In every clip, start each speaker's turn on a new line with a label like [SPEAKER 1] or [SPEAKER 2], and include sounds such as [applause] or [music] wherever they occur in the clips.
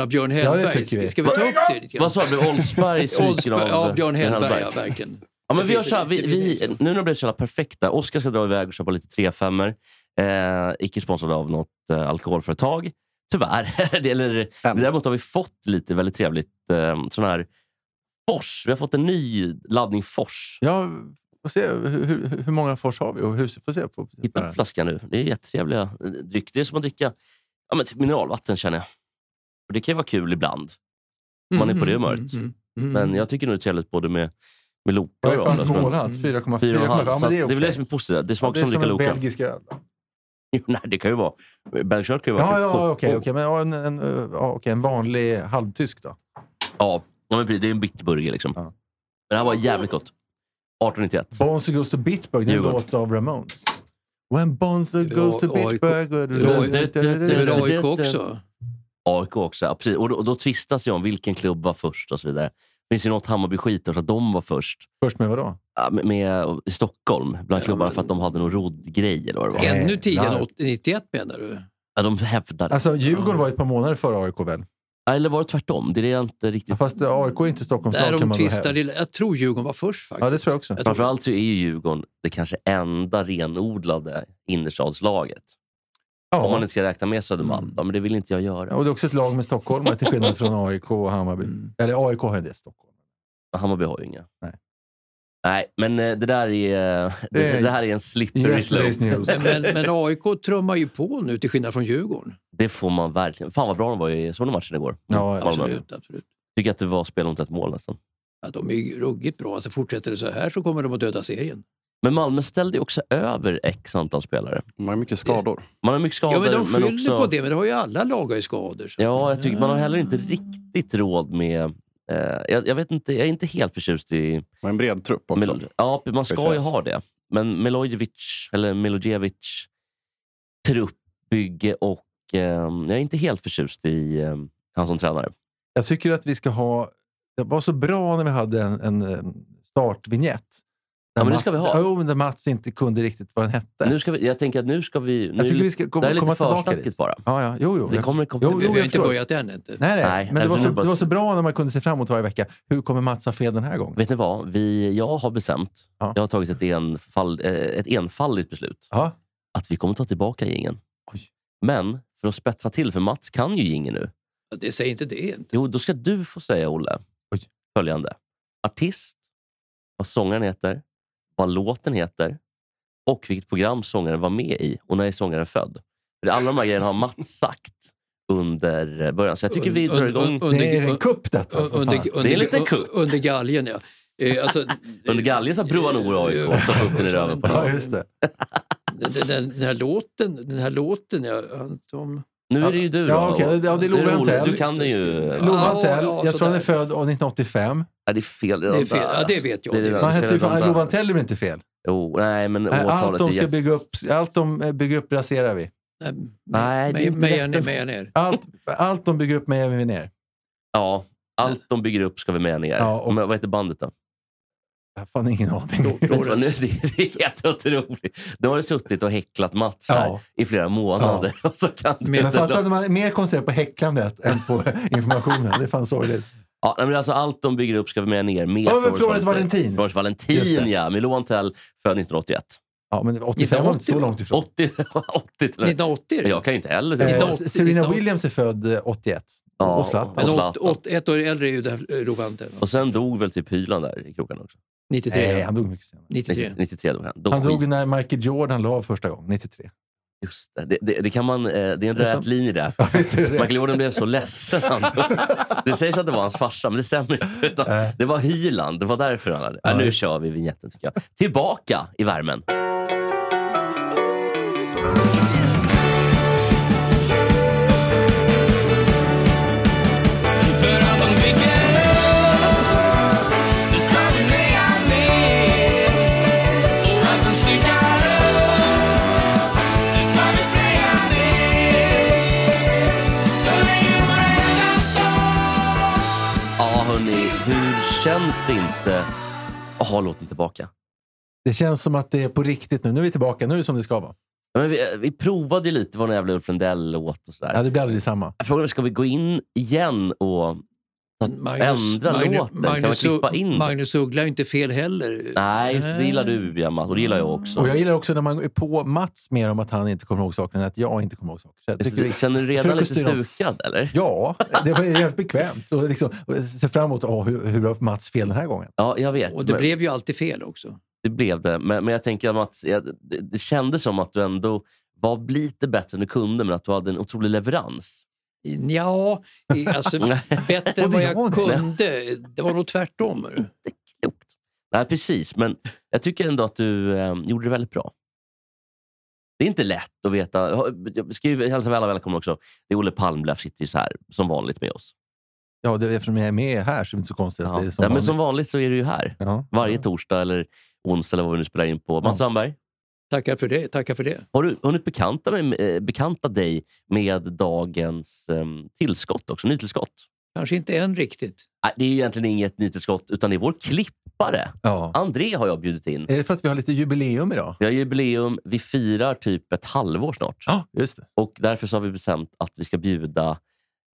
[SPEAKER 1] Av Björn
[SPEAKER 2] det
[SPEAKER 1] Hellberg.
[SPEAKER 2] tycker vi.
[SPEAKER 1] Ska vi ta upp det lite grann?
[SPEAKER 3] Vad sa du? Old Spice?
[SPEAKER 1] Old Spice- Ja, Björn Hellberg, ja,
[SPEAKER 3] Ja,
[SPEAKER 1] verkligen.
[SPEAKER 3] ja,
[SPEAKER 1] Det
[SPEAKER 3] men vi gör
[SPEAKER 1] finns-
[SPEAKER 3] så här. Vi,
[SPEAKER 1] det finns
[SPEAKER 3] vi,
[SPEAKER 1] en-
[SPEAKER 3] nu när det blev så jävla perfekta. Oskar ska dra iväg och köpa lite 3-5-er. Eh, icke sponsrade av något eh, alkoholföretag. Tyvärr. [laughs] det, eller,
[SPEAKER 2] Än.
[SPEAKER 3] däremot har vi fått lite väldigt trevligt eh, sån här Fors. Vi har fått en ny laddning Fors.
[SPEAKER 2] Ja, får se hur, hur, hur många fors har vi och hur får se. På,
[SPEAKER 3] Hitta en flaska nu. Det är jättetrevliga eh, dryck. Det är som att dricka ja, men typ mineralvatten känner jag. Och det kan ju vara kul ibland. om man är på det humöret.
[SPEAKER 1] mm.
[SPEAKER 3] Men jag tycker nog det är trevligt både med, med Loka
[SPEAKER 2] jag
[SPEAKER 3] och
[SPEAKER 2] har fan
[SPEAKER 3] andra. som-
[SPEAKER 2] kolat. 4,4.
[SPEAKER 3] Fyra och en halv.
[SPEAKER 2] Ja, men
[SPEAKER 3] Så att
[SPEAKER 2] det är
[SPEAKER 3] det är väl
[SPEAKER 2] okej.
[SPEAKER 3] det som är positivt. Det
[SPEAKER 2] Det
[SPEAKER 3] smakar
[SPEAKER 2] är
[SPEAKER 3] som,
[SPEAKER 2] som en
[SPEAKER 3] lika Loka.
[SPEAKER 2] belgisk öl. Ja,
[SPEAKER 3] Jo, [laughs] Nej, det kan ju vara... Belgisk öl kan ju
[SPEAKER 2] ja,
[SPEAKER 3] vara
[SPEAKER 2] ja,
[SPEAKER 3] sjukt
[SPEAKER 2] okej.
[SPEAKER 3] gott.
[SPEAKER 2] okej, men ja, en, en, eh, ja, okej, en vanlig halvtysk då.
[SPEAKER 3] Ja, ja, men precis, det är en bitterburger liksom.
[SPEAKER 2] Ja.
[SPEAKER 3] Men det här var jävligt gott. 1891.
[SPEAKER 2] Bonzo goes to Bitburg, det är en
[SPEAKER 3] Djurgården.
[SPEAKER 2] låt av Ramones. When Bonzo goes to
[SPEAKER 1] var AIK.
[SPEAKER 2] Bitburg...
[SPEAKER 1] Det är väl
[SPEAKER 3] det-
[SPEAKER 1] AIK
[SPEAKER 3] det-
[SPEAKER 1] också?
[SPEAKER 3] AIK också, ja, precis. Och då, och då tvistas det om vilken klubb var först och så vidare. Finns det något Hammarby skiter så att de var först
[SPEAKER 2] Först med vadå?
[SPEAKER 3] ja, med, med, i Stockholm bland
[SPEAKER 1] Ja,
[SPEAKER 3] klubbarna
[SPEAKER 1] men-
[SPEAKER 3] för att de hade någon roddgrej eller vad det var.
[SPEAKER 2] Ja.
[SPEAKER 1] Ännu
[SPEAKER 2] Nej,
[SPEAKER 1] tidigare än
[SPEAKER 2] nej.
[SPEAKER 1] 80 91 menar du?
[SPEAKER 3] Ja, de hävdade.
[SPEAKER 2] Alltså, Djurgården var ett par månader före AIK väl?
[SPEAKER 3] eller var det tvärtom? Det är det jag inte riktigt...
[SPEAKER 2] Fast eh, AIK är inte Stockholms lag
[SPEAKER 1] Där
[SPEAKER 2] kan
[SPEAKER 1] de
[SPEAKER 2] man väl hävda.
[SPEAKER 1] tvistar. i- Jag tror Djurgården var först faktiskt.
[SPEAKER 2] Ja, det tror jag också.
[SPEAKER 1] Jag tror-
[SPEAKER 3] Framförallt så är ju Djurgården det kanske enda renodlade innerstadslaget. Om man
[SPEAKER 2] Ja.
[SPEAKER 3] inte ska räkna med Södermalm.
[SPEAKER 1] Mm.
[SPEAKER 3] Ja, men det vill inte jag göra.
[SPEAKER 2] Och det är också ett lag med stockholmare till skillnad från AIK och Hammarby.
[SPEAKER 1] Mm.
[SPEAKER 2] Eller AIK har ju det, Stockholm.
[SPEAKER 3] Hammarby har ju inga.
[SPEAKER 2] Nej.
[SPEAKER 3] Nej, men eh, det där är, [laughs] eh,
[SPEAKER 2] Det
[SPEAKER 3] det,
[SPEAKER 2] är-
[SPEAKER 3] det här är en slippery
[SPEAKER 2] Yesterday's
[SPEAKER 3] slope. [laughs]
[SPEAKER 2] news.
[SPEAKER 1] Men, men AIK trummar ju på nu till skillnad från Djurgården.
[SPEAKER 3] Det får man verkligen. Fan vad bra de var i såg ni matchen igår.
[SPEAKER 2] Ja, ja.
[SPEAKER 3] Malmö.
[SPEAKER 1] Absolut. absolut.
[SPEAKER 3] Tycker att det var spel mot ett mål nästan.
[SPEAKER 1] Ja, de är ju ruggigt bra. Alltså, fortsätter det så här så kommer de att döda serien.
[SPEAKER 3] Men Malmö ställde ju också över x antal spelare.
[SPEAKER 4] Man har mycket skador.
[SPEAKER 3] Man har mycket skador,
[SPEAKER 1] ja, men de skyller
[SPEAKER 3] också...
[SPEAKER 1] på det, men det har ju alla lag har ju skador. Så.
[SPEAKER 3] Ja, jag tycker man har heller inte riktigt råd med... Eh, jag, jag vet inte, jag är inte helt förtjust i...
[SPEAKER 4] Och en bred trupp också.
[SPEAKER 3] Mel- ja, man ska ju
[SPEAKER 4] Precis.
[SPEAKER 3] ha det. Men Milojevic, eller Milojevic truppbygge och eh, jag är inte helt förtjust i eh, han som tränare.
[SPEAKER 2] Jag tycker att vi ska ha... Det var så bra när vi hade en, en eh, startvignett.
[SPEAKER 3] Ja, men det
[SPEAKER 2] Mats-
[SPEAKER 3] ska vi ha.
[SPEAKER 2] Jo, men där Mats inte kunde riktigt vad den hette.
[SPEAKER 3] Nu ska vi, jag tänker att nu ska vi... Nu,
[SPEAKER 2] jag tycker vi ska kom,
[SPEAKER 3] det här är lite
[SPEAKER 2] komma tillbaka
[SPEAKER 3] försnacket
[SPEAKER 2] dit.
[SPEAKER 3] bara.
[SPEAKER 2] Ja, ja. Jo, jo.
[SPEAKER 3] Det
[SPEAKER 2] men-
[SPEAKER 3] kommer komma...
[SPEAKER 2] Jo,
[SPEAKER 1] Vi har ju
[SPEAKER 2] jag
[SPEAKER 1] inte
[SPEAKER 2] förstår.
[SPEAKER 1] börjat än inte.
[SPEAKER 2] Nej, nej.
[SPEAKER 3] Nej,
[SPEAKER 2] men det var,
[SPEAKER 3] jag
[SPEAKER 2] så,
[SPEAKER 3] vill bara-
[SPEAKER 2] det var så bra när man kunde se fram emot varje vecka. Hur kommer Mats ha fel den här gången?
[SPEAKER 3] Vet ni vad? Vi, jag har bestämt,
[SPEAKER 2] Ja.
[SPEAKER 3] jag har tagit ett, enfall, eh, ett enfaldigt beslut,
[SPEAKER 2] Ja.
[SPEAKER 3] att vi kommer ta tillbaka gingen.
[SPEAKER 2] Oj.
[SPEAKER 3] Men för att spetsa till, för Mats kan ju ingen nu.
[SPEAKER 1] Ja, Det säger inte det inte.
[SPEAKER 3] Jo, då ska du få säga, Olle,
[SPEAKER 2] Oj.
[SPEAKER 3] följande. Artist, vad sångaren heter, vad låten heter och vilket program sångaren var med i och när är sångaren född. För alla de här grejerna har Mats sagt under början. Så jag tycker vi
[SPEAKER 1] Un-
[SPEAKER 3] drar
[SPEAKER 1] un-
[SPEAKER 3] igång
[SPEAKER 1] un-
[SPEAKER 2] Det är
[SPEAKER 1] un-
[SPEAKER 2] en kupp detta.
[SPEAKER 1] un-
[SPEAKER 2] för fan.
[SPEAKER 1] under- under-
[SPEAKER 3] Det är en liten kupp.
[SPEAKER 1] Under galgen, ja. Eh, Alltså,
[SPEAKER 3] [laughs]
[SPEAKER 1] eh,
[SPEAKER 3] under galgen så har Broa Nor och AIK och stoppar upp den i röven på
[SPEAKER 2] ja,
[SPEAKER 3] någon.
[SPEAKER 2] just det.
[SPEAKER 1] Den, den, den, den här låten, den här låten ja, Anton...
[SPEAKER 3] Nu är det ju du
[SPEAKER 2] Ja,
[SPEAKER 3] då.
[SPEAKER 2] okej. Ja, det är Love
[SPEAKER 3] Olle.
[SPEAKER 2] Antell.
[SPEAKER 3] Du kan det ju.
[SPEAKER 2] Love
[SPEAKER 1] Ja,
[SPEAKER 2] Antell.
[SPEAKER 1] ja,
[SPEAKER 2] jag tror han är
[SPEAKER 1] sådär.
[SPEAKER 2] född av 1985.
[SPEAKER 3] Ja, det är fel
[SPEAKER 1] Det
[SPEAKER 3] redan
[SPEAKER 1] är fel.
[SPEAKER 3] där.
[SPEAKER 1] Ja, det vet jag.
[SPEAKER 3] Det är
[SPEAKER 1] Det
[SPEAKER 3] redan-
[SPEAKER 1] vet
[SPEAKER 2] Man
[SPEAKER 1] jag.
[SPEAKER 3] det är
[SPEAKER 2] hette ju
[SPEAKER 3] redan
[SPEAKER 2] fan...
[SPEAKER 3] där.
[SPEAKER 2] Love Antell är väl inte fel?
[SPEAKER 3] Jo, nej, men
[SPEAKER 2] Nej, Eh, Allt
[SPEAKER 3] årtalet är
[SPEAKER 2] de ska
[SPEAKER 3] jätte...
[SPEAKER 2] bygga upp, allt de eh, bygger upp raserar vi.
[SPEAKER 3] Nej, det är
[SPEAKER 1] Nej,
[SPEAKER 3] inte
[SPEAKER 1] meja
[SPEAKER 3] rätt.
[SPEAKER 1] ner, meja
[SPEAKER 3] [laughs]
[SPEAKER 1] ner.
[SPEAKER 2] Allt, allt de bygger upp med vi ner.
[SPEAKER 3] Ja, allt de bygger upp ska vi med ner.
[SPEAKER 2] Ja, och-
[SPEAKER 3] Men vad heter bandet då?
[SPEAKER 2] Jag har fan ingen aning.
[SPEAKER 3] Vet du vad, nu, [laughs] det det är helt otroligt. De har suttit och häcklat Mats här
[SPEAKER 2] Ja.
[SPEAKER 3] i flera månader. [laughs] Och så kan du
[SPEAKER 1] Men
[SPEAKER 2] Men
[SPEAKER 3] inte
[SPEAKER 2] fatta
[SPEAKER 3] dra-
[SPEAKER 2] att man är mer koncentrerad på häcklandet än på [laughs] informationen. Det är fan sorgligt.
[SPEAKER 3] ja, nej, men alltså, allt de bygger upp ska vi med ner. Med
[SPEAKER 2] Över Florence Valentin.
[SPEAKER 3] Florence
[SPEAKER 2] Just
[SPEAKER 3] Valentin,
[SPEAKER 2] det.
[SPEAKER 3] ja. Milan Tell, född 1981.
[SPEAKER 2] Ja, men 85 var inte så långt ifrån.
[SPEAKER 3] 80, [laughs] 80 till och med.
[SPEAKER 1] 1980 är det.
[SPEAKER 3] Jag kan ju inte heller säga.
[SPEAKER 2] Eh,
[SPEAKER 1] 1980,
[SPEAKER 2] Serena
[SPEAKER 1] 1980.
[SPEAKER 2] Williams är född eh, 81.
[SPEAKER 3] Ja,
[SPEAKER 2] Och Zlatan.
[SPEAKER 1] Men
[SPEAKER 3] och
[SPEAKER 1] åt,
[SPEAKER 3] Zlatan.
[SPEAKER 1] åt, ett år äldre är ju det här eh, Rovantel.
[SPEAKER 3] Och sen dog väl typ Hyland där i krokarna också.
[SPEAKER 1] 93.
[SPEAKER 2] Nej, han dog mycket senare.
[SPEAKER 1] 93.
[SPEAKER 3] 93 dog han. Dog
[SPEAKER 2] Han dog
[SPEAKER 3] skit.
[SPEAKER 2] när Michael Jordan la av första gången, 93.
[SPEAKER 3] [laughs] Just det. Det, det, det, kan man, eh, det är en
[SPEAKER 2] Det är
[SPEAKER 3] rät
[SPEAKER 2] som-
[SPEAKER 3] linje där.
[SPEAKER 2] Ja, visst är det det.
[SPEAKER 3] Michael Jordan blev så ledsen. när
[SPEAKER 2] [laughs]
[SPEAKER 3] han dog. Det sägs att det var hans farsa, men det stämmer inte. Utan
[SPEAKER 2] Nej.
[SPEAKER 3] Det var Hyland. Det var därför han hade... Ja, nu kör vi vignetten tycker jag. Tillbaka i värmen. känns det inte... Jaha, låten tillbaka.
[SPEAKER 2] Det känns som att det är på riktigt nu. Nu är vi tillbaka. Nu är det som det ska vara.
[SPEAKER 3] Ja, men vi, vi provade ju lite vad den jävla Ulf Lundell-låt och sådär.
[SPEAKER 2] Ja, det blir aldrig samma.
[SPEAKER 3] Jag frågade, ska vi gå in igen och... ändra låten? Kan man klippa in den?
[SPEAKER 1] Magnus Uggla är inte fel heller.
[SPEAKER 3] Nej, just, det, det gillar du, Emma. Och det gillar jag också.
[SPEAKER 2] Mm. Och jag gillar också när man är på Mats mer om att han inte kommer ihåg saker än att jag inte kommer ihåg saker. Så jag
[SPEAKER 3] Just
[SPEAKER 2] tycker
[SPEAKER 3] det.
[SPEAKER 2] det-
[SPEAKER 3] Känner du redan lite
[SPEAKER 2] frukost i dem.
[SPEAKER 3] stukad, eller?
[SPEAKER 2] Ja, det var jävligt bekvämt. Och liksom, och se fram emot åh, hur, hur blev Mats fel den här gången.
[SPEAKER 3] Ja, jag vet.
[SPEAKER 1] Och det
[SPEAKER 3] men-
[SPEAKER 1] blev ju alltid fel också.
[SPEAKER 3] Det blev det. Men, men jag tänker att jag, det, det kändes som att du ändå var lite bättre än du kunde, men att du hade en otrolig leverans.
[SPEAKER 1] Ja,
[SPEAKER 3] [laughs]
[SPEAKER 1] alltså bättre
[SPEAKER 2] Och
[SPEAKER 1] än
[SPEAKER 2] det
[SPEAKER 1] vad
[SPEAKER 2] var
[SPEAKER 1] jag
[SPEAKER 2] det.
[SPEAKER 1] kunde. Det var nog tvärtom.
[SPEAKER 3] Det är klokt. Nej, precis. Men jag tycker ändå att du eh, gjorde det väldigt bra. Det är inte lätt att veta. Jag ska ju hälsa alla välkomna också. Det är Olle Palmlöf sitter ju så här, som vanligt med oss.
[SPEAKER 2] Ja, det, eftersom jag är med här så är det inte så konstigt att
[SPEAKER 3] Ja.
[SPEAKER 2] det är
[SPEAKER 3] Som,
[SPEAKER 2] som
[SPEAKER 3] ja, men som
[SPEAKER 2] vanligt.
[SPEAKER 3] vanligt så är du ju här.
[SPEAKER 2] Ja.
[SPEAKER 3] Varje torsdag eller onsdag eller vad vi nu spelar in på. Mats Sandberg,
[SPEAKER 1] Tackar för det. Tackar för det.
[SPEAKER 3] har du hunnit bekanta, mig, eh, bekanta dig med dagens ehm, tillskott också? Nytillskott?
[SPEAKER 1] Kanske inte än riktigt.
[SPEAKER 3] Nej, det är ju egentligen inget nytillskott, utan det är vår klippare.
[SPEAKER 2] Ja.
[SPEAKER 3] André har jag bjudit in.
[SPEAKER 2] Är det för att vi har lite jubileum idag?
[SPEAKER 3] Vi har jubileum, vi firar typ ett halvår snart.
[SPEAKER 2] Ja, just det.
[SPEAKER 3] Och därför så har vi bestämt att vi ska bjuda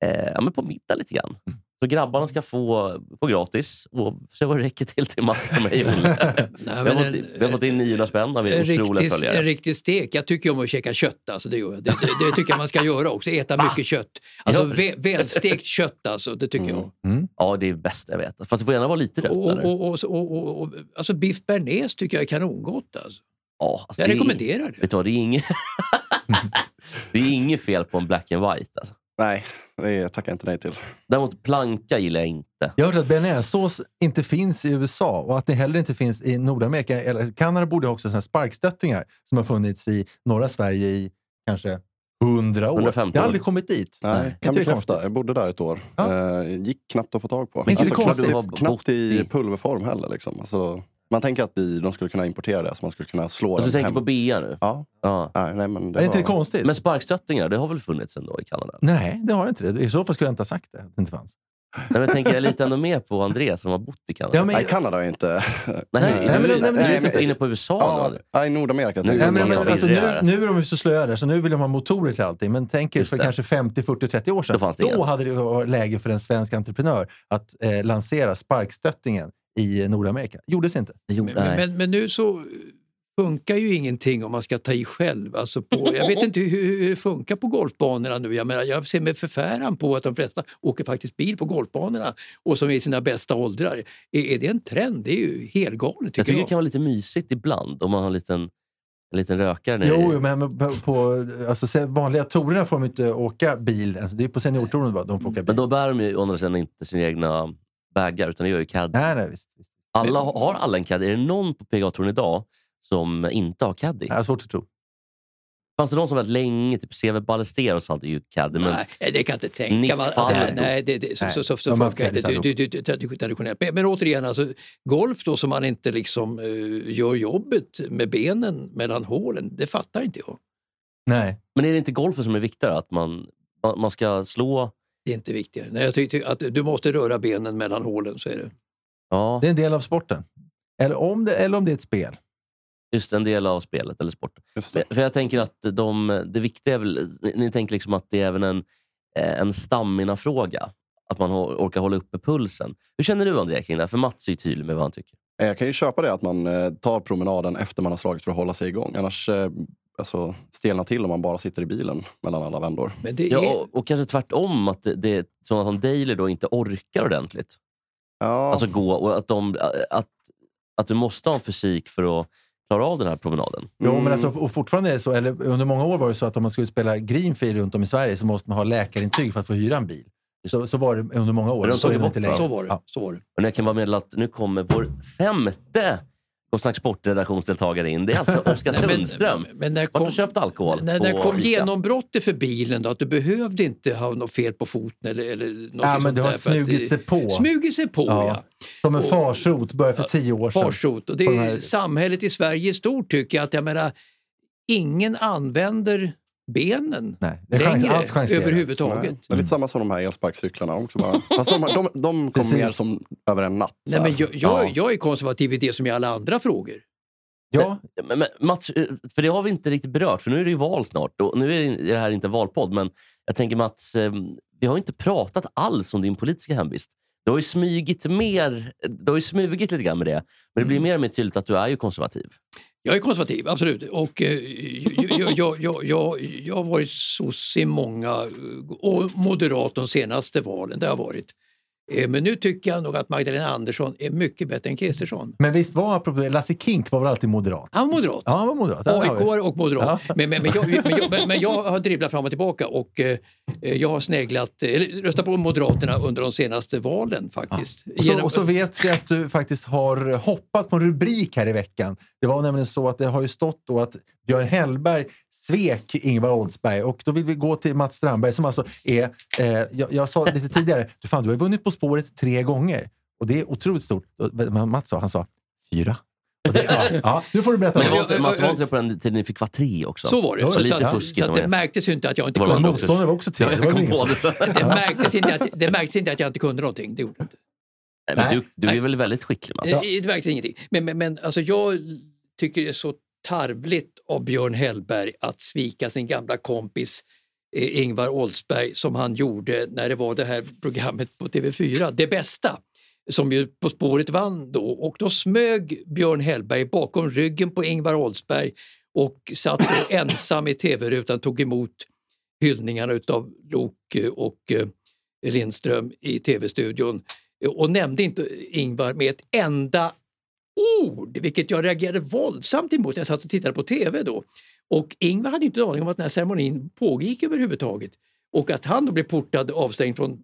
[SPEAKER 3] eh, ja, men på middag lite grann.
[SPEAKER 1] Mm.
[SPEAKER 3] Så grabbarna ska få, få gratis och se vad det räcker till till Mats och mig. och
[SPEAKER 1] [laughs]
[SPEAKER 3] Olle.
[SPEAKER 1] Nej,
[SPEAKER 3] Vi
[SPEAKER 1] men
[SPEAKER 3] har, fått,
[SPEAKER 1] en-
[SPEAKER 3] vi har fått in 900 spänn av
[SPEAKER 1] en
[SPEAKER 3] er otroliga
[SPEAKER 1] riktig, en
[SPEAKER 3] följare.
[SPEAKER 1] riktig stek. Jag tycker ju om att käka kött. Alltså, det, gör jag. Det, det, det tycker jag man ska göra också. Äta mycket kött. Alltså,
[SPEAKER 3] Ja. Mm,
[SPEAKER 1] vä- välstekt kött, alltså, det tycker jag.
[SPEAKER 3] Ja, det är bäst jag vet. Fast det får gärna vara lite rött.
[SPEAKER 1] Och,
[SPEAKER 3] eller?
[SPEAKER 1] och, och, och, och, och, alltså, biff bearnaise tycker jag är kanongott. Alltså.
[SPEAKER 3] ja, alltså,
[SPEAKER 1] Jag
[SPEAKER 3] det är-
[SPEAKER 1] rekommenderar det.
[SPEAKER 3] Vet du vad, det är
[SPEAKER 1] [laughs]
[SPEAKER 3] inget... det är inget fel på en black and white. Alltså.
[SPEAKER 4] Nej, det tackar jag inte nej till.
[SPEAKER 3] Däremot planka gillar jag inte.
[SPEAKER 2] Jag hörde att bearnaisesås inte finns i USA och att det heller inte finns i Nordamerika. Eller Kanada borde ha också såna här sparkstöttingar som har funnits i norra Sverige i kanske hundra år.
[SPEAKER 3] 150
[SPEAKER 2] Det har
[SPEAKER 3] år.
[SPEAKER 2] aldrig kommit dit.
[SPEAKER 4] Nej, kan
[SPEAKER 2] inte det
[SPEAKER 4] bekräfta.
[SPEAKER 2] konstigt?
[SPEAKER 4] Jag bodde där ett år.
[SPEAKER 2] Ja.
[SPEAKER 4] Eh, gick knappt att få tag på. Alltså,
[SPEAKER 2] Men inte det konstigt?
[SPEAKER 4] knappt, knappt i
[SPEAKER 3] Botti.
[SPEAKER 4] pulverform heller. Liksom. Alltså, man tänker att de, de skulle kunna importera det, så man skulle kunna slå
[SPEAKER 3] Alltså, du
[SPEAKER 4] den
[SPEAKER 3] tänker på bea nu?
[SPEAKER 4] Ja,
[SPEAKER 3] Ja.
[SPEAKER 4] nej, nej, men det
[SPEAKER 2] Är inte
[SPEAKER 4] var...
[SPEAKER 2] det konstigt?
[SPEAKER 3] Men sparkstöttingar, det har väl funnits ändå i Kanada?
[SPEAKER 2] Nej, det har inte det. I så fall skulle jag inte ha sagt det. Att det inte fanns.
[SPEAKER 3] Nej, men jag tänker jag lite ändå mer på André som har bott i Kanada.
[SPEAKER 2] Ja, men-
[SPEAKER 4] Nej, Kanada är inte...
[SPEAKER 3] nej,
[SPEAKER 2] nej,
[SPEAKER 3] nej,
[SPEAKER 2] men-
[SPEAKER 3] nej,
[SPEAKER 2] nej, men det
[SPEAKER 3] nej,
[SPEAKER 2] finns inte.
[SPEAKER 3] inne på USA
[SPEAKER 4] ja,
[SPEAKER 3] nu.
[SPEAKER 4] nej, Nordamerika.
[SPEAKER 2] Nej,
[SPEAKER 3] Nej,
[SPEAKER 4] tänker jag.
[SPEAKER 2] men,
[SPEAKER 3] många
[SPEAKER 2] men, alltså,
[SPEAKER 3] virriga
[SPEAKER 2] nu,
[SPEAKER 3] är det.
[SPEAKER 2] nu är de ju så slöa där, så nu vill de ha motorer till allting. Men tänk er
[SPEAKER 3] Just
[SPEAKER 2] för
[SPEAKER 3] det.
[SPEAKER 2] kanske 50, 40, 30 år sedan.
[SPEAKER 3] Då fanns det inget.
[SPEAKER 2] hade det varit läge för en svensk entreprenör att eh, lansera sparkstöttingen i Nordamerika. Gjordes inte.
[SPEAKER 3] Jo,
[SPEAKER 1] Men,
[SPEAKER 3] nej.
[SPEAKER 1] men, men nu så funkar ju ingenting om man ska ta i själv. Alltså på, jag vet inte hur, hur det funkar på golfbanorna nu. Jag, menar, jag ser med förfäran på att de flesta åker faktiskt bil på golfbanorna och som är i sina bästa åldrar. Är, är det en trend? Det är ju helgalet
[SPEAKER 3] jag
[SPEAKER 1] tycker
[SPEAKER 3] tycker
[SPEAKER 1] jag.
[SPEAKER 3] det kan vara lite mysigt ibland om man har en liten, en liten rökare nere
[SPEAKER 2] Jo,
[SPEAKER 3] i-
[SPEAKER 2] jo, men men på, på alltså, se- vanliga torerna får de inte åka bil. Alltså, det är på seniortouren bara de får åka bil.
[SPEAKER 3] Mm, Men då bär de ju å andra sidan inte sina egna bagar, utan det gör ju caddy.
[SPEAKER 2] Nej, nej, visst. visst.
[SPEAKER 3] Alla, har- har alla en caddy? Är det någon på PGA-touren idag som inte har caddy?
[SPEAKER 2] Jag har svårt att tro.
[SPEAKER 3] Fanns det någon som väldigt länge, typ CV Ballesteros hade ju caddy, men
[SPEAKER 1] Nej, det kan jag inte tänka
[SPEAKER 3] Nick
[SPEAKER 1] mig.
[SPEAKER 3] Faldo.
[SPEAKER 1] Nej, nej, det, det, så,
[SPEAKER 2] Nej,
[SPEAKER 1] så, så, så
[SPEAKER 2] de har
[SPEAKER 1] funkar
[SPEAKER 2] haft
[SPEAKER 1] inte det, det, det, det, det, traditionellt. Men, men återigen, alltså, golf då som man inte liksom eh, gör jobbet med benen mellan hålen, det fattar inte jag.
[SPEAKER 2] Nej.
[SPEAKER 3] Men är det inte golfen som är viktigare? Att man, man, man ska slå...
[SPEAKER 1] Det är inte viktigare. Nej, jag tycker att du måste röra benen mellan hålen, så är det.
[SPEAKER 3] Ja,
[SPEAKER 2] Det är en del av sporten. Eller om det, eller om det är ett spel.
[SPEAKER 3] just en del av spelet eller sporten.
[SPEAKER 4] Just det.
[SPEAKER 3] Men- För jag tänker att de, det viktiga är väl... Ni, ni tänker liksom att det är även en, eh, en stamina-fråga. Att man hå- orkar hålla uppe pulsen. Hur känner du André kring det här? För Mats är ju tydlig med vad han tycker.
[SPEAKER 4] Eh, Jag kan ju köpa det att man eh, tar promenaden efter man har slagit för att hålla sig igång. Annars eh, alltså, stelnar till om man bara sitter i bilen mellan alla vändor.
[SPEAKER 1] Men det är...
[SPEAKER 3] Ja, och, och kanske tvärtom, att det, det är sådana som Daily då inte orkar ordentligt.
[SPEAKER 4] Ja,
[SPEAKER 3] Alltså gå och att, de, att, att du måste ha en fysik för att klara av den här promenaden.
[SPEAKER 2] Jo,
[SPEAKER 4] mm,
[SPEAKER 2] men alltså, och fortfarande är det så, eller under många år var det så att om man skulle spela greenfield runt om i Sverige så måste man ha läkarintyg för att få hyra en bil. Så, så var det under många år.
[SPEAKER 3] Men de
[SPEAKER 2] Så
[SPEAKER 3] tog
[SPEAKER 2] är det
[SPEAKER 3] bort
[SPEAKER 2] inte
[SPEAKER 3] det,
[SPEAKER 2] längre.
[SPEAKER 1] så var det.
[SPEAKER 2] Ja.
[SPEAKER 1] Så var det.
[SPEAKER 3] Men jag kan bara meddela att nu kommer vår femte Gott Snack Sport-redaktionsdeltagare in. Det
[SPEAKER 1] [laughs]
[SPEAKER 3] är alltså Oskar
[SPEAKER 1] Nej, men-
[SPEAKER 3] Sundström.
[SPEAKER 1] Men när
[SPEAKER 3] Vart har
[SPEAKER 1] kom,
[SPEAKER 3] du köpt alkohol?
[SPEAKER 1] när, när
[SPEAKER 3] på
[SPEAKER 1] kom
[SPEAKER 3] Ica?
[SPEAKER 1] genombrottet för bilen då? Att du behövde inte ha något fel på foten eller, eller något
[SPEAKER 2] Ja, men
[SPEAKER 1] sånt
[SPEAKER 2] det har
[SPEAKER 1] där för att-
[SPEAKER 2] smugit sig på.
[SPEAKER 1] Smugit sig på,
[SPEAKER 2] Ja.
[SPEAKER 1] ja.
[SPEAKER 2] Som en
[SPEAKER 1] Och-
[SPEAKER 2] farsot började för tio år sedan.
[SPEAKER 1] farsot. Och det
[SPEAKER 2] På de
[SPEAKER 1] är
[SPEAKER 2] här-
[SPEAKER 1] samhället i Sverige i stort tycker jag att jag menar, ingen använder benen
[SPEAKER 2] Nej, det är chans,
[SPEAKER 1] längre
[SPEAKER 2] allt chanserat.
[SPEAKER 1] överhuvudtaget.
[SPEAKER 4] Nej, Det är lite samma som de här elsparkcyklarna. Också bara. Fast de, de, de kom
[SPEAKER 2] Precis.
[SPEAKER 4] mer som över en natt. så
[SPEAKER 1] Nej,
[SPEAKER 4] här.
[SPEAKER 1] men jag, jag,
[SPEAKER 4] Ja.
[SPEAKER 1] jag är konservativ i det som i alla andra frågor.
[SPEAKER 2] Ja,
[SPEAKER 3] Men, men, Mats, eh, för det har vi inte riktigt berört, för nu är det ju val snart. Och nu är det- är det här inte en valpodd, men jag tänker Mats, eh, vi har inte pratat alls om din politiska hemvist. Du har ju smugit, mer, du har ju smugit lite grann med det,
[SPEAKER 1] Mm.
[SPEAKER 3] men det blir mer och mer tydligt att du är ju konservativ.
[SPEAKER 1] Jag är konservativ, absolut. Och eh, jag, jag, jag, jag, jag har varit sosse i många eh, och moderat de senaste valen. Det har jag varit. Eh, Men nu tycker jag nog att Magdalena Andersson är mycket bättre än Kristersson.
[SPEAKER 2] men visst var apropå, det, Lasse Kink var väl alltid moderat?
[SPEAKER 1] Han var moderat.
[SPEAKER 2] Ja, han var moderat. Ja, det har vi.
[SPEAKER 1] AIK och moderat.
[SPEAKER 2] Ja.
[SPEAKER 1] Men, men, men, jag, men, jag, men, men jag har dribblat fram och tillbaka och eh, jag har sneglat, eh, eller röstat på Moderaterna under de senaste valen faktiskt.
[SPEAKER 2] Och så,
[SPEAKER 1] Genom-
[SPEAKER 2] Alltså, och så vet vi att du faktiskt har hoppat på en rubrik här i veckan. Det var nämligen så att det har ju stått då att Björn Hellberg svek Ingvar Oldsberg och då vill vi gå till Mats Strandberg som alltså är, eh, jag, jag sa lite tidigare, du, fan, du har ju vunnit På spåret tre gånger och det är otroligt stort. Men Mats sa, han sa fyra. Och det, ja, ja, nu får du berätta.
[SPEAKER 3] Men det
[SPEAKER 2] Mats.
[SPEAKER 3] var,
[SPEAKER 1] jag-
[SPEAKER 3] inte- Mats, var
[SPEAKER 1] jag-
[SPEAKER 3] inte det på den tiden ni fick vara tre också?
[SPEAKER 1] så var det.
[SPEAKER 2] Ja,
[SPEAKER 1] Så,
[SPEAKER 3] lite
[SPEAKER 1] så, att,
[SPEAKER 3] fuskigt
[SPEAKER 1] så att
[SPEAKER 3] om
[SPEAKER 1] det
[SPEAKER 3] jag-
[SPEAKER 1] märktes ju inte att jag inte
[SPEAKER 3] Var det
[SPEAKER 1] kunde
[SPEAKER 3] andra
[SPEAKER 1] något.
[SPEAKER 3] också?
[SPEAKER 2] Motståndaren var också tre. Det
[SPEAKER 3] Jag
[SPEAKER 2] var väl
[SPEAKER 3] kom
[SPEAKER 2] ingen
[SPEAKER 3] på det
[SPEAKER 2] fara.
[SPEAKER 3] sen.
[SPEAKER 1] Det märktes, inte att, det märktes inte att jag inte kunde någonting. Det gjorde det inte.
[SPEAKER 3] Nej, men
[SPEAKER 2] Nej.
[SPEAKER 3] du, du är väl väldigt skicklig, Mats?
[SPEAKER 2] Ja.
[SPEAKER 1] Eh, Det märks ingenting. Men, men, men alltså jag tycker det är så tarvligt av Björn Hellberg att svika sin gamla kompis eh, Ingvar Oldsberg som han gjorde när det var det här programmet på TV4, Det bästa, som ju På spåret vann då. Och då smög Björn Hellberg bakom ryggen på Ingvar Oldsberg och satt då ensam i TV-rutan, tog emot hyllningarna utav Lok eh, och eh, Lindström i tv-studion och nämnde inte Ingvar med ett enda ord, vilket jag reagerade våldsamt emot. Jag satt och tittade på tv då. Och Ingvar hade inte en aning om att den här ceremonin pågick överhuvudtaget. Och att han då blev portad och avstängd från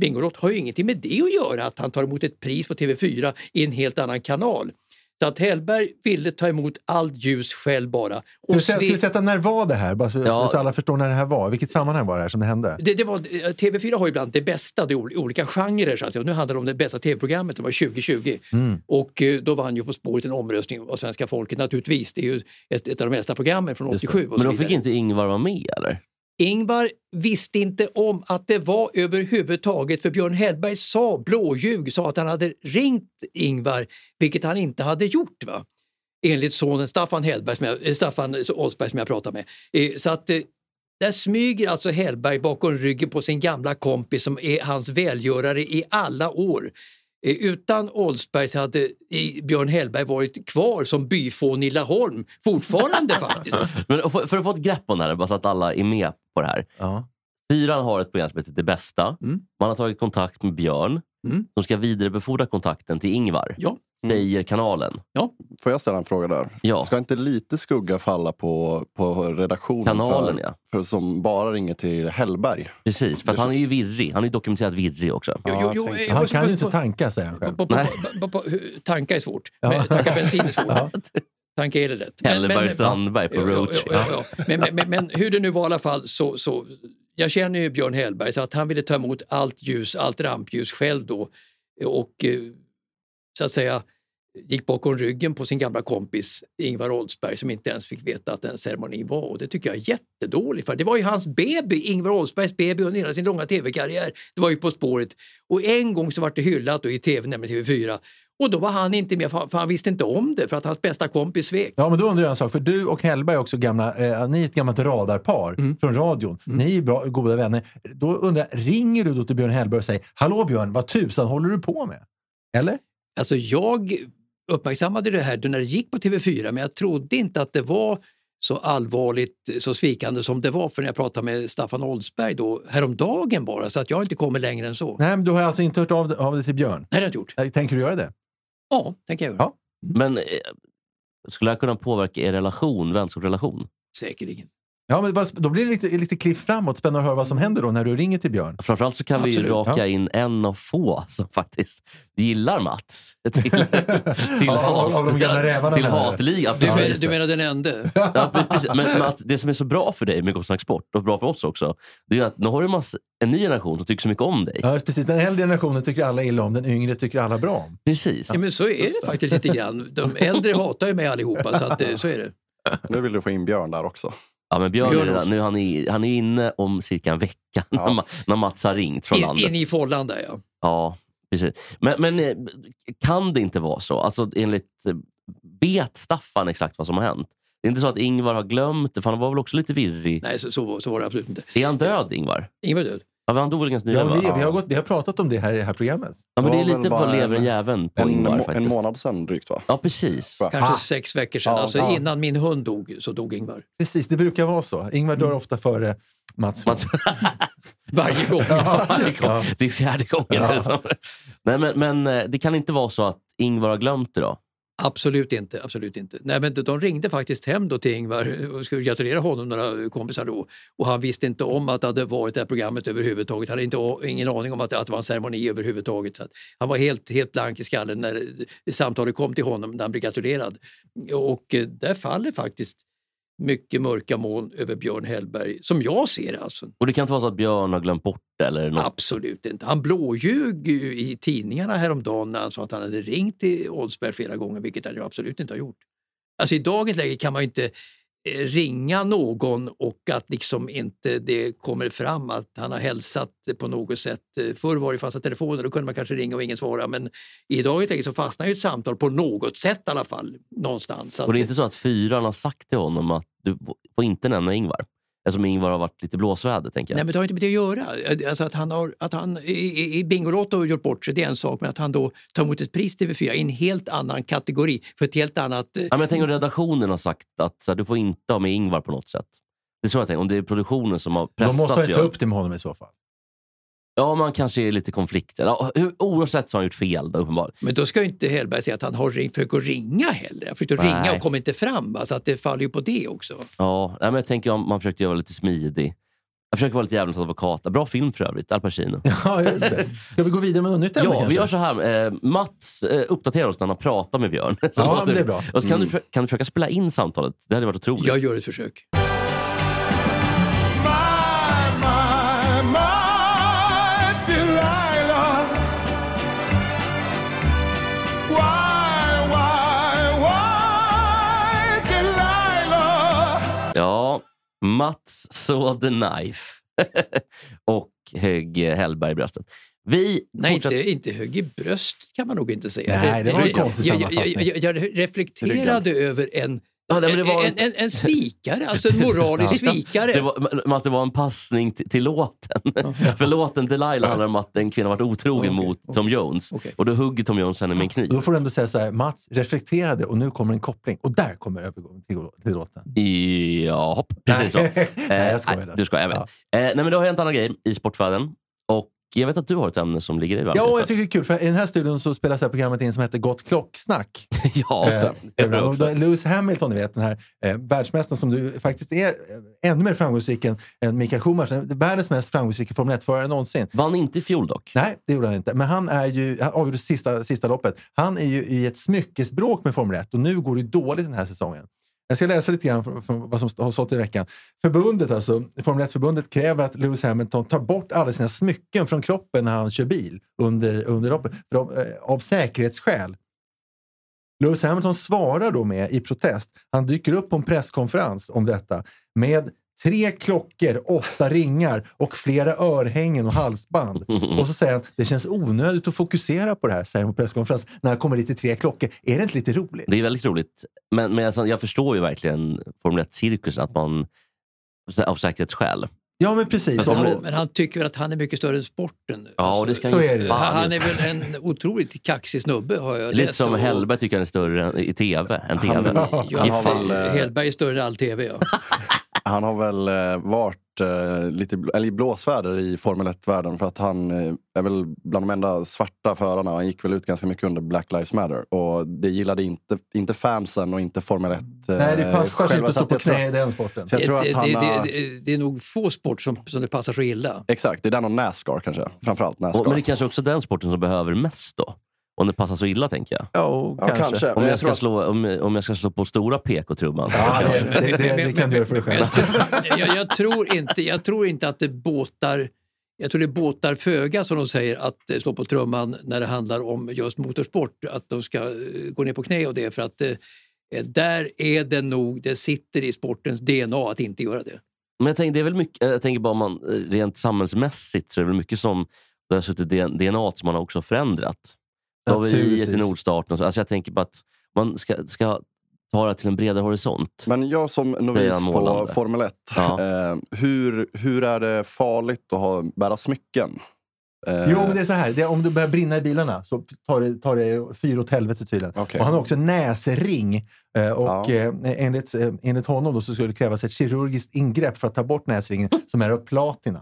[SPEAKER 1] Bingolotto har ju ingenting med det att göra, att han tar emot ett pris på TV4 i en helt annan kanal. Så att Hellberg ville ta emot allt ljus själv bara.
[SPEAKER 2] Ska vi
[SPEAKER 1] Och
[SPEAKER 2] säga- ska
[SPEAKER 1] svek-
[SPEAKER 2] vi sätta när var det här? Bara så,
[SPEAKER 3] Ja.
[SPEAKER 2] så alla förstår när det här var. Vilket sammanhang var det här som det hände?
[SPEAKER 1] Det, det var, eh, TV4 har ju ibland det bästa, det ol- olika genrer. Så att säga. Nu handlar det om det bästa tv-programmet, det var 2020. Och eh, då vann ju På spåret en omröstning av svenska folket naturligtvis. Det är ju ett, ett av de äldsta programmen från
[SPEAKER 2] Just det.
[SPEAKER 1] 87. Och
[SPEAKER 3] Men
[SPEAKER 1] så
[SPEAKER 3] då fick
[SPEAKER 1] vidare.
[SPEAKER 3] inte Ingvar vara med, eller?
[SPEAKER 1] Ingvar visste inte om att det var överhuvudtaget för Björn Hellberg sa, blåljug, sa att han hade ringt Ingvar, vilket han inte hade gjort. va? Enligt sonen Staffan, Hellberg, som jag, eh, Staffan Oldsberg som jag pratade med. Eh, Så att eh, där smyger alltså Hellberg bakom ryggen på sin gamla kompis som är hans välgörare i alla år. Eh, Utan Oldsberg så hade eh, Björn Hellberg varit kvar som byfån i Laholm, fortfarande
[SPEAKER 2] [laughs]
[SPEAKER 1] faktiskt.
[SPEAKER 3] Men för, för att få ett grepp om det här, bara så att alla är med på det här.
[SPEAKER 2] Ja.
[SPEAKER 3] Fyran har ett program som heter Det bästa.
[SPEAKER 1] Mm.
[SPEAKER 3] Man har tagit kontakt med Björn,
[SPEAKER 1] Mm.
[SPEAKER 3] som ska vidarebefordra kontakten till Ingvar,
[SPEAKER 1] Ja.
[SPEAKER 3] säger kanalen.
[SPEAKER 4] Får jag ställa en fråga där?
[SPEAKER 3] Ja,
[SPEAKER 4] Ska inte lite skugga falla på, på redaktionen
[SPEAKER 3] kanalen
[SPEAKER 4] för,
[SPEAKER 3] ja.
[SPEAKER 4] för, som bara ringer till Hellberg?
[SPEAKER 3] Precis, för att han är ju virrig. Han är ju dokumenterat virrig också.
[SPEAKER 1] Jo,
[SPEAKER 4] Ja,
[SPEAKER 1] jo,
[SPEAKER 4] jag
[SPEAKER 1] jo,
[SPEAKER 4] tänkte-
[SPEAKER 1] eh,
[SPEAKER 2] Han
[SPEAKER 1] och så-
[SPEAKER 2] kan ju
[SPEAKER 1] på-
[SPEAKER 2] inte tanka, säger han själv.
[SPEAKER 1] På, på, på, på, hu- tanka är svårt.
[SPEAKER 2] Ja.
[SPEAKER 1] Men, tanka bensin är svårt.
[SPEAKER 2] Ja.
[SPEAKER 1] Tanka är det lätt. Men- men-
[SPEAKER 3] Hellberg Strandberg på
[SPEAKER 1] Ja, ja,
[SPEAKER 3] roadtrip.
[SPEAKER 1] ja, ja, ja. Men, men, men, men hur det nu var i alla fall så, så jag känner ju Björn Hellberg så att han ville ta emot allt ljus, allt rampljus själv då och eh, så att säga gick bakom ryggen på sin gamla kompis Ingvar Oldsberg som inte ens fick veta att en ceremoni var och det tycker jag är jättedåligt för det var ju hans baby, Ingvar Oldsbergs baby under hela sin långa tv-karriär. Det var ju På spåret och en gång så var det hyllat då i tv, nämligen TV4 och då var han inte med för för han visste inte om det för att hans bästa kompis svek.
[SPEAKER 2] Ja, men då undrar jag en sak. För du och Hellberg är också gamla, eh, ni är ett gammalt radarpar från radion. Ni är bra, goda vänner. Då undrar jag, ringer du då till Björn Hellberg och säger “Hallå Björn, vad tusan håller du på med?” Eller?
[SPEAKER 1] Alltså jag uppmärksammade det här då när det gick på TV4 men jag trodde inte att det var så allvarligt, så svikande som det var för när jag pratade med Staffan Oldsberg då, häromdagen bara så att jag har inte kommit längre än så. Nej,
[SPEAKER 2] Nej, men du har alltså inte hört av, av dig till Björn.
[SPEAKER 1] det har jag inte gjort.
[SPEAKER 2] Eh, Tänker du göra det?
[SPEAKER 1] Ja, tänker jag göra.
[SPEAKER 2] Ja.
[SPEAKER 3] Men eh, skulle det här kunna påverka er relation, vänskapsrelation?
[SPEAKER 1] Säkerligen.
[SPEAKER 2] Ja, men vad- då blir det lite, lite kliff framåt. Spännande att höra vad som händer då när du ringer till Björn.
[SPEAKER 3] Framförallt så kan vi
[SPEAKER 2] Absolut,
[SPEAKER 3] ju raka
[SPEAKER 2] ja.
[SPEAKER 3] in en av få som faktiskt gillar Mats. [laughs] Till, till,
[SPEAKER 2] Av- av- av de gamla rävarna
[SPEAKER 3] Till
[SPEAKER 2] menar du?
[SPEAKER 3] hatligan.
[SPEAKER 1] Du,
[SPEAKER 3] precis.
[SPEAKER 1] men, du menar den enda?
[SPEAKER 3] Ja, precis. Men Mats, det som är så bra för dig med Gotlands Sport och bra för oss också, det är ju att nu har du en, massa, en ny generation som tycker så mycket om dig.
[SPEAKER 2] Ja, precis. Den äldre generationen tycker alla illa om, den yngre tycker alla bra om.
[SPEAKER 3] Precis.
[SPEAKER 1] Ja, men så är det faktiskt lite grann. De äldre hatar ju mig allihopa så, att, eh, så är det.
[SPEAKER 4] Nu vill du få in Björn där också.
[SPEAKER 3] Ja, men Björn,
[SPEAKER 1] Björn
[SPEAKER 3] är redan,
[SPEAKER 1] också.
[SPEAKER 3] nu, han, är, han är inne om cirka en vecka när, Ma- när Mats har ringt från
[SPEAKER 1] In,
[SPEAKER 3] landet.
[SPEAKER 1] in i follan där ja.
[SPEAKER 3] Ja, precis. Men, men eh, kan det inte vara så? Alltså, enligt, eh, vet Staffan exakt vad som har hänt? Det är inte så att Ingvar har glömt det, för han var väl också lite virrig.
[SPEAKER 1] Nej, så, så, så var det absolut inte.
[SPEAKER 3] Är han död, Ingvar?
[SPEAKER 1] Ingvar är död.
[SPEAKER 3] Ja, han dog väl ganska
[SPEAKER 2] Ja,
[SPEAKER 3] nyligen? va?
[SPEAKER 2] vi, vi, har gått, vi har pratat om det här i det här programmet.
[SPEAKER 3] Ja, men det är
[SPEAKER 4] Det var
[SPEAKER 3] lite
[SPEAKER 4] väl
[SPEAKER 3] på
[SPEAKER 4] bara
[SPEAKER 3] lever
[SPEAKER 4] en-
[SPEAKER 3] jäveln på
[SPEAKER 4] En,
[SPEAKER 3] Ingvar
[SPEAKER 4] må-
[SPEAKER 3] faktiskt.
[SPEAKER 4] en månad sedan drygt va?
[SPEAKER 3] Ja, precis.
[SPEAKER 4] Va?
[SPEAKER 1] Kanske
[SPEAKER 2] Ah.
[SPEAKER 1] sex veckor sedan.
[SPEAKER 2] Ja,
[SPEAKER 1] alltså
[SPEAKER 2] ja.
[SPEAKER 1] innan min hund dog så dog Ingvar.
[SPEAKER 2] Precis, det brukar vara så. Ingvar dör ofta före Mm. Mats.
[SPEAKER 3] Mats,
[SPEAKER 1] Varje gång.
[SPEAKER 2] [laughs] Ja.
[SPEAKER 3] det är fjärde gången.
[SPEAKER 2] Ja.
[SPEAKER 3] Liksom. Nej, men, men eh, det kan inte vara så att Ingvar har glömt det då?
[SPEAKER 1] Absolut inte. absolut inte. Nej, men de ringde faktiskt hem då till Ingvar och skulle gratulera honom, några kompisar då. Och han visste inte om att det hade varit det här programmet överhuvudtaget. Han hade inte, a- ingen aning om att, att det var en ceremoni överhuvudtaget. Så att han var helt, helt blank i skallen när samtalet kom till honom när han blev gratulerad. Och eh, där faller faktiskt mycket mörka moln över Björn Hellberg, som jag ser det alltså.
[SPEAKER 3] Och det kan inte vara så att Björn har glömt bort det? Eller något.
[SPEAKER 1] Absolut inte. Han blåljög ju i tidningarna häromdagen när han sa att han hade ringt till Oldsberg flera gånger, vilket han ju absolut inte har gjort. Alltså i dagens läge kan man ju inte eh, ringa någon och att liksom inte det kommer fram att han har hälsat på något sätt. Eh, Förr var det fasta telefoner, då kunde man kanske ringa och ingen svara men i dagens läge så fastnar ju ett samtal på något sätt i alla fall någonstans. Så att-
[SPEAKER 3] Och det är inte så att fyran har sagt till honom att du får inte nämna Ingvar? Eftersom Ingvar har varit lite blåsväder, tänker jag.
[SPEAKER 1] Nej, men det har inte med det att göra. Alltså att han, har, att han i- i, i Bingolotto har gjort bort sig, det är en sak, men att han då tar emot ett pris till TV4 i en helt annan kategori, för ett helt annat... eh,
[SPEAKER 3] Ja, men jag tänker om redaktionen har sagt att så här, du får inte ha med Ingvar på något sätt. Det är så jag tänker. Om det är produktionen som har
[SPEAKER 2] De
[SPEAKER 3] pressat
[SPEAKER 2] måste ha ta
[SPEAKER 3] Björn.
[SPEAKER 2] upp det med honom i så fall.
[SPEAKER 3] Ja, man kanske är lite konflikter. Ja, hur- oavsett så har han gjort fel, då, uppenbarligen.
[SPEAKER 1] Men då ska ju inte Hellberg säga att han har ring, försökt att ringa heller. Han försökte att
[SPEAKER 3] Nej.
[SPEAKER 1] ringa och kom inte fram, alltså att det faller ju på det också.
[SPEAKER 3] Ja, nej, men jag tänker om man försökte göra lite smidig. Jag försöker vara lite djävulens advokat. Bra film för övrigt, Al Pacino.
[SPEAKER 2] [laughs] Ja, just det. Ska vi gå vidare med något nytt ämne
[SPEAKER 3] Ja,
[SPEAKER 2] kanske?
[SPEAKER 3] vi gör så här. Eh, Mats eh, uppdaterar oss när han har pratat med Björn. [laughs] Så
[SPEAKER 2] Ja, men
[SPEAKER 3] att du-
[SPEAKER 2] det är bra. Mm.
[SPEAKER 3] Och så kan, du, kan du försöka spela in samtalet. Det hade varit otroligt.
[SPEAKER 1] Jag gör ett försök.
[SPEAKER 3] Ja, Mats saw the knife. [laughs] och högg eh, Hellberg i bröstet. Vi
[SPEAKER 1] Nej,
[SPEAKER 3] fortsätter-
[SPEAKER 1] inte, inte hög i bröst kan man nog inte säga.
[SPEAKER 2] Nej, det var en
[SPEAKER 1] Jag-
[SPEAKER 2] konstig
[SPEAKER 1] jag, jag,
[SPEAKER 2] sammanfattning.
[SPEAKER 1] jag, jag reflekterade över en,
[SPEAKER 3] Ja, nej, men det
[SPEAKER 1] en,
[SPEAKER 3] var
[SPEAKER 1] en, en, en svikare, alltså
[SPEAKER 3] [laughs]
[SPEAKER 1] en moralisk svikare.
[SPEAKER 3] Det var, Mats, det var en passning till,
[SPEAKER 2] [laughs]
[SPEAKER 3] till låten. För låten Delilah handlar om att en kvinna varit otrogen
[SPEAKER 2] Ja, okej,
[SPEAKER 3] mot Tom Jones.
[SPEAKER 1] Okej.
[SPEAKER 3] Och då hugger Tom Jones henne med en kniv.
[SPEAKER 2] Då får du ändå säga så här, Mats reflekterade och nu kommer en koppling. Och där kommer övergången till, till låten.
[SPEAKER 3] Ja, hopp, precis
[SPEAKER 2] [laughs]
[SPEAKER 3] så.
[SPEAKER 2] Nej. Nej,
[SPEAKER 3] Eh,
[SPEAKER 2] jag skojar.
[SPEAKER 3] Du skojar, jag vet. Eh, nej, men det har hänt andra grejer i sportvärlden. Och jag vet att du har ett ämne som ligger i varmt
[SPEAKER 2] Ja, och jag
[SPEAKER 3] hjärtat.
[SPEAKER 2] tycker det är kul, för i den här studion så spelas det här programmet in som heter Gott klocksnack.
[SPEAKER 3] [laughs] ja, just det.
[SPEAKER 2] Eh,
[SPEAKER 3] Det är bra
[SPEAKER 2] och
[SPEAKER 3] också.
[SPEAKER 2] då är Lewis Hamilton, ni vet, den här eh, världsmästaren som du faktiskt är eh, ännu mer framgångsrik än, än Mikael Schumacher. Världens mest framgångsrika Formel 1-förare någonsin.
[SPEAKER 3] Vann inte i fjol dock.
[SPEAKER 2] Nej, det gjorde han inte. Men han, är ju, han avgjorde sista, sista loppet. Han är ju i ett smyckesbråk med Formel 1 och nu går det dåligt den här säsongen. Jag ska läsa lite grann från, från vad som st- har stått i veckan. Förbundet, alltså, Formel 1-förbundet kräver att Lewis Hamilton tar bort alla sina smycken från kroppen när han kör bil under, under loppet för av, eh, av säkerhetsskäl. Lewis Hamilton svarar då med i protest. Han dyker upp på en presskonferens om detta med tre klockor, åtta ringar och flera örhängen och halsband. Och så säger han, det känns onödigt att fokusera på det här, säger han på presskonferens. När han kommer dit i tre klockor. Är det inte lite roligt?
[SPEAKER 3] Det är väldigt roligt. Men, men alltså, jag förstår ju verkligen Formel 1-cirkusen, att man av säkerhetsskäl.
[SPEAKER 2] Ja, men precis.
[SPEAKER 3] Men
[SPEAKER 2] Och-
[SPEAKER 1] Han, men han tycker väl att han är mycket större än sporten. alltså.
[SPEAKER 3] Ja, och det ska
[SPEAKER 2] så
[SPEAKER 3] ju
[SPEAKER 2] är det.
[SPEAKER 3] fan
[SPEAKER 1] han, han
[SPEAKER 3] inte-
[SPEAKER 1] är väl en otroligt kaxig snubbe har jag
[SPEAKER 3] Lite
[SPEAKER 1] läst.
[SPEAKER 3] som
[SPEAKER 1] och-
[SPEAKER 3] Hellberg tycker han är större än- i tv än tv.
[SPEAKER 4] Han-
[SPEAKER 1] Ja,
[SPEAKER 4] Han har
[SPEAKER 1] Gift-
[SPEAKER 4] väl, eh,
[SPEAKER 1] Hellberg är större än all tv. Ja.
[SPEAKER 4] Han har väl eh, varit eh, lite bl- eller i blåsväder i Formel 1-världen för att han eh, är väl bland de enda svarta förarna. Han gick väl ut ganska mycket under Black Lives Matter och det gillade inte, inte fansen och inte Formel 1. eh,
[SPEAKER 2] Nej, det passar sig
[SPEAKER 4] själva.
[SPEAKER 2] inte att
[SPEAKER 4] Så
[SPEAKER 2] stå på
[SPEAKER 4] jag tror-
[SPEAKER 2] knä i den sporten.
[SPEAKER 4] Så jag tror
[SPEAKER 1] det,
[SPEAKER 4] att han
[SPEAKER 1] det,
[SPEAKER 4] har,
[SPEAKER 1] det, det är nog få sport som, som det passar så illa.
[SPEAKER 4] Exakt, det är den och Nascar kanske. Framförallt Nascar.
[SPEAKER 3] Och, men det är kanske också den sporten som behöver mest då. Om det passar så illa, tänker jag.
[SPEAKER 2] Ja, och
[SPEAKER 4] ja, kanske.
[SPEAKER 3] Om
[SPEAKER 4] Men
[SPEAKER 3] jag,
[SPEAKER 4] jag tror
[SPEAKER 3] ska
[SPEAKER 4] att
[SPEAKER 3] slå, om, om jag ska slå på stora PK-trumman.
[SPEAKER 2] Ja, det,
[SPEAKER 4] [laughs]
[SPEAKER 2] det, det, det kan du göra för dig själv.
[SPEAKER 1] Jag, jag, tror inte, jag tror inte att det båtar jag tror det båtar föga som de säger att eh, slå på trumman när det handlar om just motorsport. Att de ska eh, gå ner på knä och det för att eh, Eh, Där är det nog, det sitter i sportens DNA att inte göra det.
[SPEAKER 3] Men jag tänker, det är väl mycket, jag tänker bara om man eh, rent samhällsmässigt så är det väl mycket som där har suttit DNA som man har också förändrat. Slaveriet i
[SPEAKER 2] Naturligtvis.
[SPEAKER 3] Nordstaten och så. Alltså jag tänker bara att man ska, ska ta det till en bredare horisont.
[SPEAKER 4] Men jag som
[SPEAKER 3] Det är
[SPEAKER 4] novis på
[SPEAKER 3] målande.
[SPEAKER 4] Formel 1.
[SPEAKER 3] Ja.
[SPEAKER 4] [laughs] Eh, hur, hur är det farligt att ha, bära smycken? Eh,
[SPEAKER 2] Jo, men det är så här. Det är, om du börjar brinna i bilarna så tar det, tar det fyra åt helvete tydligen.
[SPEAKER 4] Eh, Okej.
[SPEAKER 2] Och han har också näsring. eh, Och
[SPEAKER 4] Ja.
[SPEAKER 2] eh, enligt, eh, enligt honom då så skulle det krävas ett kirurgiskt ingrepp för att ta bort näsringen som är av platina.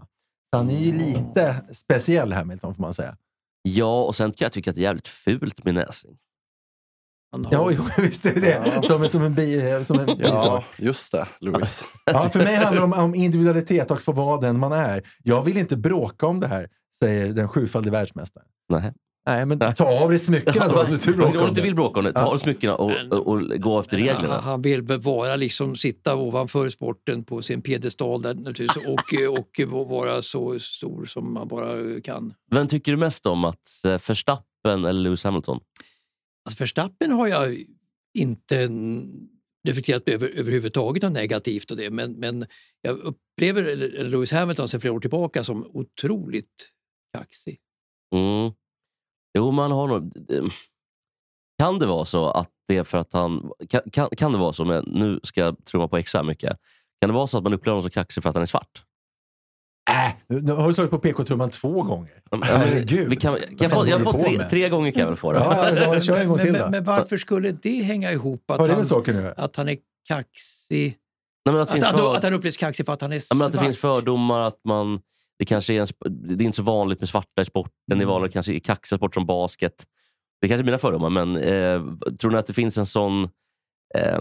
[SPEAKER 2] Så han är ju lite speciell Hamilton får man säga.
[SPEAKER 3] Ja, och sen kan jag tycka att det är jävligt fult med näsring.
[SPEAKER 1] Han har-
[SPEAKER 2] Ja, jo, [laughs] visst är det det.
[SPEAKER 4] Ja.
[SPEAKER 2] Som, en- som en, bi, eh, som en bisak.
[SPEAKER 4] Ja, just det, Louis.
[SPEAKER 3] [laughs]
[SPEAKER 2] Ja, för mig handlar det om, om individualitet och att få vara den man är. Jag vill inte bråka om det här, säger den sjufaldige världsmästaren.
[SPEAKER 3] Nej.
[SPEAKER 2] Nej, men ta av dig smyckena
[SPEAKER 3] [laughs]
[SPEAKER 2] då om du inte
[SPEAKER 3] Om
[SPEAKER 2] bråkar
[SPEAKER 3] du
[SPEAKER 2] om
[SPEAKER 3] inte
[SPEAKER 2] det.
[SPEAKER 3] vill bråka om det, ta
[SPEAKER 2] Ja.
[SPEAKER 3] av smyckena och, och, och gå efter
[SPEAKER 1] Han, [laughs]
[SPEAKER 3] reglerna.
[SPEAKER 1] han vill väl vara, liksom, sitta ovanför sporten på sin piedestal där,
[SPEAKER 3] [laughs]
[SPEAKER 1] naturligtvis, och, eh, och, och vara så stor som man bara kan.
[SPEAKER 3] Vem tycker du mest om, att eh, Verstappen eller Lewis Hamilton?
[SPEAKER 1] Alltså Verstappen har jag inte n- reflekterat över överhuvudtaget något negativt och det, men, men jag upplever eller- Lewis Hamilton sedan flera år tillbaka som otroligt kaxig.
[SPEAKER 3] Mm. Jo, man har nog... Kan det vara så att det är för att han... Kan, kan, kan det vara så, men nu ska jag trumma på extra mycket. Kan det vara så att man upplever honom som kaxig för att han är svart?
[SPEAKER 2] Äh, nu, nu har du slagit på PK-trumman två gånger.
[SPEAKER 3] Ja, men-
[SPEAKER 2] Herregud.
[SPEAKER 3] Vi kan,
[SPEAKER 2] Vad fan
[SPEAKER 3] kan jag få, jag
[SPEAKER 2] håller
[SPEAKER 3] får
[SPEAKER 2] du på
[SPEAKER 3] tre,
[SPEAKER 2] med?
[SPEAKER 3] tre gånger kan jag väl få det?
[SPEAKER 2] Ja, ja, ja, kör en gång
[SPEAKER 1] men,
[SPEAKER 2] till
[SPEAKER 1] men,
[SPEAKER 2] då.
[SPEAKER 1] men varför skulle det hänga ihop att,
[SPEAKER 2] Har det
[SPEAKER 1] han,
[SPEAKER 2] med saker nu?
[SPEAKER 1] att han är kaxig?
[SPEAKER 3] Nej, men att, det
[SPEAKER 1] Att,
[SPEAKER 3] finns
[SPEAKER 1] att,
[SPEAKER 3] för,
[SPEAKER 1] att han upplevs kaxig för att han är
[SPEAKER 3] ja,
[SPEAKER 1] svart?
[SPEAKER 3] men att det finns fördomar, att man... Det kanske är, en, sp- det är inte så vanligt med svarta i sporten.
[SPEAKER 2] Mm.
[SPEAKER 3] Det är vanligt kanske i kaxiga sport som basket. Det är kanske är mina fördomar, men eh, tror ni att det finns en sån eh,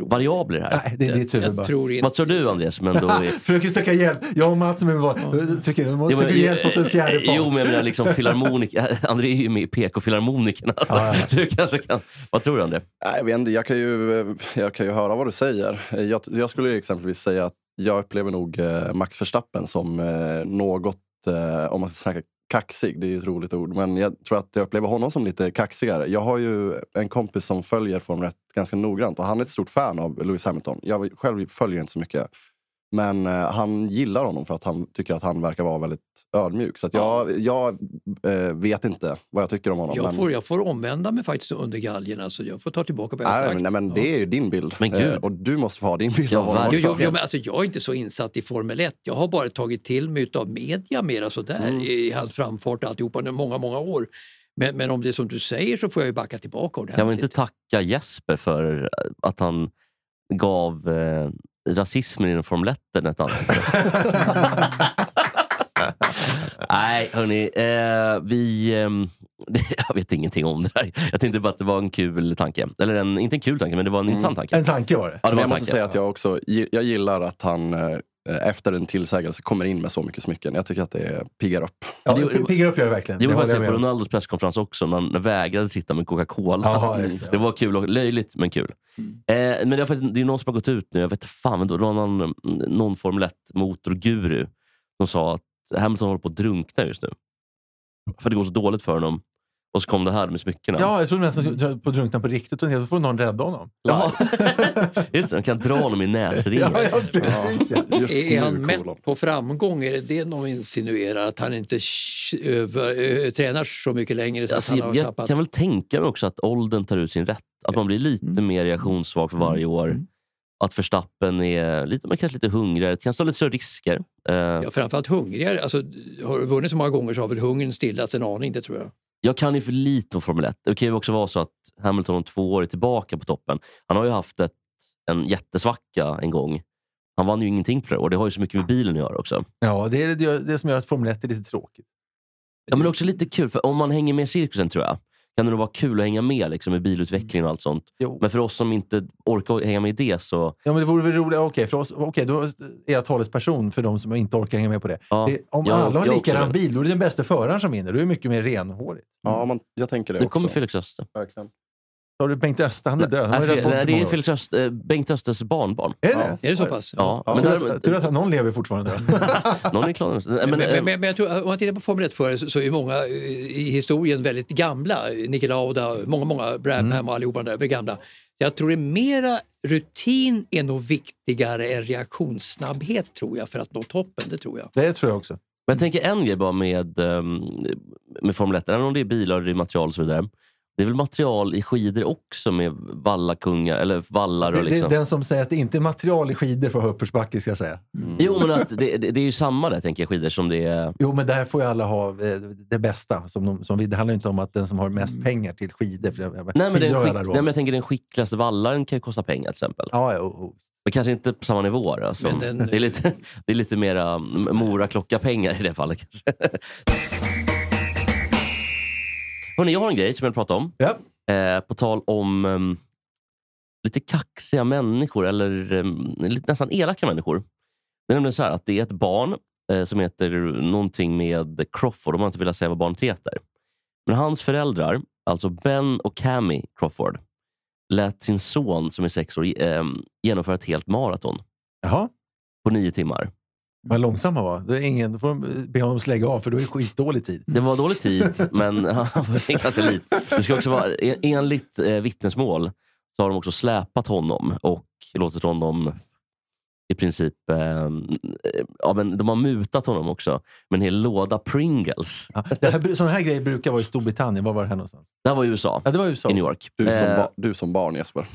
[SPEAKER 3] variabel i det här?
[SPEAKER 2] Nej, det är ditt huvud bara.
[SPEAKER 1] jag tror inte.
[SPEAKER 3] Vad tror du Andreas? Men då är,
[SPEAKER 2] Försöker söka hjälp. Jag och Mats som är bara, trycker, de måste
[SPEAKER 3] Jo,
[SPEAKER 2] söka
[SPEAKER 3] men- eh,
[SPEAKER 2] hjälp hos en fjärde part.
[SPEAKER 3] Jo, men jag menar liksom [laughs] filharmonik. André är ju med i PK-filharmonikerna.
[SPEAKER 2] Ja, ja.
[SPEAKER 3] Så [laughs] du kanske kan... Vad tror du André?
[SPEAKER 4] Nej, jag, vet inte, jag, kan ju, jag kan ju höra vad du säger. Eh, Jag, jag skulle exempelvis säga att jag upplever nog eh, Max Verstappen som eh, något, eh, om man ska snacka kaxig, det är ju ett roligt ord, men jag tror att jag upplever honom som lite kaxigare. Jag har ju en kompis som följer Formel 1 ganska noggrant och han är ett stort fan av Lewis Hamilton. Jag själv följer inte så mycket. Men eh, han gillar honom för att han tycker att han verkar vara väldigt ödmjuk. Så att jag, jag eh, vet inte vad jag tycker om honom.
[SPEAKER 1] Jag
[SPEAKER 4] men-
[SPEAKER 1] får, jag får omvända mig faktiskt under galgen. Alltså, jag får ta tillbaka vad jag har
[SPEAKER 4] Nej,
[SPEAKER 1] sagt.
[SPEAKER 4] men, nej, men det är ju din bild.
[SPEAKER 3] Men gud.
[SPEAKER 4] Eh, Och du måste få ha din bild
[SPEAKER 3] Ja,
[SPEAKER 4] av honom
[SPEAKER 3] verkligen.
[SPEAKER 1] Jo,
[SPEAKER 4] också.
[SPEAKER 1] jo, jo, men alltså, jag är inte så insatt i Formel 1. Jag har bara tagit till mig av media mera sådär
[SPEAKER 4] Mm.
[SPEAKER 1] i hans framfart och alltihopa under många, många år. Men, men om det är som du säger så får jag ju backa tillbaka
[SPEAKER 3] Kan vi
[SPEAKER 1] ordentligt.
[SPEAKER 3] inte tacka Jesper för eh, att han gav eh, rasismen inom Formel 1 ett annat [laughs] Nej, hörni. Eh, vi... ehm, [laughs] jag vet ingenting om det här. Jag tänkte bara att det var en kul tanke. Eller en, inte en kul tanke, men det var
[SPEAKER 2] Mm.
[SPEAKER 3] en intressant tanke.
[SPEAKER 2] En tanke var det.
[SPEAKER 3] Ja, det
[SPEAKER 4] Men
[SPEAKER 3] var en
[SPEAKER 4] jag måste
[SPEAKER 3] tanke.
[SPEAKER 4] säga att jag också gi- jag gillar att han eh, efter en tillsägelse kommer in med så mycket smycken. Jag tycker att det
[SPEAKER 1] [laughs]
[SPEAKER 4] piggar upp.
[SPEAKER 2] Ja,
[SPEAKER 3] det-
[SPEAKER 2] det piggar upp jag verkligen.
[SPEAKER 3] Det var
[SPEAKER 2] håller
[SPEAKER 3] faktiskt
[SPEAKER 2] jag
[SPEAKER 3] på
[SPEAKER 2] med om.
[SPEAKER 3] Ronaldos presskonferens också, när han vägrade sitta med Coca-Cola.
[SPEAKER 2] Jaha, just det.
[SPEAKER 3] Det var kul, och löjligt men kul. Eh, men det, har faktiskt, det är någon som har gått ut nu, jag vet inte fan, men då, det var någon, mm, någon Formel 1-motorguru som sa att Hamilton håller på att drunkna just nu. För det går så dåligt för honom. Och så kom det här med smyckena.
[SPEAKER 2] Ja, jag trodde nästan att jag skulle på drunkna på riktigt och så får någon rädda honom.
[SPEAKER 3] Jaha. just det, de kan dra honom i näsringen.
[SPEAKER 2] [laughs] Ja, ja precis ja.
[SPEAKER 4] Just
[SPEAKER 1] Är han mätt
[SPEAKER 4] kolon.
[SPEAKER 1] på framgång? Är det det de insinuerar? Att han inte sh- över, ö, tränar så mycket längre så
[SPEAKER 3] Alltså,
[SPEAKER 1] att han har
[SPEAKER 3] jag
[SPEAKER 1] tappat...
[SPEAKER 3] kan väl tänka mig också att åldern tar ut sin rätt. Att man blir lite
[SPEAKER 1] Mm.
[SPEAKER 3] mer reaktionssvag för varje år.
[SPEAKER 1] Mm.
[SPEAKER 3] Att Verstappen är lite, man kanske lite hungrigare, kanske tar lite större risker. Eh,
[SPEAKER 1] Ja, framförallt hungrigare. Alltså, har du vunnit så många gånger så har väl hungern stillats en aning, det tror jag.
[SPEAKER 3] Jag kan ju för lite om Formel 1. Det kan ju också vara så att Hamilton om två år är tillbaka på toppen. Han har ju haft ett, en jättesvacka en gång. Han vann ju ingenting för det och det har ju så mycket med bilen att göra också.
[SPEAKER 2] Ja, det är det, det som gör att Formel 1 är lite tråkigt.
[SPEAKER 3] Ja, men också lite kul, för om man hänger med i cirkusen tror jag, kan det nog vara kul att hänga med liksom, i bilutveckling och allt sånt.
[SPEAKER 2] Jo.
[SPEAKER 3] Men för oss som inte orkar hänga med i det så...
[SPEAKER 2] Ja, men det vore väl roligt. Okej, för oss, okej, då är jag talesperson för de som inte orkar hänga med på det.
[SPEAKER 3] Ja,
[SPEAKER 2] det om
[SPEAKER 3] jag-
[SPEAKER 2] alla har
[SPEAKER 3] jag
[SPEAKER 2] likadan
[SPEAKER 3] också.
[SPEAKER 2] bil, då är det den bästa föraren som vinner. Då är det mycket mer renhårig.
[SPEAKER 4] Ja, man, jag tänker det
[SPEAKER 3] Nu
[SPEAKER 4] också.
[SPEAKER 3] kommer Felix Öster.
[SPEAKER 4] Verkligen.
[SPEAKER 2] Då har du Bengt Öster, han är död. Han har
[SPEAKER 3] Nej,
[SPEAKER 2] ju rätt
[SPEAKER 3] Fe-
[SPEAKER 2] bort
[SPEAKER 3] nej,
[SPEAKER 2] i
[SPEAKER 3] det är
[SPEAKER 2] många år.
[SPEAKER 3] Felix Öster, eh, Bengt Östers barnbarn.
[SPEAKER 2] Är det
[SPEAKER 4] Ja.
[SPEAKER 2] det?
[SPEAKER 1] Är det så pass?
[SPEAKER 3] Ja,
[SPEAKER 4] Ja,
[SPEAKER 3] men
[SPEAKER 2] Tur
[SPEAKER 3] där-
[SPEAKER 2] att, tur att någon lever fortfarande. då.
[SPEAKER 3] någon är klar. Nej,
[SPEAKER 1] Men,
[SPEAKER 3] [laughs] men,
[SPEAKER 1] men,
[SPEAKER 3] eh,
[SPEAKER 1] men, jag tror, om man tittar på Formel 1 förare så, så är många eh, i historien väldigt gamla. Niki Lauda, många, många, Brabham och allihopa de där är gamla. Jag tror det är mera rutin är nog viktigare än reaktionssnabbhet tror jag för att nå toppen. Det tror jag.
[SPEAKER 2] [laughs] Det tror jag också.
[SPEAKER 3] Men jag tänker en grej bara med, ehm, med Formel 1. Även om det är bilar och det är material och så vidare. Det är väl material i skidor också med vallakungar eller vallar
[SPEAKER 2] Det,
[SPEAKER 3] och
[SPEAKER 2] det är
[SPEAKER 3] liksom.
[SPEAKER 2] den som säger att det inte är material i skidor för uppförsbacke ska jag säga.
[SPEAKER 3] Jo, men att det, det, det är ju samma där tänker jag, skidor som det är.
[SPEAKER 2] Jo, men där får ju alla ha eh, det bästa. Som de, som vi, det handlar ju inte om att den som har mest pengar till skidor. För jag,
[SPEAKER 3] Mm. Nej, men, den
[SPEAKER 2] skidor har
[SPEAKER 3] skick,
[SPEAKER 2] alla
[SPEAKER 3] nej,
[SPEAKER 2] råd.
[SPEAKER 3] men jag tänker den skickligaste vallaren kan ju kosta pengar till exempel.
[SPEAKER 2] Ja, ja, och, och,
[SPEAKER 3] Men kanske inte på samma nivå. Då, som,
[SPEAKER 1] Men den-
[SPEAKER 3] det, är lite, det är lite mera Mora-klocka-pengar i det fallet. kanske. [laughs] Hörrni, jag har en grej som jag vill prata om.
[SPEAKER 2] ja.
[SPEAKER 3] Eh, på tal om ehm, lite kaxiga människor, eller ehm, lite, nästan elaka människor. Det är nämligen så här att det är ett barn eh, som heter någonting med Crawford. De har inte velat säga vad barnet heter. Men hans föräldrar, alltså Ben och Cammy Crawford, lät sin son som är sex år ehm, genomföra ett helt maraton
[SPEAKER 2] Jaha,
[SPEAKER 3] på nio timmar.
[SPEAKER 2] vad långsam han var. Då, är ingen, då får de be honom slägga av för då är det skitdålig tid.
[SPEAKER 3] Det var dålig tid, men [laughs] han var ganska lit. Det ska också vara, en- enligt eh, vittnesmål så har de också släpat honom och låtit honom i princip... Eh, eh, ja, men de har mutat honom också med en hel låda Pringles.
[SPEAKER 2] Ja, det här, sådana här grejer brukar vara i Storbritannien. Var var det här någonstans?
[SPEAKER 3] Det här var i USA,
[SPEAKER 2] Ja, det var USA.
[SPEAKER 3] i New York.
[SPEAKER 4] Du
[SPEAKER 3] [laughs]
[SPEAKER 4] som,
[SPEAKER 3] Eh,
[SPEAKER 4] ba- du som barn Jesper.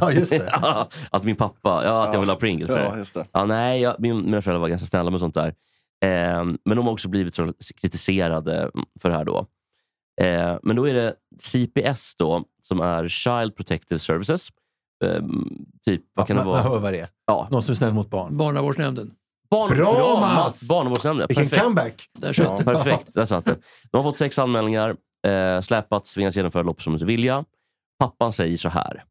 [SPEAKER 2] Ja, just det.
[SPEAKER 3] [laughs] ja, att min pappa... Ja, att jag
[SPEAKER 4] Ja.
[SPEAKER 3] vill ha Pringles. för det.
[SPEAKER 4] Ja, just det.
[SPEAKER 3] Ja, nej, jag, min, mina föräldrar var ganska snälla med sånt där. Eh, men de har också blivit så kritiserade för det här. Då. Eh, men då är det CPS, då, som är Child Protective Services. Eh, typ, vad kan
[SPEAKER 2] man,
[SPEAKER 3] det
[SPEAKER 2] man
[SPEAKER 3] vara?
[SPEAKER 2] hör vad det är.
[SPEAKER 3] Ja,
[SPEAKER 2] Någon som är snäll mot barn.
[SPEAKER 1] Barnavårdsnämnden.
[SPEAKER 3] barn,
[SPEAKER 2] Bra, Mats!
[SPEAKER 3] Barnavårdsnämnden.
[SPEAKER 2] Vilken
[SPEAKER 3] Perfekt.
[SPEAKER 2] comeback!
[SPEAKER 1] Där satt
[SPEAKER 4] Ja.
[SPEAKER 1] den.
[SPEAKER 3] Perfekt, där satt den. De har fått sex anmälningar, eh, släpats, tvingats genomföra lopp som de inte vilja. Pappan säger så här.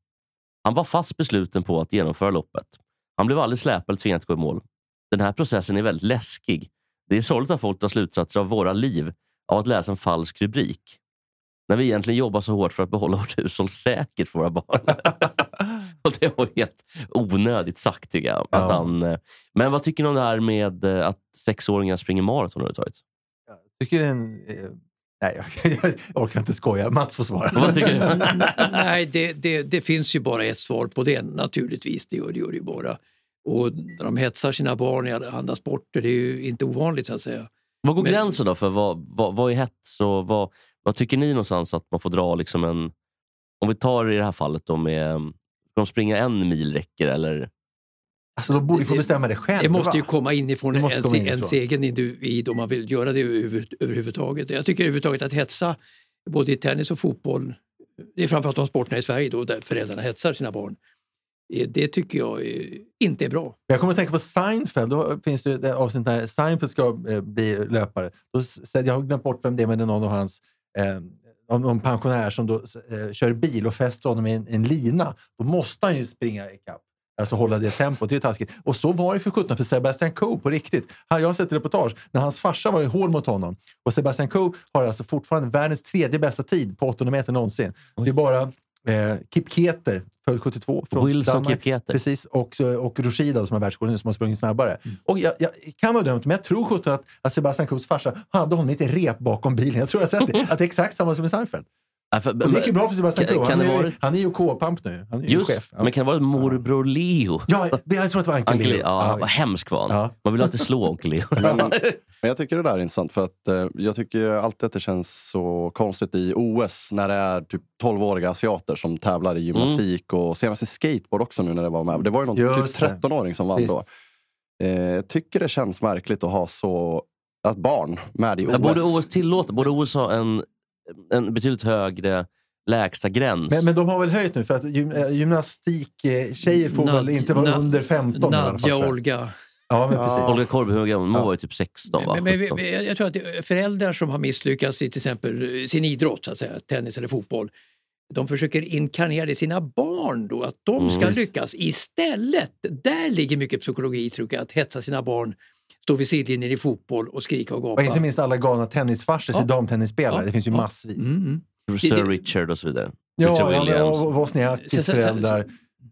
[SPEAKER 3] Han var fast besluten på att genomföra loppet. Han blev aldrig släpad eller tvingad att gå i mål. Den här processen är väldigt läskig. Det är sorgligt att folk tar slutsatser av våra liv av att läsa en falsk rubrik. När vi egentligen jobbar så hårt för att behålla vårt hushåll säkert för våra barn. Och det var ju helt onödigt sagt tycker jag. Att
[SPEAKER 2] Ja.
[SPEAKER 3] han, eh, men vad tycker ni om det här med eh, att sexåringar springer maraton överhuvudtaget?
[SPEAKER 2] Tycker det är en, eh, nej, jag, [laughs] jag orkar inte skoja. Mats får svara.
[SPEAKER 3] Vad tycker
[SPEAKER 2] [laughs]
[SPEAKER 3] du?
[SPEAKER 1] [laughs] Nej, det, det, det finns ju bara ett svar på det naturligtvis. Det gör det, gör det ju bara. Och när de hetsar sina barn i alla andra sporter, det är ju inte ovanligt så att säga.
[SPEAKER 3] Vad går
[SPEAKER 1] Men-
[SPEAKER 3] gränsen då för vad, vad, vad är hets och vad, vad tycker ni någonstans att man får dra liksom en... Om vi tar i det här fallet då med... Ska de springa en mil räcker eller?
[SPEAKER 2] Alltså, de borde ju få bestämma det själva.
[SPEAKER 1] Det måste ju komma inifrån
[SPEAKER 2] Det måste
[SPEAKER 1] ens,
[SPEAKER 2] komma inifrån.
[SPEAKER 1] ens egen individ om man vill göra det över, överhuvudtaget. Jag tycker överhuvudtaget att hetsa, både i tennis och fotboll, det är framförallt de sporterna i Sverige då, där föräldrarna hetsar sina barn. Eh, Det tycker jag eh, inte är bra.
[SPEAKER 2] Jag kommer att tänka på Seinfeld. Då finns det ett avsnitt när Seinfeld ska eh, bli löpare. Då, s- jag har glömt bort vem det är, men det är någon av hans eh, någon- någon pensionär som då, eh, kör bil och fäster honom i en, en lina. Då måste han ju springa ikapp. Alltså hålla det tempot. Det är ju taskigt. Och så var det för sjutton för Sebastian Coe på riktigt. Han, jag har sett reportage när hans farsa var i hål mot honom. Och Sebastian Coe har alltså fortfarande världens tredje bästa tid på 800 meter någonsin. Det är bara eh, Kipketer, född 72, från
[SPEAKER 3] Wilson
[SPEAKER 2] Danmark.
[SPEAKER 3] Kipketer.
[SPEAKER 2] Precis, och, så- och Rushida som är världsrekord nu, som har sprungit snabbare.
[SPEAKER 3] Mm.
[SPEAKER 2] Och jag, jag kan ha drömt, men jag tror sjutton att, att Sebastian Coes farsa hade honom lite rep bakom bilen. Jag tror jag har sett det. Att det är exakt samma som i Seinfeld.
[SPEAKER 3] Ja, för-
[SPEAKER 2] Och det gick ju bra för Sebastian
[SPEAKER 3] Kan-
[SPEAKER 2] Coe.
[SPEAKER 3] kan
[SPEAKER 2] Han, är
[SPEAKER 3] det
[SPEAKER 2] ju-
[SPEAKER 3] vara-
[SPEAKER 2] han är ju K-pamp nu. Han är ju
[SPEAKER 3] Just,
[SPEAKER 2] chef. Ja.
[SPEAKER 3] men kan det vara morbror Leo?
[SPEAKER 2] Ja, jag- jag tror att det var Ankel
[SPEAKER 3] Onkel
[SPEAKER 2] Leo.
[SPEAKER 3] Leo. Ja, han var
[SPEAKER 2] Ja.
[SPEAKER 3] hemsk var han.
[SPEAKER 2] Ja.
[SPEAKER 3] Man vill alltid slå
[SPEAKER 2] [laughs]
[SPEAKER 3] onkel Leo.
[SPEAKER 4] Men, men jag tycker det där är intressant. För att, eh, jag tycker alltid att det känns så konstigt i OS när det är typ 12-åriga asiater som tävlar i gymnastik och senast i skateboard också nu när det var med. Det var ju någon typ
[SPEAKER 2] Just det.
[SPEAKER 4] 13-åring som vann
[SPEAKER 2] Visst.
[SPEAKER 4] då. Eh, Jag tycker det känns märkligt att ha så att barn med i OS.
[SPEAKER 3] Jag borde OS tillåta, borde OS ha en, en betydligt högre lägsta gräns?
[SPEAKER 2] Men, men de har väl höjt nu, för att gym, eh, gymnastiktjejer får
[SPEAKER 1] Nad-
[SPEAKER 2] väl inte vara
[SPEAKER 1] Nad-
[SPEAKER 2] under 15 i alla fall,
[SPEAKER 1] Nadja
[SPEAKER 2] tror jag.
[SPEAKER 1] Olga.
[SPEAKER 2] Ja, men precis.
[SPEAKER 3] Olga Korpi, hur gammal Hon
[SPEAKER 2] Ja.
[SPEAKER 3] var ju typ 16 va?
[SPEAKER 1] Men, men,
[SPEAKER 3] 17.
[SPEAKER 1] men, jag- jag tror att det- föräldrar som har misslyckats i till exempel eh, sin idrott, så att säga, tennis eller fotboll, de försöker inkarnera det i sina barn då, att de ska
[SPEAKER 2] Mm.
[SPEAKER 1] lyckas istället. Där ligger mycket psykologi, tror jag, att hetsa sina barn, stå vid sidlinjen i fotboll och skrika och
[SPEAKER 2] Och inte
[SPEAKER 1] gapa.
[SPEAKER 2] minst alla galna tennisfarsor
[SPEAKER 1] Ja.
[SPEAKER 2] till damtennisspelare.
[SPEAKER 1] Ja.
[SPEAKER 2] Det finns ju
[SPEAKER 1] Ja.
[SPEAKER 2] massvis.
[SPEAKER 1] Mm, mm.
[SPEAKER 3] Sir
[SPEAKER 1] det-
[SPEAKER 3] Richard och så vidare. Richard
[SPEAKER 2] Ja, ja, men-
[SPEAKER 3] Williams.
[SPEAKER 2] och
[SPEAKER 1] Sen-
[SPEAKER 2] Wozniackis
[SPEAKER 1] sen- sen-
[SPEAKER 2] föräldrar.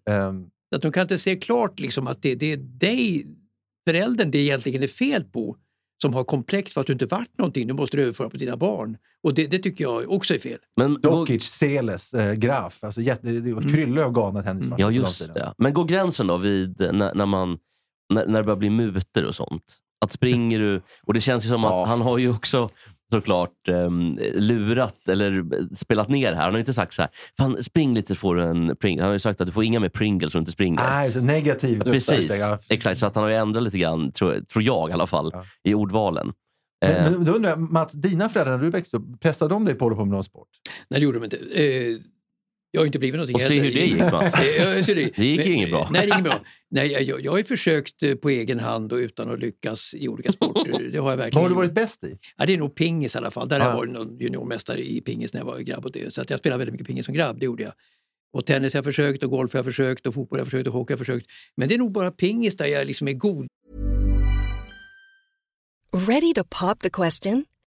[SPEAKER 2] Ehm,
[SPEAKER 1] Att de kan inte se klart liksom, att det, det är dig, föräldern, det egentligen är fel på. som har komplex för att du inte varit någonting. Du måste överföra på dina barn. Och det, det tycker jag också är fel.
[SPEAKER 3] Men går,
[SPEAKER 2] Dokic, Seles, eh, Graf. Alltså, jätte, det var krylle av galna tennismatcher.
[SPEAKER 3] Mm. ja,
[SPEAKER 2] på de
[SPEAKER 3] just
[SPEAKER 2] tiden.
[SPEAKER 3] det. Men går gränsen då vid när, när, man, när, när det börjar bli muter och sånt? Att springer du... Och det känns ju som att
[SPEAKER 4] Ja.
[SPEAKER 3] han har ju också såklart um, lurat eller spelat ner här. Han har ju inte sagt så här, Fan, spring lite så får du en Pringles. Han har ju sagt att du får inga mer Pringles om du inte springer.
[SPEAKER 2] Nej, så negativ.
[SPEAKER 3] Precis,
[SPEAKER 2] Ja.
[SPEAKER 3] exakt. Så att han har ju ändrat lite grann, tror, tror jag i alla fall,
[SPEAKER 2] Ja.
[SPEAKER 3] i ordvalen. Eh,
[SPEAKER 2] Men, men då undrar jag, Mats, dina föräldrar när du växte upp, pressade de dig på att hålla på med någon sport?
[SPEAKER 1] Nej, det gjorde de inte. Eh, jag har inte blivit någonting
[SPEAKER 3] och se hur det gick. Mats.
[SPEAKER 1] [laughs] Eh, jag ser
[SPEAKER 3] Det gick ju inget bra.
[SPEAKER 1] Nej, det gick inget bra. Nej, jag, jag har ju försökt eh, på egen hand och utan att lyckas i olika
[SPEAKER 3] [laughs]
[SPEAKER 1] sporter. Det har jag verkligen.
[SPEAKER 2] Vad har du
[SPEAKER 1] gjort.
[SPEAKER 2] varit bäst i?
[SPEAKER 1] Ja, det är nog pingis i alla fall. Där har jag
[SPEAKER 2] Ja.
[SPEAKER 1] varit någon juniormästare i pingis när jag var grabb. Och det. Så att jag spelade väldigt mycket pingis som grabb, det gjorde jag. Och tennis har jag försökt, och golf har jag försökt, och fotboll har jag försökt, och hockey har jag försökt. Men det är nog bara pingis där jag liksom är god.
[SPEAKER 5] Ready to pop the question?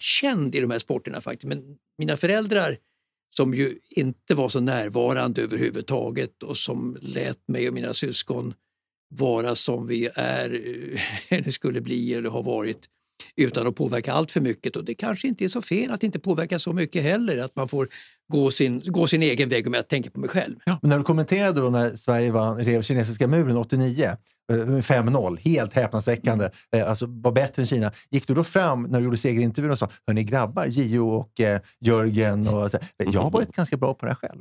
[SPEAKER 1] känd i de här sporterna faktiskt. Men mina föräldrar som ju inte var så närvarande överhuvudtaget och som lät mig och mina syskon vara som vi är [laughs] eh, eller skulle bli eller har varit utan att påverka allt för mycket. Och det kanske inte är så fel att inte påverka så mycket heller, att man får gå sin, gå sin egen väg om jag tänker på mig själv.
[SPEAKER 2] Men när du kommenterade då när Sverige vann, rev kinesiska muren 89, eh, med 5-0, helt häpnadsväckande,
[SPEAKER 3] Mm.
[SPEAKER 2] eh, alltså var bättre än Kina. Gick du då fram när du gjorde segerintervjun och sa, hörni grabbar, Gio och eh, Jörgen, och, så här,
[SPEAKER 3] Mm.
[SPEAKER 2] jag har varit ganska bra på det här själv.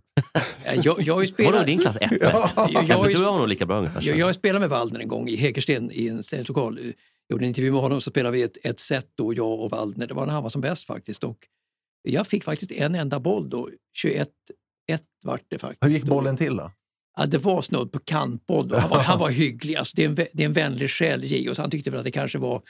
[SPEAKER 1] Eh, Jag, jag har ju
[SPEAKER 3] Vadå,
[SPEAKER 1] spelat...
[SPEAKER 3] din klass 1
[SPEAKER 2] Ja.
[SPEAKER 1] Jag- jag-
[SPEAKER 3] Du var nog lika bra ungefär.
[SPEAKER 1] Jag,
[SPEAKER 3] känner jag.
[SPEAKER 1] jag spelade med Waldner en gång i Hägersten i en ställningslokal. Jag gjorde en intervju med honom så spelade vi ett, ett set då, jag och Waldner. Det var när han var som bäst faktiskt. Och jag fick faktiskt en enda boll då, 21-1 vart det faktiskt.
[SPEAKER 2] Hur gick
[SPEAKER 1] då.
[SPEAKER 2] bollen till då?
[SPEAKER 1] Ja, det var snudd på kantboll. Då. Han, var,
[SPEAKER 2] [laughs]
[SPEAKER 1] han var hygglig. Alltså, det, är en, vä- det är en vänlig själ, Gio. Så Han tyckte väl att det kanske var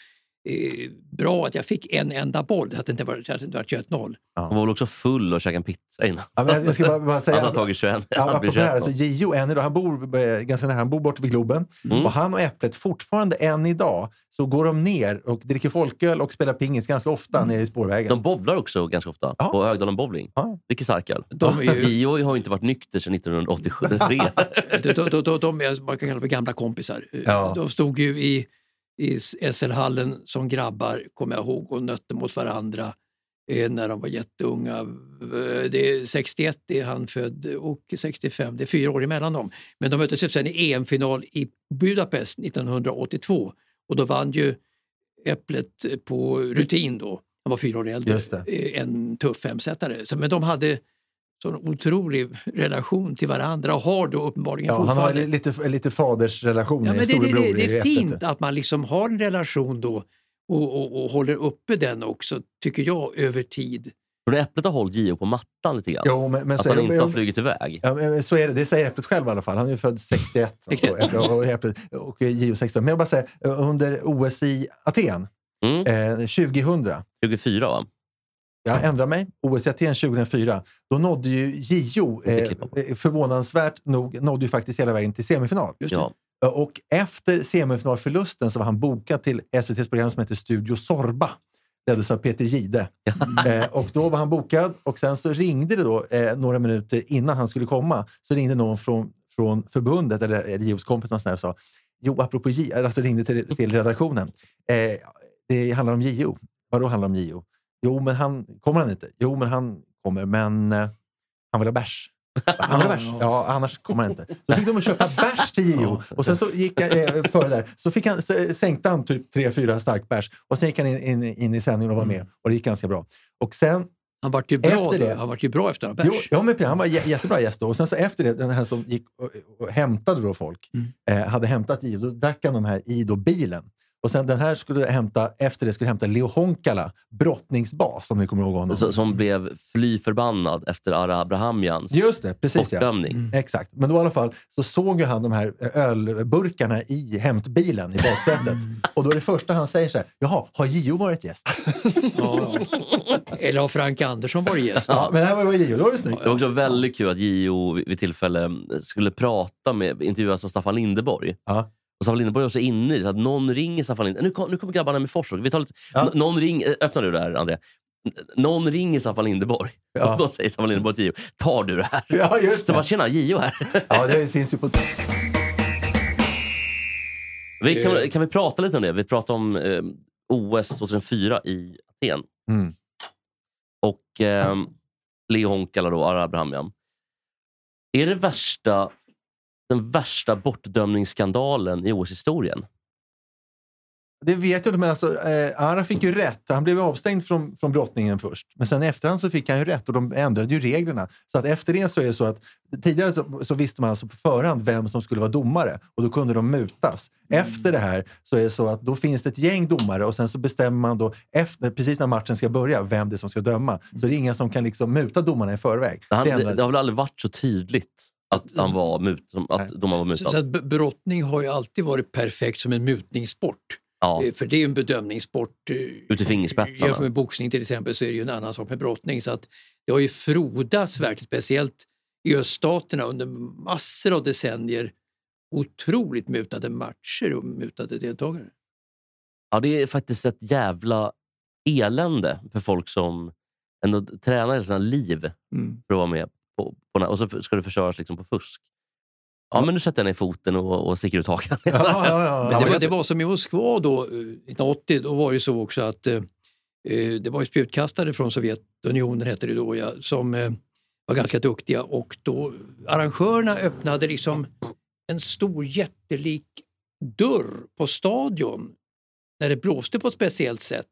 [SPEAKER 1] eh, bra att jag fick en enda boll, så att det inte var, så att det inte var 21-0.
[SPEAKER 3] Han var väl också full och käkade en pizza innan.
[SPEAKER 2] Ja, men jag, jag ska bara, bara säga,
[SPEAKER 3] Alltså, han har tagit 21.
[SPEAKER 2] Ja,
[SPEAKER 3] [laughs] han
[SPEAKER 2] apropå
[SPEAKER 3] blir
[SPEAKER 2] det här,
[SPEAKER 3] 21
[SPEAKER 2] alltså, Gio, än idag, han bor eh, ganska nära, han bor borta vid Globen.
[SPEAKER 3] Mm.
[SPEAKER 2] Och han och Äpplet, fortfarande än idag, så går de ner och dricker folköl och spelar pingis ganska ofta nere i spårvägen.
[SPEAKER 3] Mm. De bobblar också ganska ofta
[SPEAKER 2] Ja.
[SPEAKER 3] på Högdalen bowling.
[SPEAKER 2] Ja.
[SPEAKER 3] Vilket starköl.
[SPEAKER 1] De är ju-
[SPEAKER 3] [laughs] Gio har ju inte varit nykter sedan 1983.
[SPEAKER 2] [laughs]
[SPEAKER 1] de, de, de, de, de är, man kan kalla dem för gamla kompisar.
[SPEAKER 2] Ja.
[SPEAKER 1] De stod ju i, i SL-hallen som grabbar, kommer jag ihåg, och nötte mot varandra eh, när de var jätteunga. Eh, Det är 61 är han född och 65, det är fyra år emellan dem. Men de möttes ju sen i EM-final i Budapest 1982 och då vann ju Äpplet på rutin då. Han var fyra år äldre.
[SPEAKER 2] Just det.
[SPEAKER 1] Eh, En tuff femsetare. Så- Men de hade sån otrolig relation till varandra och har då uppenbarligen
[SPEAKER 2] Ja, han har
[SPEAKER 1] fortfarande.
[SPEAKER 2] li- lite, lite fadersrelation,
[SPEAKER 1] ja, men det, det,
[SPEAKER 2] storebror
[SPEAKER 1] det,
[SPEAKER 2] i
[SPEAKER 1] det är
[SPEAKER 2] Äpplet.
[SPEAKER 1] fint att man liksom har en relation då och, och, och håller uppe den också, tycker jag, över tid.
[SPEAKER 3] Tror du Äpplet har hållit Gio på mattan lite grann?
[SPEAKER 2] Jo, men, men
[SPEAKER 3] att
[SPEAKER 2] så, är
[SPEAKER 3] han
[SPEAKER 2] det-
[SPEAKER 3] inte har flugit iväg?
[SPEAKER 2] Ja, men så är det. Det säger Äpplet själv i alla fall. Han är ju född 61.
[SPEAKER 1] 61.
[SPEAKER 2] Och, och, och, Äpplet- och Gio 65. Men jag bara säger, under OS i Aten
[SPEAKER 3] Mm.
[SPEAKER 2] eh, 2000,
[SPEAKER 3] 24 va?
[SPEAKER 2] jag ändrar mig, E OS i Aten 2004, då nådde ju Gio,
[SPEAKER 3] Inte
[SPEAKER 2] eh,
[SPEAKER 3] klippa på.
[SPEAKER 2] förvånansvärt nog, nådde ju faktiskt hela vägen till semifinal.
[SPEAKER 1] Just det.
[SPEAKER 3] Ja.
[SPEAKER 2] Eh, Och efter semifinalförlusten så var han bokad till SVTs program som heter Studio Sorba. Leddes av Peter Gide. [laughs] eh, och då var han bokad och sen så ringde det då eh, några minuter innan han skulle komma. Så ringde någon från, från förbundet, eller, eller JOs kompis någonstans där och sa Jo, apropå J, alltså ringde till, till redaktionen. Eh, det handlar om JO. Vadå handlar om JO? Jo, men han kommer han inte. Jo, men han kommer, men eh, han vill ha bärs. Annars, ja, annars kommer han inte. Då fick de att köpa bärs till JO. Och sen så gick jag eh, före där. Så fick han, s- sänkte han typ tre fyra stark bärs. Och sen gick han in, in, in i sändningen och var med. Och det gick ganska bra. Och sen
[SPEAKER 1] Han vart ju bra
[SPEAKER 2] Efter
[SPEAKER 1] då.
[SPEAKER 2] det.
[SPEAKER 1] Han vart ju bra efter den här
[SPEAKER 2] Jo,
[SPEAKER 1] bärs.
[SPEAKER 2] ja, men han var jä- jättebra gäst då. Och sen så efter det, den här som gick och, och hämtade då folk, eh, hade hämtat i, då drack han de här i då bilen. Och sen den här skulle hämta, efter det skulle hämta Leo Honkala, brottningsbas, om ni kommer ihåg honom.
[SPEAKER 3] Så, som blev fly förbannad efter Ara Abrahamians
[SPEAKER 2] Just det, precis ja.
[SPEAKER 3] bortdömning.
[SPEAKER 2] Exakt. Men då i alla fall så såg ju han de här eh, ölburkarna i hämtbilen i baksätet. Och då är det första han säger så här, jaha, har Gio varit gäst?
[SPEAKER 1] Ja, ja. Eller har Frank Andersson varit gäst?
[SPEAKER 2] Ja, men det här var ju Gio, då var det snyggt.
[SPEAKER 3] Det var också väldigt kul att Gio vid vid tillfälle skulle prata med, intervjuas av Staffan Lindeborg.
[SPEAKER 2] Ja.
[SPEAKER 3] Och Staffan Lindeborg var så inne i det så att någon ringer Staffan Lindeborg. Nu, kom, nu kommer grabbarna med Forsvåk. Vi tar lite,
[SPEAKER 2] Ja.
[SPEAKER 3] n- någon ring, eh, öppna du det här, André. N- Någon ringer Staffan Lindeborg.
[SPEAKER 2] Ja.
[SPEAKER 3] Och [laughs] då säger Staffan Lindeborg till Gio, tar du det här?
[SPEAKER 2] Ja, just
[SPEAKER 3] Så bara,
[SPEAKER 2] det.
[SPEAKER 3] tjena, Gio här.
[SPEAKER 2] Ja, det finns ju på...
[SPEAKER 3] Vi, kan, kan vi prata lite om det? Vi pratade om eh, OS 2004 i Aten.
[SPEAKER 2] Mm.
[SPEAKER 3] Och eh, Leo Honkala då, Ara Abrahamian. Är det värsta, den värsta bortdömningsskandalen i OS-historien?
[SPEAKER 2] Det vet jag inte, men alltså, eh, Ara fick ju rätt. Han blev ju avstängd från, från brottningen först. Men sen i efterhand så fick han ju rätt och de ändrade ju reglerna. Så att efter det så är det så att tidigare så, så visste man alltså på förhand vem som skulle vara domare och då kunde de mutas.
[SPEAKER 1] Mm.
[SPEAKER 2] Efter det här så är det så att då finns det ett gäng domare och sen så bestämmer man då efter, precis när matchen ska börja vem det är som ska döma. Så det är inga som kan liksom muta domarna i förväg.
[SPEAKER 3] Han,
[SPEAKER 2] det
[SPEAKER 3] det,
[SPEAKER 2] ändrades.
[SPEAKER 3] det har väl aldrig varit så tydligt att, han var mut, att
[SPEAKER 2] Nej.
[SPEAKER 3] domaren var
[SPEAKER 1] Så, så
[SPEAKER 3] mutad?
[SPEAKER 1] att b- brottning har ju alltid varit perfekt som en mutningssport.
[SPEAKER 3] Ja,
[SPEAKER 1] Eh, För det är ju en bedömningssport. eh,
[SPEAKER 3] ut i
[SPEAKER 1] Jämfört
[SPEAKER 3] fingerspetsarna.
[SPEAKER 1] med boxning till exempel så är det ju en annan sak med brottning. Så att det har ju frodats verkligen, speciellt i öststaterna under massor av decennier. Otroligt mutade matcher och mutade deltagare.
[SPEAKER 3] Ja, det är faktiskt ett jävla elände för folk som ändå tränar hela sina liv
[SPEAKER 1] Mm.
[SPEAKER 3] för att vara med. På, på, den här- och så ska du förstöras liksom på fusk. Ja, men nu sätter jag ner foten och, och sticker ut hakan.
[SPEAKER 2] [laughs] Ja, ja, ja,
[SPEAKER 1] Men
[SPEAKER 2] ja.
[SPEAKER 1] det, var, det var som i Moskva då, eh, 1980, då var det ju så också att eh, eh, det var ju spjutkastare från Sovjetunionen, hette det då, ja, som eh, var ganska duktiga och då arrangörerna öppnade liksom en stor jättelik dörr på stadion när det blåste på ett speciellt sätt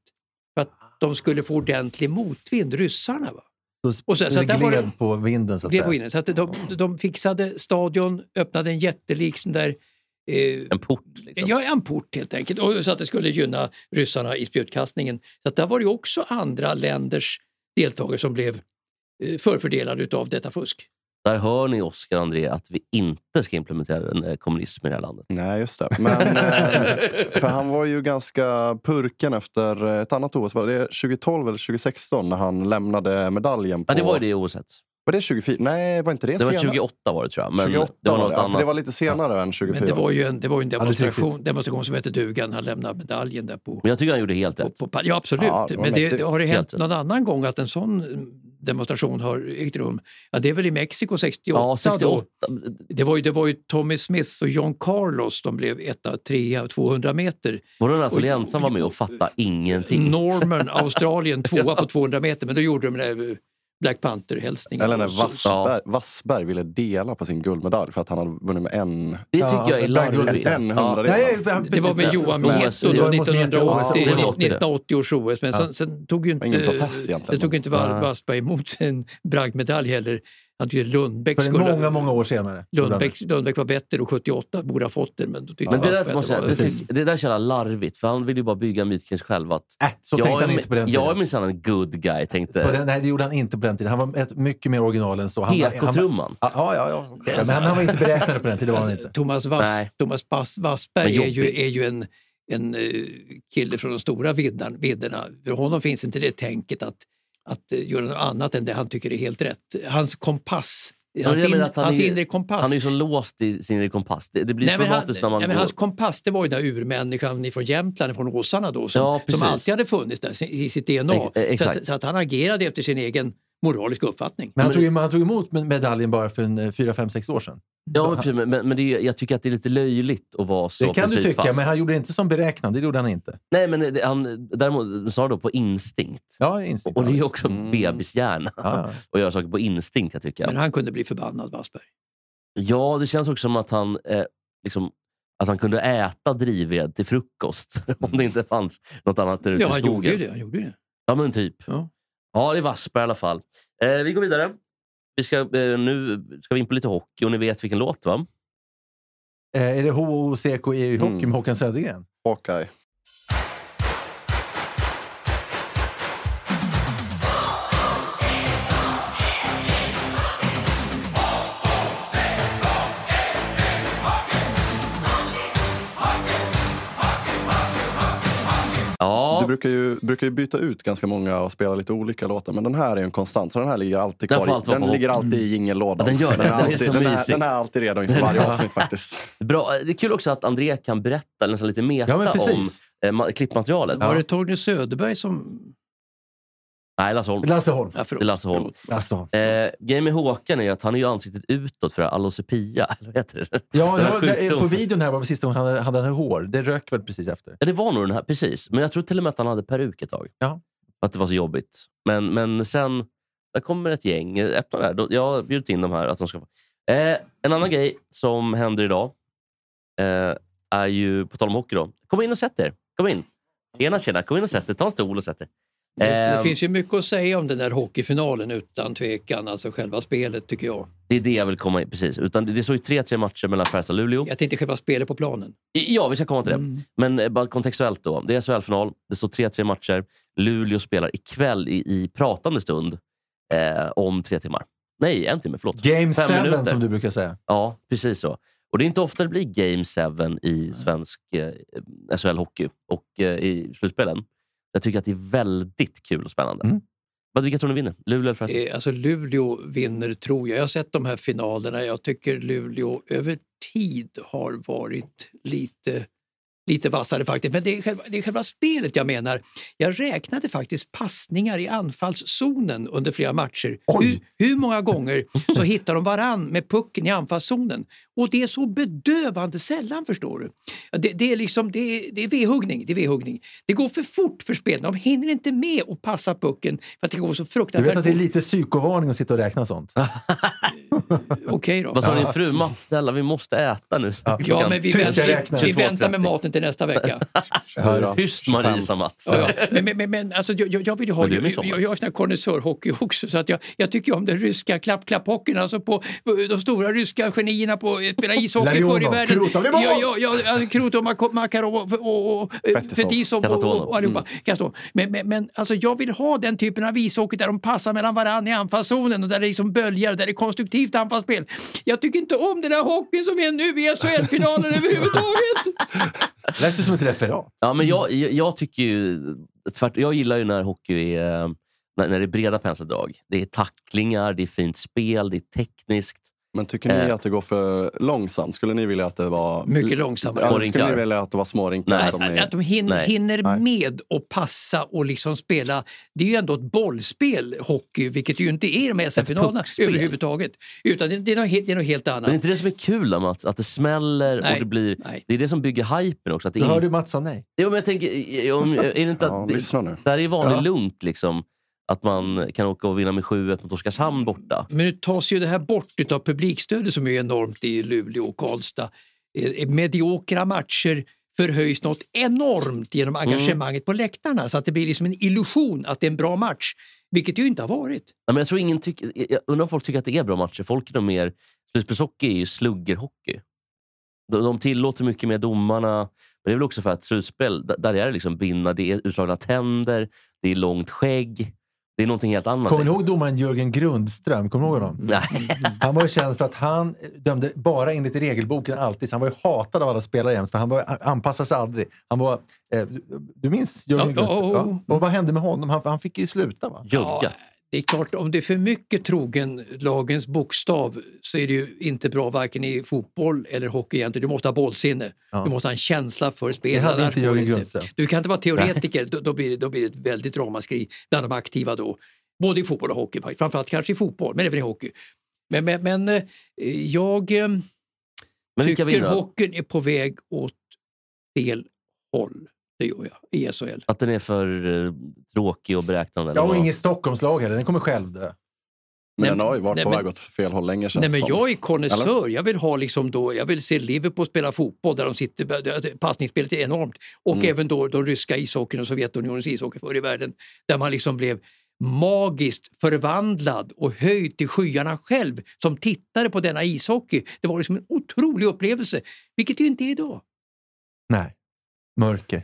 [SPEAKER 1] för att de skulle få ordentlig motvind, ryssarna. Va?
[SPEAKER 2] Och
[SPEAKER 1] och så-
[SPEAKER 2] sen,
[SPEAKER 1] så
[SPEAKER 2] det
[SPEAKER 1] att där var
[SPEAKER 2] gled
[SPEAKER 1] det-
[SPEAKER 2] på vinden så att
[SPEAKER 1] Det var
[SPEAKER 2] säga.
[SPEAKER 1] inne. Så att de, de fixade stadion, öppnade en jättelik sån där eh,
[SPEAKER 3] [laughs] En port. Liksom.
[SPEAKER 1] Ja, en port helt enkelt. Och så att det skulle gynna ryssarna i spjutkastningen. Så att där var det ju också andra länders deltagare som blev eh, förfördelade utav detta fusk.
[SPEAKER 3] Där hör ni, Oskar och André, att vi inte ska implementera en, eh, kommunism i det här landet.
[SPEAKER 4] Nej, just det.
[SPEAKER 1] [laughs]
[SPEAKER 4] Men, eh, för han var ju ganska purken efter eh, ett annat OS. Var det 2012 eller 2016 när han lämnade medaljen? På...
[SPEAKER 3] Ja, det var ju det OSet.
[SPEAKER 4] Var det 24? Nej, var inte det,
[SPEAKER 3] Det var
[SPEAKER 4] senare?
[SPEAKER 3] 28 var det, tror jag. Men
[SPEAKER 4] 28
[SPEAKER 3] det var något
[SPEAKER 4] det. Ja, för
[SPEAKER 3] annat.
[SPEAKER 4] det var lite senare än 24.
[SPEAKER 1] Men det var ju en, det var ju en
[SPEAKER 2] Alldeles
[SPEAKER 1] demonstration,
[SPEAKER 2] riktigt.
[SPEAKER 1] demonstration som hette dugan. Han lämnade medaljen där på...
[SPEAKER 3] Men jag tycker han gjorde helt
[SPEAKER 1] på,
[SPEAKER 3] rätt.
[SPEAKER 1] på ja, absolut.
[SPEAKER 4] Ja, det var
[SPEAKER 1] Men det,
[SPEAKER 4] mäktigt.
[SPEAKER 1] det, har det
[SPEAKER 3] Helt
[SPEAKER 1] hänt
[SPEAKER 3] rätt.
[SPEAKER 1] någon annan gång att en sån demonstration har ägt rum? Ja, det är väl i Mexiko 68,
[SPEAKER 3] Ja,
[SPEAKER 1] då.
[SPEAKER 3] 68.
[SPEAKER 1] Det var, ju, det var ju Tommy Smith och John Carlos, de blev etta, trea, 200 meter.
[SPEAKER 3] Var det alltså
[SPEAKER 1] Oj.
[SPEAKER 3] ensam var med och fattade ingenting? [laughs]
[SPEAKER 1] Norman, Australien, tvåa på 200 meter. Men då gjorde de den där eh, Black Panther-hälsningen.
[SPEAKER 4] Eller när
[SPEAKER 1] Så-
[SPEAKER 4] Wassberg, Wassberg ville dela på sin guldmedalj för att han hade vunnit med en...
[SPEAKER 3] Det tycker
[SPEAKER 2] Ja,
[SPEAKER 3] jag är
[SPEAKER 2] men Bergvall-
[SPEAKER 3] larvigt.
[SPEAKER 4] en hundradel.
[SPEAKER 2] Nej,
[SPEAKER 1] Det var med Johan Mieto
[SPEAKER 3] det
[SPEAKER 1] då,
[SPEAKER 3] var
[SPEAKER 2] mot Mieto,
[SPEAKER 1] 1980,
[SPEAKER 3] ja, det var 80.
[SPEAKER 1] 1980 års OS. Men sen, sen tog ju inte,
[SPEAKER 4] Ingen protest egentligen.
[SPEAKER 1] sen tog ju inte
[SPEAKER 3] Nej.
[SPEAKER 1] Wall- Wassberg emot sin bragdmedalj heller. Han tyckte ju Lundbäck
[SPEAKER 2] För
[SPEAKER 1] skulle...
[SPEAKER 2] många, många år senare.
[SPEAKER 1] Lundbäck, Lundbäck var bättre och 78 borde ha fått den. Men, då tyckte
[SPEAKER 3] Men det
[SPEAKER 1] Wassberg
[SPEAKER 3] där, måste
[SPEAKER 1] att
[SPEAKER 3] jag,
[SPEAKER 1] det
[SPEAKER 3] det,
[SPEAKER 1] var-
[SPEAKER 3] tycker- det där är så jävla larvigt, för han ville ju bara bygga en myt kring sig själv att
[SPEAKER 2] Äh, så
[SPEAKER 3] jag,
[SPEAKER 2] tänkte
[SPEAKER 3] är,
[SPEAKER 2] han inte på den
[SPEAKER 3] jag är
[SPEAKER 2] tiden.
[SPEAKER 3] minsann en good guy,
[SPEAKER 2] På
[SPEAKER 3] tänkte
[SPEAKER 2] den, nej, det gjorde han inte på den tiden. Han var ett, mycket mer original än så. Han var- han var-
[SPEAKER 3] PK-trumman.
[SPEAKER 2] Ja, ja, ja, ja. Men han, han var inte beräknad på den tiden. Det var han inte.
[SPEAKER 1] Alltså, Thomas, Wass,
[SPEAKER 3] Nej.
[SPEAKER 1] Thomas Bass,
[SPEAKER 3] Men
[SPEAKER 1] Wassberg är
[SPEAKER 3] jobbig.
[SPEAKER 1] ju, är ju en, en eh, kille från de stora viddan- vidderna. För honom finns inte det tänket att, att eh, göra något annat än det han tycker är helt rätt. Hans kompass,
[SPEAKER 3] men
[SPEAKER 1] hans,
[SPEAKER 3] jag
[SPEAKER 1] in,
[SPEAKER 3] menar att han
[SPEAKER 1] hans
[SPEAKER 3] är-
[SPEAKER 1] inre kompass.
[SPEAKER 3] Han är ju så låst i sin kompass. Det, det blir
[SPEAKER 1] Nej, men han,
[SPEAKER 3] problematiskt när
[SPEAKER 1] nej,
[SPEAKER 3] man
[SPEAKER 1] men
[SPEAKER 3] går...
[SPEAKER 1] hans kompass det var ju den där urmänniskan från Jämtland, från åsarna då, som,
[SPEAKER 3] Ja, precis.
[SPEAKER 1] som alltid hade funnits där i sitt DNA.
[SPEAKER 3] Ex- eh,
[SPEAKER 1] så,
[SPEAKER 3] exakt.
[SPEAKER 1] att, så att han agerade efter sin egen moralisk uppfattning.
[SPEAKER 2] Men han,
[SPEAKER 1] Men-
[SPEAKER 2] tog, em- han tog emot med- medaljen bara för en, eh, fyra, fem, sex år sedan.
[SPEAKER 3] Ja, men precis, men, men men det är, ju- jag tycker att det är lite löjligt att vara så
[SPEAKER 2] Det kan du tycka,
[SPEAKER 3] principfast.
[SPEAKER 2] men han gjorde det inte som beräknad. Det gjorde han inte.
[SPEAKER 3] Nej, men det- han, däremot snarare då på instinkt.
[SPEAKER 2] Ja, instinkt.
[SPEAKER 3] Och det är ju också
[SPEAKER 4] Mm.
[SPEAKER 3] bebishjärna.
[SPEAKER 2] ja, ja.
[SPEAKER 3] Att göra saker på instinkt, kan jag tycker.
[SPEAKER 1] Men han kunde bli förbannad, Wassberg.
[SPEAKER 3] Ja, det känns också som att han, eh, liksom, att han kunde äta drivved till frukost. [laughs] om det inte fanns något annat där ute
[SPEAKER 1] Ja,
[SPEAKER 3] i
[SPEAKER 1] han gjorde ju
[SPEAKER 3] skogen.
[SPEAKER 1] det. Han gjorde ju det.
[SPEAKER 3] Ja, men typ.
[SPEAKER 1] Ja.
[SPEAKER 3] Ja, det är Wassberg i alla fall. Eh, vi går vidare. Vi ska, eh, nu ska vi in på lite hockey och ni vet vilken låt, va?
[SPEAKER 2] Eh, är det HOCKI i hockey
[SPEAKER 4] Mm.
[SPEAKER 2] med Håkan Södergren?
[SPEAKER 4] Hawkeye. Du
[SPEAKER 3] Ja,
[SPEAKER 4] brukar ju, brukar ju byta ut ganska många och spela lite olika låtar, men den här är ju en konstant. Så den här ligger alltid
[SPEAKER 3] Den
[SPEAKER 4] kvar. i-
[SPEAKER 3] får alltid vara
[SPEAKER 4] den
[SPEAKER 3] på
[SPEAKER 4] ligger
[SPEAKER 3] hopp.
[SPEAKER 4] alltid i jingellådan.
[SPEAKER 3] Ja, den gör det. Den är
[SPEAKER 4] alltid,
[SPEAKER 3] så
[SPEAKER 4] den, är,
[SPEAKER 3] mysig.
[SPEAKER 4] den är alltid redo inför
[SPEAKER 3] Den-
[SPEAKER 4] varje avsnitt faktiskt.
[SPEAKER 3] bra. Eh, Det är kul också att André kan berätta nästan lite meta
[SPEAKER 2] Ja, men
[SPEAKER 3] om
[SPEAKER 2] precis.
[SPEAKER 3] eh, ma- klippmaterialet.
[SPEAKER 1] Var det Torgny Söderberg som...
[SPEAKER 3] Nej, Lasse Holm.
[SPEAKER 2] Lasse Holm.
[SPEAKER 1] Ja, förlåt.
[SPEAKER 3] Det är Lasse Holm.
[SPEAKER 1] Förlåt.
[SPEAKER 2] Lasse Holm.
[SPEAKER 3] Eh, Grejen med Håkan är ju att han är ju ansiktet utåt för det här allosepia. [laughs] Eller vad heter det?
[SPEAKER 2] Ja,
[SPEAKER 3] Den
[SPEAKER 2] det
[SPEAKER 3] här
[SPEAKER 2] var, det,
[SPEAKER 3] sjukdomen.
[SPEAKER 2] på videon här var det sista gången han hade, hade han hår. Det rök väl precis efter.
[SPEAKER 3] Ja, det var nog den här. Precis. Men jag tror till och med att han hade peruk ett tag.
[SPEAKER 2] Ja.
[SPEAKER 3] För att det var så jobbigt. Men, men sen, där kommer ett gäng. eh, Öppna där. Då- Jag har bjudit in dem här. Att de ska få. Eh, en annan grej som händer idag eh, är ju, på tal om hockey då. Kom in och sätt er. Kom in. Tjena, tjena. Kom in och sätt er. Ta en stol och sätt er.
[SPEAKER 1] Det, det
[SPEAKER 3] Ehm.
[SPEAKER 1] finns ju mycket att säga om den där hockeyfinalen utan tvekan, alltså själva spelet tycker jag.
[SPEAKER 3] Det är det jag vill komma in. Precis. Utan det det står ju 3-3 matcher mellan Färjestad och Luleå.
[SPEAKER 1] Jag tänkte själva spelet på planen.
[SPEAKER 3] Ja, vi ska komma till det. Men eh, bara kontextuellt då. Det är SHL-final. Det står 3-3 matcher. Luleå spelar ikväll i, i pratande stund eh, om tre timmar. Nej, en timme. Förlåt.
[SPEAKER 2] Game
[SPEAKER 3] Fem
[SPEAKER 2] 7
[SPEAKER 3] minuter.
[SPEAKER 2] som du brukar säga.
[SPEAKER 3] Ja, precis så. Och Det är inte ofta det blir Game 7 i svensk eh, SHL-hockey och eh, i slutspelen. Jag tycker att det är väldigt kul och spännande.
[SPEAKER 2] Mm.
[SPEAKER 3] Vad, vilka tror ni vinner? Luleå eller Färjestad?
[SPEAKER 1] Eh, Alltså Luleå vinner tror jag. Jag har sett de här finalerna. Jag tycker Luleå över tid har varit lite, lite vassare faktiskt. Men det är, själva, det är själva spelet jag menar. Jag räknade faktiskt passningar i anfallszonen under flera matcher.
[SPEAKER 2] Oj!
[SPEAKER 1] Hur, hur många gånger
[SPEAKER 2] [laughs]
[SPEAKER 1] så hittar de varann med pucken i anfallszonen. Och det är så bedövande sällan förstår du. Ja, Det, det är liksom, det är, det är vedhuggning, det är vedhuggning. Det går för fort för spelarna. De hinner inte med att passa pucken för att det går så
[SPEAKER 2] Du
[SPEAKER 1] fruktansvärt
[SPEAKER 2] vet att det är
[SPEAKER 1] fort.
[SPEAKER 2] lite psykovarning att sitta och räkna sånt.
[SPEAKER 1] Okej då.
[SPEAKER 3] Vad sa din fru? Mats, snälla, vi måste äta nu.
[SPEAKER 1] Ja, men vi,
[SPEAKER 2] Tyst,
[SPEAKER 1] väntar,
[SPEAKER 2] jag räknar.
[SPEAKER 1] vi väntar
[SPEAKER 3] 22.30.
[SPEAKER 1] med maten till nästa
[SPEAKER 3] [laughs]
[SPEAKER 1] vecka.
[SPEAKER 2] Ja,
[SPEAKER 3] Tyst
[SPEAKER 4] 25.
[SPEAKER 3] Marie, sa Mats.
[SPEAKER 1] Ja, ja. Men, men, men, men alltså, jag, jag- jag vill ju ha...
[SPEAKER 3] Men det är
[SPEAKER 1] Jag,
[SPEAKER 3] väl sommar.
[SPEAKER 1] jag, jag är sån här konnässörhockey också, så att jag, jag tycker ju om den ryska klapp-klapp-hockeyn. Alltså på, på de stora ryska genierna på att spela ishockey
[SPEAKER 2] Larionov,
[SPEAKER 1] förr i världen.
[SPEAKER 2] Krutov, det är mål!
[SPEAKER 1] ja, ja, ja, alltså, Krutov, Mak- Makarov och, och, och eh,
[SPEAKER 4] Fetisov.
[SPEAKER 1] Fetisov och, och,
[SPEAKER 3] Kasatonov.
[SPEAKER 1] och allihopa. Kasatonov. Men, men, men alltså, jag vill ha den typen av ishockey där de passar mellan varandra i anfallszonen och där det liksom böljar och där det är konstruktivt anfallsspel. Jag tycker inte om den där hockeyn som är nu i SHL-finalen [laughs] överhuvudtaget.
[SPEAKER 2] Lät ju som ett referat.
[SPEAKER 3] Ja, men jag, jag, jag tycker ju... Tvärt, jag gillar ju när hockey är... eh, När, när det är breda penseldrag. Det är tacklingar, det är fint spel, det är tekniskt.
[SPEAKER 4] Men tycker ni
[SPEAKER 3] Eh.
[SPEAKER 4] att det går för långsamt? Skulle ni vilja att det var...
[SPEAKER 1] Mycket långsammare.
[SPEAKER 4] Ja,
[SPEAKER 3] Smårinkar.
[SPEAKER 4] skulle ni vilja att det var smårinkar?
[SPEAKER 3] Nej.
[SPEAKER 4] som
[SPEAKER 1] Att-
[SPEAKER 4] ni-
[SPEAKER 1] Att de hin
[SPEAKER 3] Nej.
[SPEAKER 1] hinner
[SPEAKER 4] Nej.
[SPEAKER 1] med att passa och liksom spela. Det är ju ändå ett bollspel, hockey, vilket det ju inte är i de här SM-finalerna
[SPEAKER 3] puckspel.
[SPEAKER 1] överhuvudtaget. Utan det, det, är något, helt- det är något helt
[SPEAKER 3] Men det är
[SPEAKER 1] annat.
[SPEAKER 3] inte det som är kul då, Mats? Att det smäller och
[SPEAKER 1] Nej,
[SPEAKER 3] det blir...
[SPEAKER 1] nej.
[SPEAKER 3] Det är det som bygger hypen också. Att det
[SPEAKER 2] Då
[SPEAKER 3] är,
[SPEAKER 2] hörde Mats sa nej.
[SPEAKER 3] jo, men jag tänker... eh, Om, är det inte
[SPEAKER 4] Ja,
[SPEAKER 3] att, det,
[SPEAKER 4] lyssna nu.
[SPEAKER 3] där är vanlig
[SPEAKER 2] Ja.
[SPEAKER 3] lunk liksom. Att man kan åka och vinna med 7-1 mot Oskarshamn borta.
[SPEAKER 1] Men nu tas ju det här bort av publikstödet som är enormt i Luleå och Karlstad. Eh, Mediokra matcher förhöjs något enormt genom
[SPEAKER 3] Mm.
[SPEAKER 1] engagemanget på läktarna så att det blir liksom en illusion att det är en bra match, vilket det ju inte har varit.
[SPEAKER 3] Nej, men jag, tror ingen tycker, jag- jag undrar om folk tycker att det är bra matcher. Folk är nog mer... Slutspelshockey är ju sluggerhockey. De, de tillåter mycket mer domarna. Men det är väl också för att slutspel, d- där är det liksom binna, det är utslagna tänder, det är långt skägg. Det är någonting helt annat.
[SPEAKER 2] Kommer ni ihåg domaren Jörgen Grundström? Kommer ni ihåg honom?
[SPEAKER 3] Nej. [laughs]
[SPEAKER 2] Han var ju känd för att han dömde bara enligt regelboken alltid. Så han var ju hatad av alla spelare jämt, för han var, han anpassade sig aldrig. Han var, eh, du- du minns Jörgen
[SPEAKER 1] Ja,
[SPEAKER 2] Grundström?
[SPEAKER 1] ja, ja.
[SPEAKER 2] Ja. Och vad hände med honom? Han, han fick ju sluta va?
[SPEAKER 3] Jugga.
[SPEAKER 1] Det är klart, om det är för mycket trogen lagens bokstav så är det ju inte bra varken i fotboll eller hockey egentligen. Du måste ha bollsinne.
[SPEAKER 2] Ja.
[SPEAKER 1] Du måste ha en känsla för
[SPEAKER 2] Det
[SPEAKER 1] spelet.
[SPEAKER 2] hade
[SPEAKER 1] annars
[SPEAKER 2] inte
[SPEAKER 1] går det
[SPEAKER 2] Jörgen Grundström.
[SPEAKER 1] Du kan inte vara teoretiker, då, då, blir det, då blir det ett väldigt ramaskri bland de aktiva då. Både i fotboll och hockey faktiskt. Framförallt kanske i fotboll, men även i hockey. Men, men, men eh, jag eh,
[SPEAKER 3] Men vilka
[SPEAKER 1] tycker
[SPEAKER 3] vinner då?
[SPEAKER 1] hockeyn är på väg åt fel håll. Det gör jag, i SHL.
[SPEAKER 3] Att den är för eh, tråkig och beräknande? eller
[SPEAKER 2] Jag har
[SPEAKER 3] vad?
[SPEAKER 2] inget Stockholmslag heller, den kommer själv dö.
[SPEAKER 1] Nej,
[SPEAKER 4] Men den har ju
[SPEAKER 1] nej,
[SPEAKER 4] varit på
[SPEAKER 1] men-
[SPEAKER 4] väg åt fel håll länge känns
[SPEAKER 1] Nej, men
[SPEAKER 4] det som.
[SPEAKER 1] jag är konnässör. Jag vill ha liksom då, jag vill se Liverpool spela fotboll där de sitter, passningsspelet är enormt. Och
[SPEAKER 4] Mm.
[SPEAKER 1] även då de ryska ishockeyn och Sovjetunionens ishockey förr i världen. Där man liksom blev magiskt förvandlad och höjd till skyarna själv som tittare på denna ishockey. Det var liksom en otrolig upplevelse, vilket det ju inte är idag.
[SPEAKER 2] Nej. Mörker.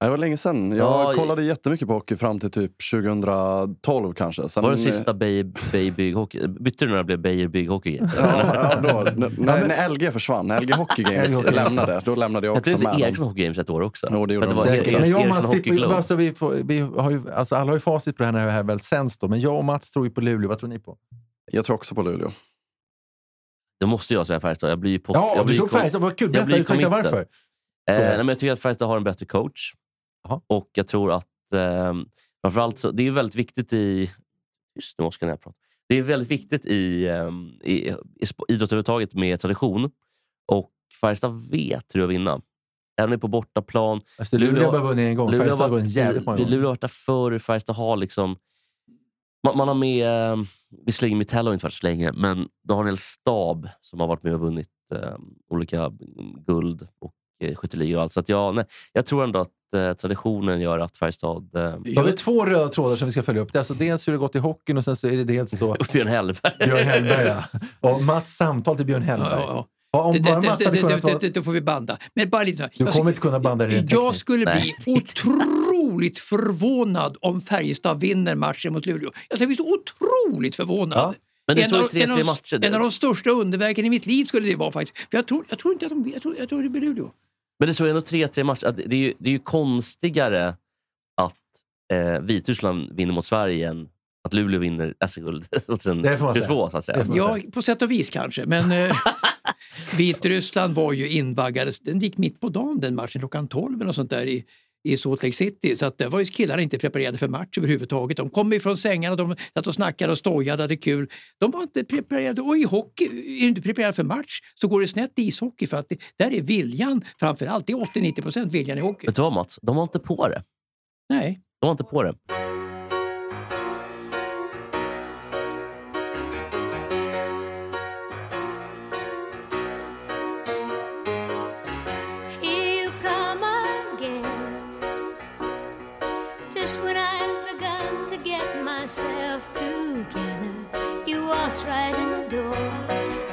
[SPEAKER 4] Nej, Det var länge sedan. Jag
[SPEAKER 3] Ja, i-
[SPEAKER 4] kollade jättemycket på hockey fram till typ 2012 kanske. Sen, eh,
[SPEAKER 3] Var den sista Bay, Bay Bygg Hockey? Bytte du när det blev Beijer Bygg Hockey?
[SPEAKER 4] [laughs] Ja, ja, då, när,
[SPEAKER 2] men-
[SPEAKER 4] när LG försvann, när LG Hockey Games
[SPEAKER 2] LG.
[SPEAKER 4] lämnade, då lämnade jag
[SPEAKER 3] Hette det
[SPEAKER 4] också
[SPEAKER 3] inte
[SPEAKER 4] med dem.
[SPEAKER 3] Ericsson Hockey Games ett år också?
[SPEAKER 4] Jo, det gjorde
[SPEAKER 3] För att
[SPEAKER 4] de.
[SPEAKER 3] var
[SPEAKER 4] Det-
[SPEAKER 3] Ericsson-
[SPEAKER 2] Men jag och Mats,
[SPEAKER 3] Ericsson Hockey
[SPEAKER 2] slipper-
[SPEAKER 3] Globe.
[SPEAKER 2] alltså, vi får, vi har ju, alltså, alla har ju facit på det här när det här väl sänds. Då, men jag och Mats tror ju på Luleå. Vad tror ni på?
[SPEAKER 4] Jag tror också på Luleå.
[SPEAKER 3] Då måste jag säga Färjestad. Jag blir ju pot-
[SPEAKER 2] Ja,
[SPEAKER 3] jag blir
[SPEAKER 2] du tror
[SPEAKER 3] kom-
[SPEAKER 2] Färjestad. Vad kul.
[SPEAKER 3] jag
[SPEAKER 2] Berätta,
[SPEAKER 3] blir
[SPEAKER 2] utveckla
[SPEAKER 3] committed.
[SPEAKER 2] varför.
[SPEAKER 3] Eh,
[SPEAKER 2] Fråga.
[SPEAKER 3] nej, men jag tycker att Färjestad har en bättre coach.
[SPEAKER 2] Jaha.
[SPEAKER 3] Och jag tror att... Eh, framförallt så, det är ju väldigt viktigt i... Just nu, Oskar, när jag pratar. Det är väldigt viktigt i, eh, i, i sp- idrott överhuvudtaget med tradition. Och Färjestad vet hur att vinna. Även om det är på bortaplan.
[SPEAKER 2] Alltså, Luleå
[SPEAKER 3] Luleå-
[SPEAKER 2] har bara vunnit en gång.
[SPEAKER 3] Luleå
[SPEAKER 2] Färjestad har
[SPEAKER 3] har varit-
[SPEAKER 2] vunnit jävligt många
[SPEAKER 3] Luleå
[SPEAKER 2] gånger.
[SPEAKER 3] har varit där förr. Färjestad har liksom... Man, man har med... Eh, visserligen Mitell har inte varit så länge, men då har en hel stab som har varit med och vunnit eh, olika mm, guld och eh, skytteligor och allt. Så att jag, nej, jag tror ändå att eh, traditionen gör att Färjestad... Eh, [laughs]
[SPEAKER 2] Då har vi två röda trådar som vi ska följa upp. Det är alltså dels hur det gått i hockeyn och sen så är det dels
[SPEAKER 3] [laughs]
[SPEAKER 2] då
[SPEAKER 3] Björn Hellberg.
[SPEAKER 2] Björn Hellberg. Ja. Och Mats samtal till Björn
[SPEAKER 1] Ja,
[SPEAKER 2] Hellberg.
[SPEAKER 1] ja, ja.
[SPEAKER 2] Ja, om
[SPEAKER 1] Det,
[SPEAKER 2] bara
[SPEAKER 1] det,
[SPEAKER 2] Mats
[SPEAKER 1] det,
[SPEAKER 2] hade
[SPEAKER 1] det,
[SPEAKER 2] kunnat
[SPEAKER 1] det,
[SPEAKER 2] vara...
[SPEAKER 1] det, det får vi banda. Men bara lite så. här.
[SPEAKER 2] Du
[SPEAKER 1] Jag-
[SPEAKER 2] kommer inte kunna banda det
[SPEAKER 3] Alltså,
[SPEAKER 2] rent
[SPEAKER 1] Jag
[SPEAKER 2] tekniskt.
[SPEAKER 1] skulle
[SPEAKER 3] Nej. [laughs]
[SPEAKER 1] bli otroligt förvånad om Färjestad vinner matchen mot Luleå. Jag skulle bli så otroligt förvånad.
[SPEAKER 2] Ja.
[SPEAKER 3] Men det
[SPEAKER 1] En
[SPEAKER 3] står ju
[SPEAKER 1] av- en av
[SPEAKER 3] 3-3
[SPEAKER 1] de-
[SPEAKER 3] matcher.
[SPEAKER 1] En av
[SPEAKER 3] Det-
[SPEAKER 1] de största underverken i mitt liv skulle det vara faktiskt. För jag tror, jag tror inte att de... Jag tror, jag tror det blir Luleå.
[SPEAKER 3] Men det står ju ändå 3-3 matcher. Att det, är ju, det är ju konstigare att eh, Vitryssland vinner mot Sverige än att Luleå vinner [laughs] SM-guld 2022,
[SPEAKER 2] Det får man säga.
[SPEAKER 3] så att
[SPEAKER 2] Det får
[SPEAKER 3] säga.
[SPEAKER 2] man
[SPEAKER 1] Ja,
[SPEAKER 2] säga.
[SPEAKER 1] på sätt och vis kanske. Men [laughs] eh, Vitryssland var ju invaggade. Den gick mitt på dagen den matchen, klockan 12 eller något sånt där i, i Salt Lake City. Så att där var ju killarna inte preparerade för match överhuvudtaget. De kom ifrån sängarna, de satt och snackade och stojade, hade kul. De var inte preparerade. Och i hockey, är du inte preparerad för match så går det snett i ishockey. För att det, där är viljan framför allt. Det är 80-90 procent viljan i hockey.
[SPEAKER 3] Vet du vad Mats? De var inte på det.
[SPEAKER 1] Nej.
[SPEAKER 3] De var inte på det.
[SPEAKER 6] Here you come again. Just when I've begun to get myself together, you waltz right in the door,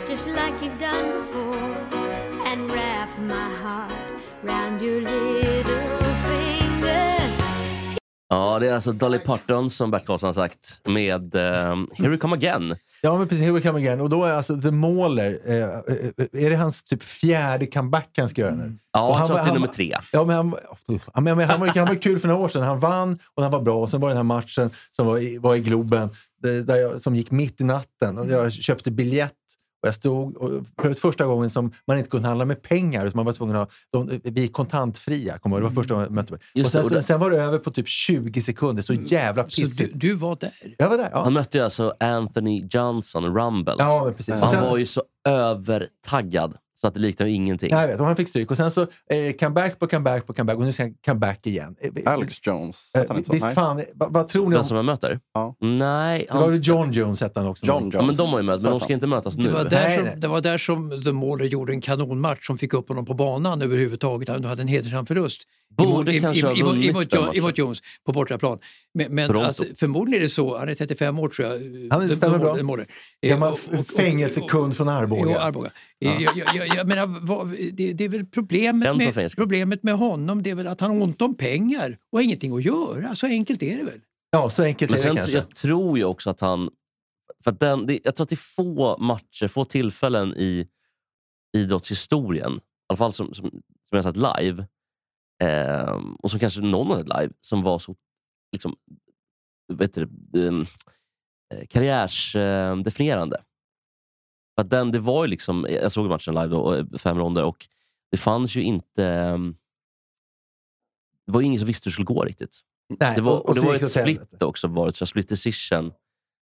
[SPEAKER 6] just like you've done before, and wrap my heart round your little finger.
[SPEAKER 3] Ja, det är alltså Dolly Parton som Bert Karlsson har sagt med eh, Here We Come Again.
[SPEAKER 2] Ja, men precis. Here we come again. Och då är alltså The Mauler, eh, eh, eh, är det hans typ fjärde comeback han ska göra nu?
[SPEAKER 3] Mm. Ja,
[SPEAKER 2] Och
[SPEAKER 3] jag
[SPEAKER 2] han
[SPEAKER 3] tror
[SPEAKER 2] var-
[SPEAKER 3] att det är
[SPEAKER 2] han
[SPEAKER 3] nummer
[SPEAKER 2] var-
[SPEAKER 3] tre.
[SPEAKER 2] Ja, men han, ja, men, men han, var, han var kul för några år sedan. Han vann och han var bra. Och sen var det den här matchen som var i, var i Globen, det- där jag, som gick mitt i natten. Och jag köpte biljett. Och jag stod, och för det var första gången som man inte kunde handla med pengar. Utan man var tvungen att ha, de, vi är kontantfria. Kommer jag ihåg. det var första gången jag mötte mig.
[SPEAKER 3] Just
[SPEAKER 2] Och sen,
[SPEAKER 3] det, Mm. och
[SPEAKER 2] sen,
[SPEAKER 3] det-
[SPEAKER 2] sen var det över på typ 20 sekunder. Så jävla
[SPEAKER 1] Så
[SPEAKER 2] pissigt.
[SPEAKER 1] du, du var där.
[SPEAKER 2] Jag var där. Ja,
[SPEAKER 3] Han mötte ju alltså Anthony Johnson, Rumble.
[SPEAKER 2] ja men precis.
[SPEAKER 3] Och
[SPEAKER 2] Och
[SPEAKER 3] han
[SPEAKER 2] sen-
[SPEAKER 3] var ju så övertaggad så att det liknar ju ingenting.
[SPEAKER 2] Nej, jag vet. Och han fick stryk. Och sen så eh, comeback på comeback på comeback. Och nu ska han comeback igen. Eh, vi-
[SPEAKER 4] Alex Jones,
[SPEAKER 2] eh,
[SPEAKER 4] hette han inte så?
[SPEAKER 2] visst
[SPEAKER 4] Nej.
[SPEAKER 2] fan, eh, vad, vad tror ni
[SPEAKER 3] Den
[SPEAKER 2] om...
[SPEAKER 3] som jag möter?
[SPEAKER 4] Ja.
[SPEAKER 3] Nej.
[SPEAKER 2] Det
[SPEAKER 3] Han...
[SPEAKER 2] var väl John Jones hette han också.
[SPEAKER 4] John Jones.
[SPEAKER 3] Ja, men de har ju mötts, men de ska inte mötas nu.
[SPEAKER 1] Det var,
[SPEAKER 2] Nej,
[SPEAKER 1] där
[SPEAKER 2] nej.
[SPEAKER 1] som, det var där som The Mauler gjorde en kanonmatch som fick upp honom på banan överhuvudtaget. Han hade en hedersam förlust.
[SPEAKER 3] Borde
[SPEAKER 1] I- i-
[SPEAKER 3] kanske ha
[SPEAKER 1] i- i-
[SPEAKER 3] vunnit
[SPEAKER 1] emot
[SPEAKER 3] den
[SPEAKER 1] Jo-
[SPEAKER 3] matchen.
[SPEAKER 1] Emot Jones på bortaplan. Men, men
[SPEAKER 3] Toronto.
[SPEAKER 1] alltså, förmodligen är det så. Han är 35 år tror jag.
[SPEAKER 2] Han är-
[SPEAKER 1] The-
[SPEAKER 2] stämmer
[SPEAKER 1] The
[SPEAKER 2] bra.
[SPEAKER 1] Mauler- The Mauler. Eh,
[SPEAKER 2] Gammal
[SPEAKER 1] och- och- och-
[SPEAKER 2] fängelsekund från
[SPEAKER 1] Jo,
[SPEAKER 2] Arboga.
[SPEAKER 1] Arboga. Eh, Jag, jag, jag, jag menar, vad, det, det är väl problemet
[SPEAKER 3] Känd som
[SPEAKER 1] med,
[SPEAKER 3] fängelse.
[SPEAKER 1] problemet med honom, det är väl att han har ont om pengar och har ingenting att göra. Så enkelt är det väl?
[SPEAKER 2] Ja, så enkelt
[SPEAKER 3] Men
[SPEAKER 2] är det
[SPEAKER 3] sen,
[SPEAKER 2] kanske.
[SPEAKER 3] jag tror ju också att han... För att den, det, jag tror att det är få matcher, få tillfällen i idrottshistorien, i alla fall som, som, som jag har sett live, ehm, och som kanske någon har sett live, som var så liksom, vet du, um, karriärsdefinierande. För att den, det var ju liksom, jag såg matchen live, då, och eh, fem ronder, och det fanns ju inte... ehm, Det var ju ingen som visste hur det skulle gå riktigt.
[SPEAKER 2] Nej,
[SPEAKER 3] Det var, och, det
[SPEAKER 2] så
[SPEAKER 3] var
[SPEAKER 2] gick
[SPEAKER 3] ett
[SPEAKER 2] det åt helvete.
[SPEAKER 3] split också. Var det, så split decision.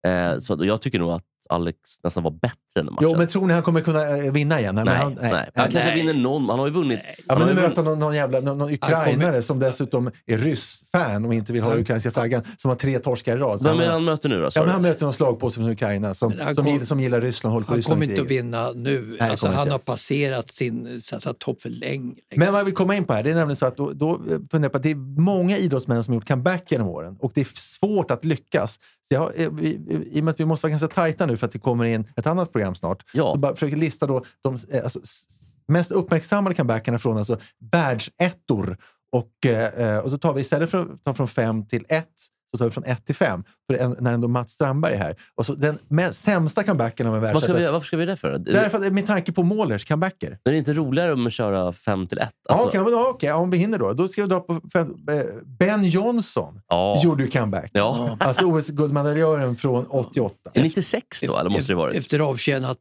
[SPEAKER 3] Eh, så, jag tycker nog att Alex nästan var bättre än den matchen.
[SPEAKER 2] Jo, men tror ni han kommer kunna eh, vinna igen? Nej,
[SPEAKER 3] nej,
[SPEAKER 2] men
[SPEAKER 3] han,
[SPEAKER 2] han,
[SPEAKER 3] nej, han kanske vinner någon. Han har ju vunnit.
[SPEAKER 2] Ja, men
[SPEAKER 3] han
[SPEAKER 2] nu
[SPEAKER 3] har ju
[SPEAKER 2] möter han någon, någon jävla någon, någon ukrainare
[SPEAKER 1] kommer-
[SPEAKER 2] som dessutom är ryss-fan och inte vill ha
[SPEAKER 1] Han-
[SPEAKER 2] ukrainska flaggan, som har tre torskar i rad. Så
[SPEAKER 3] Vem är det
[SPEAKER 2] han,
[SPEAKER 3] han möter nu då? sa
[SPEAKER 2] ja, men
[SPEAKER 3] du?
[SPEAKER 2] han möter någon slagpåse från Ukraina som,
[SPEAKER 1] Men han
[SPEAKER 2] som,
[SPEAKER 1] kom-
[SPEAKER 2] gillar, som gillar Ryssland och håller på
[SPEAKER 1] Han
[SPEAKER 2] Ryssland
[SPEAKER 1] kommer inte att vinna nu.
[SPEAKER 2] han
[SPEAKER 1] alltså,
[SPEAKER 2] kommer
[SPEAKER 1] han
[SPEAKER 2] inte.
[SPEAKER 1] har passerat sin så- så topp för länge. liksom.
[SPEAKER 2] Men vad vi kommer in på här, det är nämligen så att då, då funderar jag på att det är många idrottsmän som har gjort comeback genom åren och det är svårt att lyckas. Så jag, har- eh, vi, I och med att vi måste vara ganska tajta nu för att det kommer in ett annat program snart,
[SPEAKER 3] Ja.
[SPEAKER 2] så bara försöker lista då de eh, alltså, s- mest uppmärksammade comebackerna från alltså, världsettor. Och, eh, eh, och då tar vi istället för att ta från fem till ett, så tar vi från ett till fem, för en, när ändå Mats Strandberg är här. Och så den mest, sämsta comebacken av en
[SPEAKER 3] Vad ska vi,
[SPEAKER 2] världsetta.
[SPEAKER 3] varför ska vi göra det för? Det,
[SPEAKER 2] Därför att, eh, med tanke på Målers comebacker.
[SPEAKER 3] det är inte roligare om att köra fem till ett.
[SPEAKER 2] Ja,
[SPEAKER 3] Alltså,
[SPEAKER 2] Okej, men då- okej, om vi hinner då. Då ska jag dra på fem, eh, Ben Johnson
[SPEAKER 3] ja.
[SPEAKER 2] gjorde ju comeback.
[SPEAKER 3] Ja.
[SPEAKER 2] Alltså OS-guldmedaljören från 88.
[SPEAKER 3] Är 96 då, eller måste det varit?
[SPEAKER 1] Efter avtjänat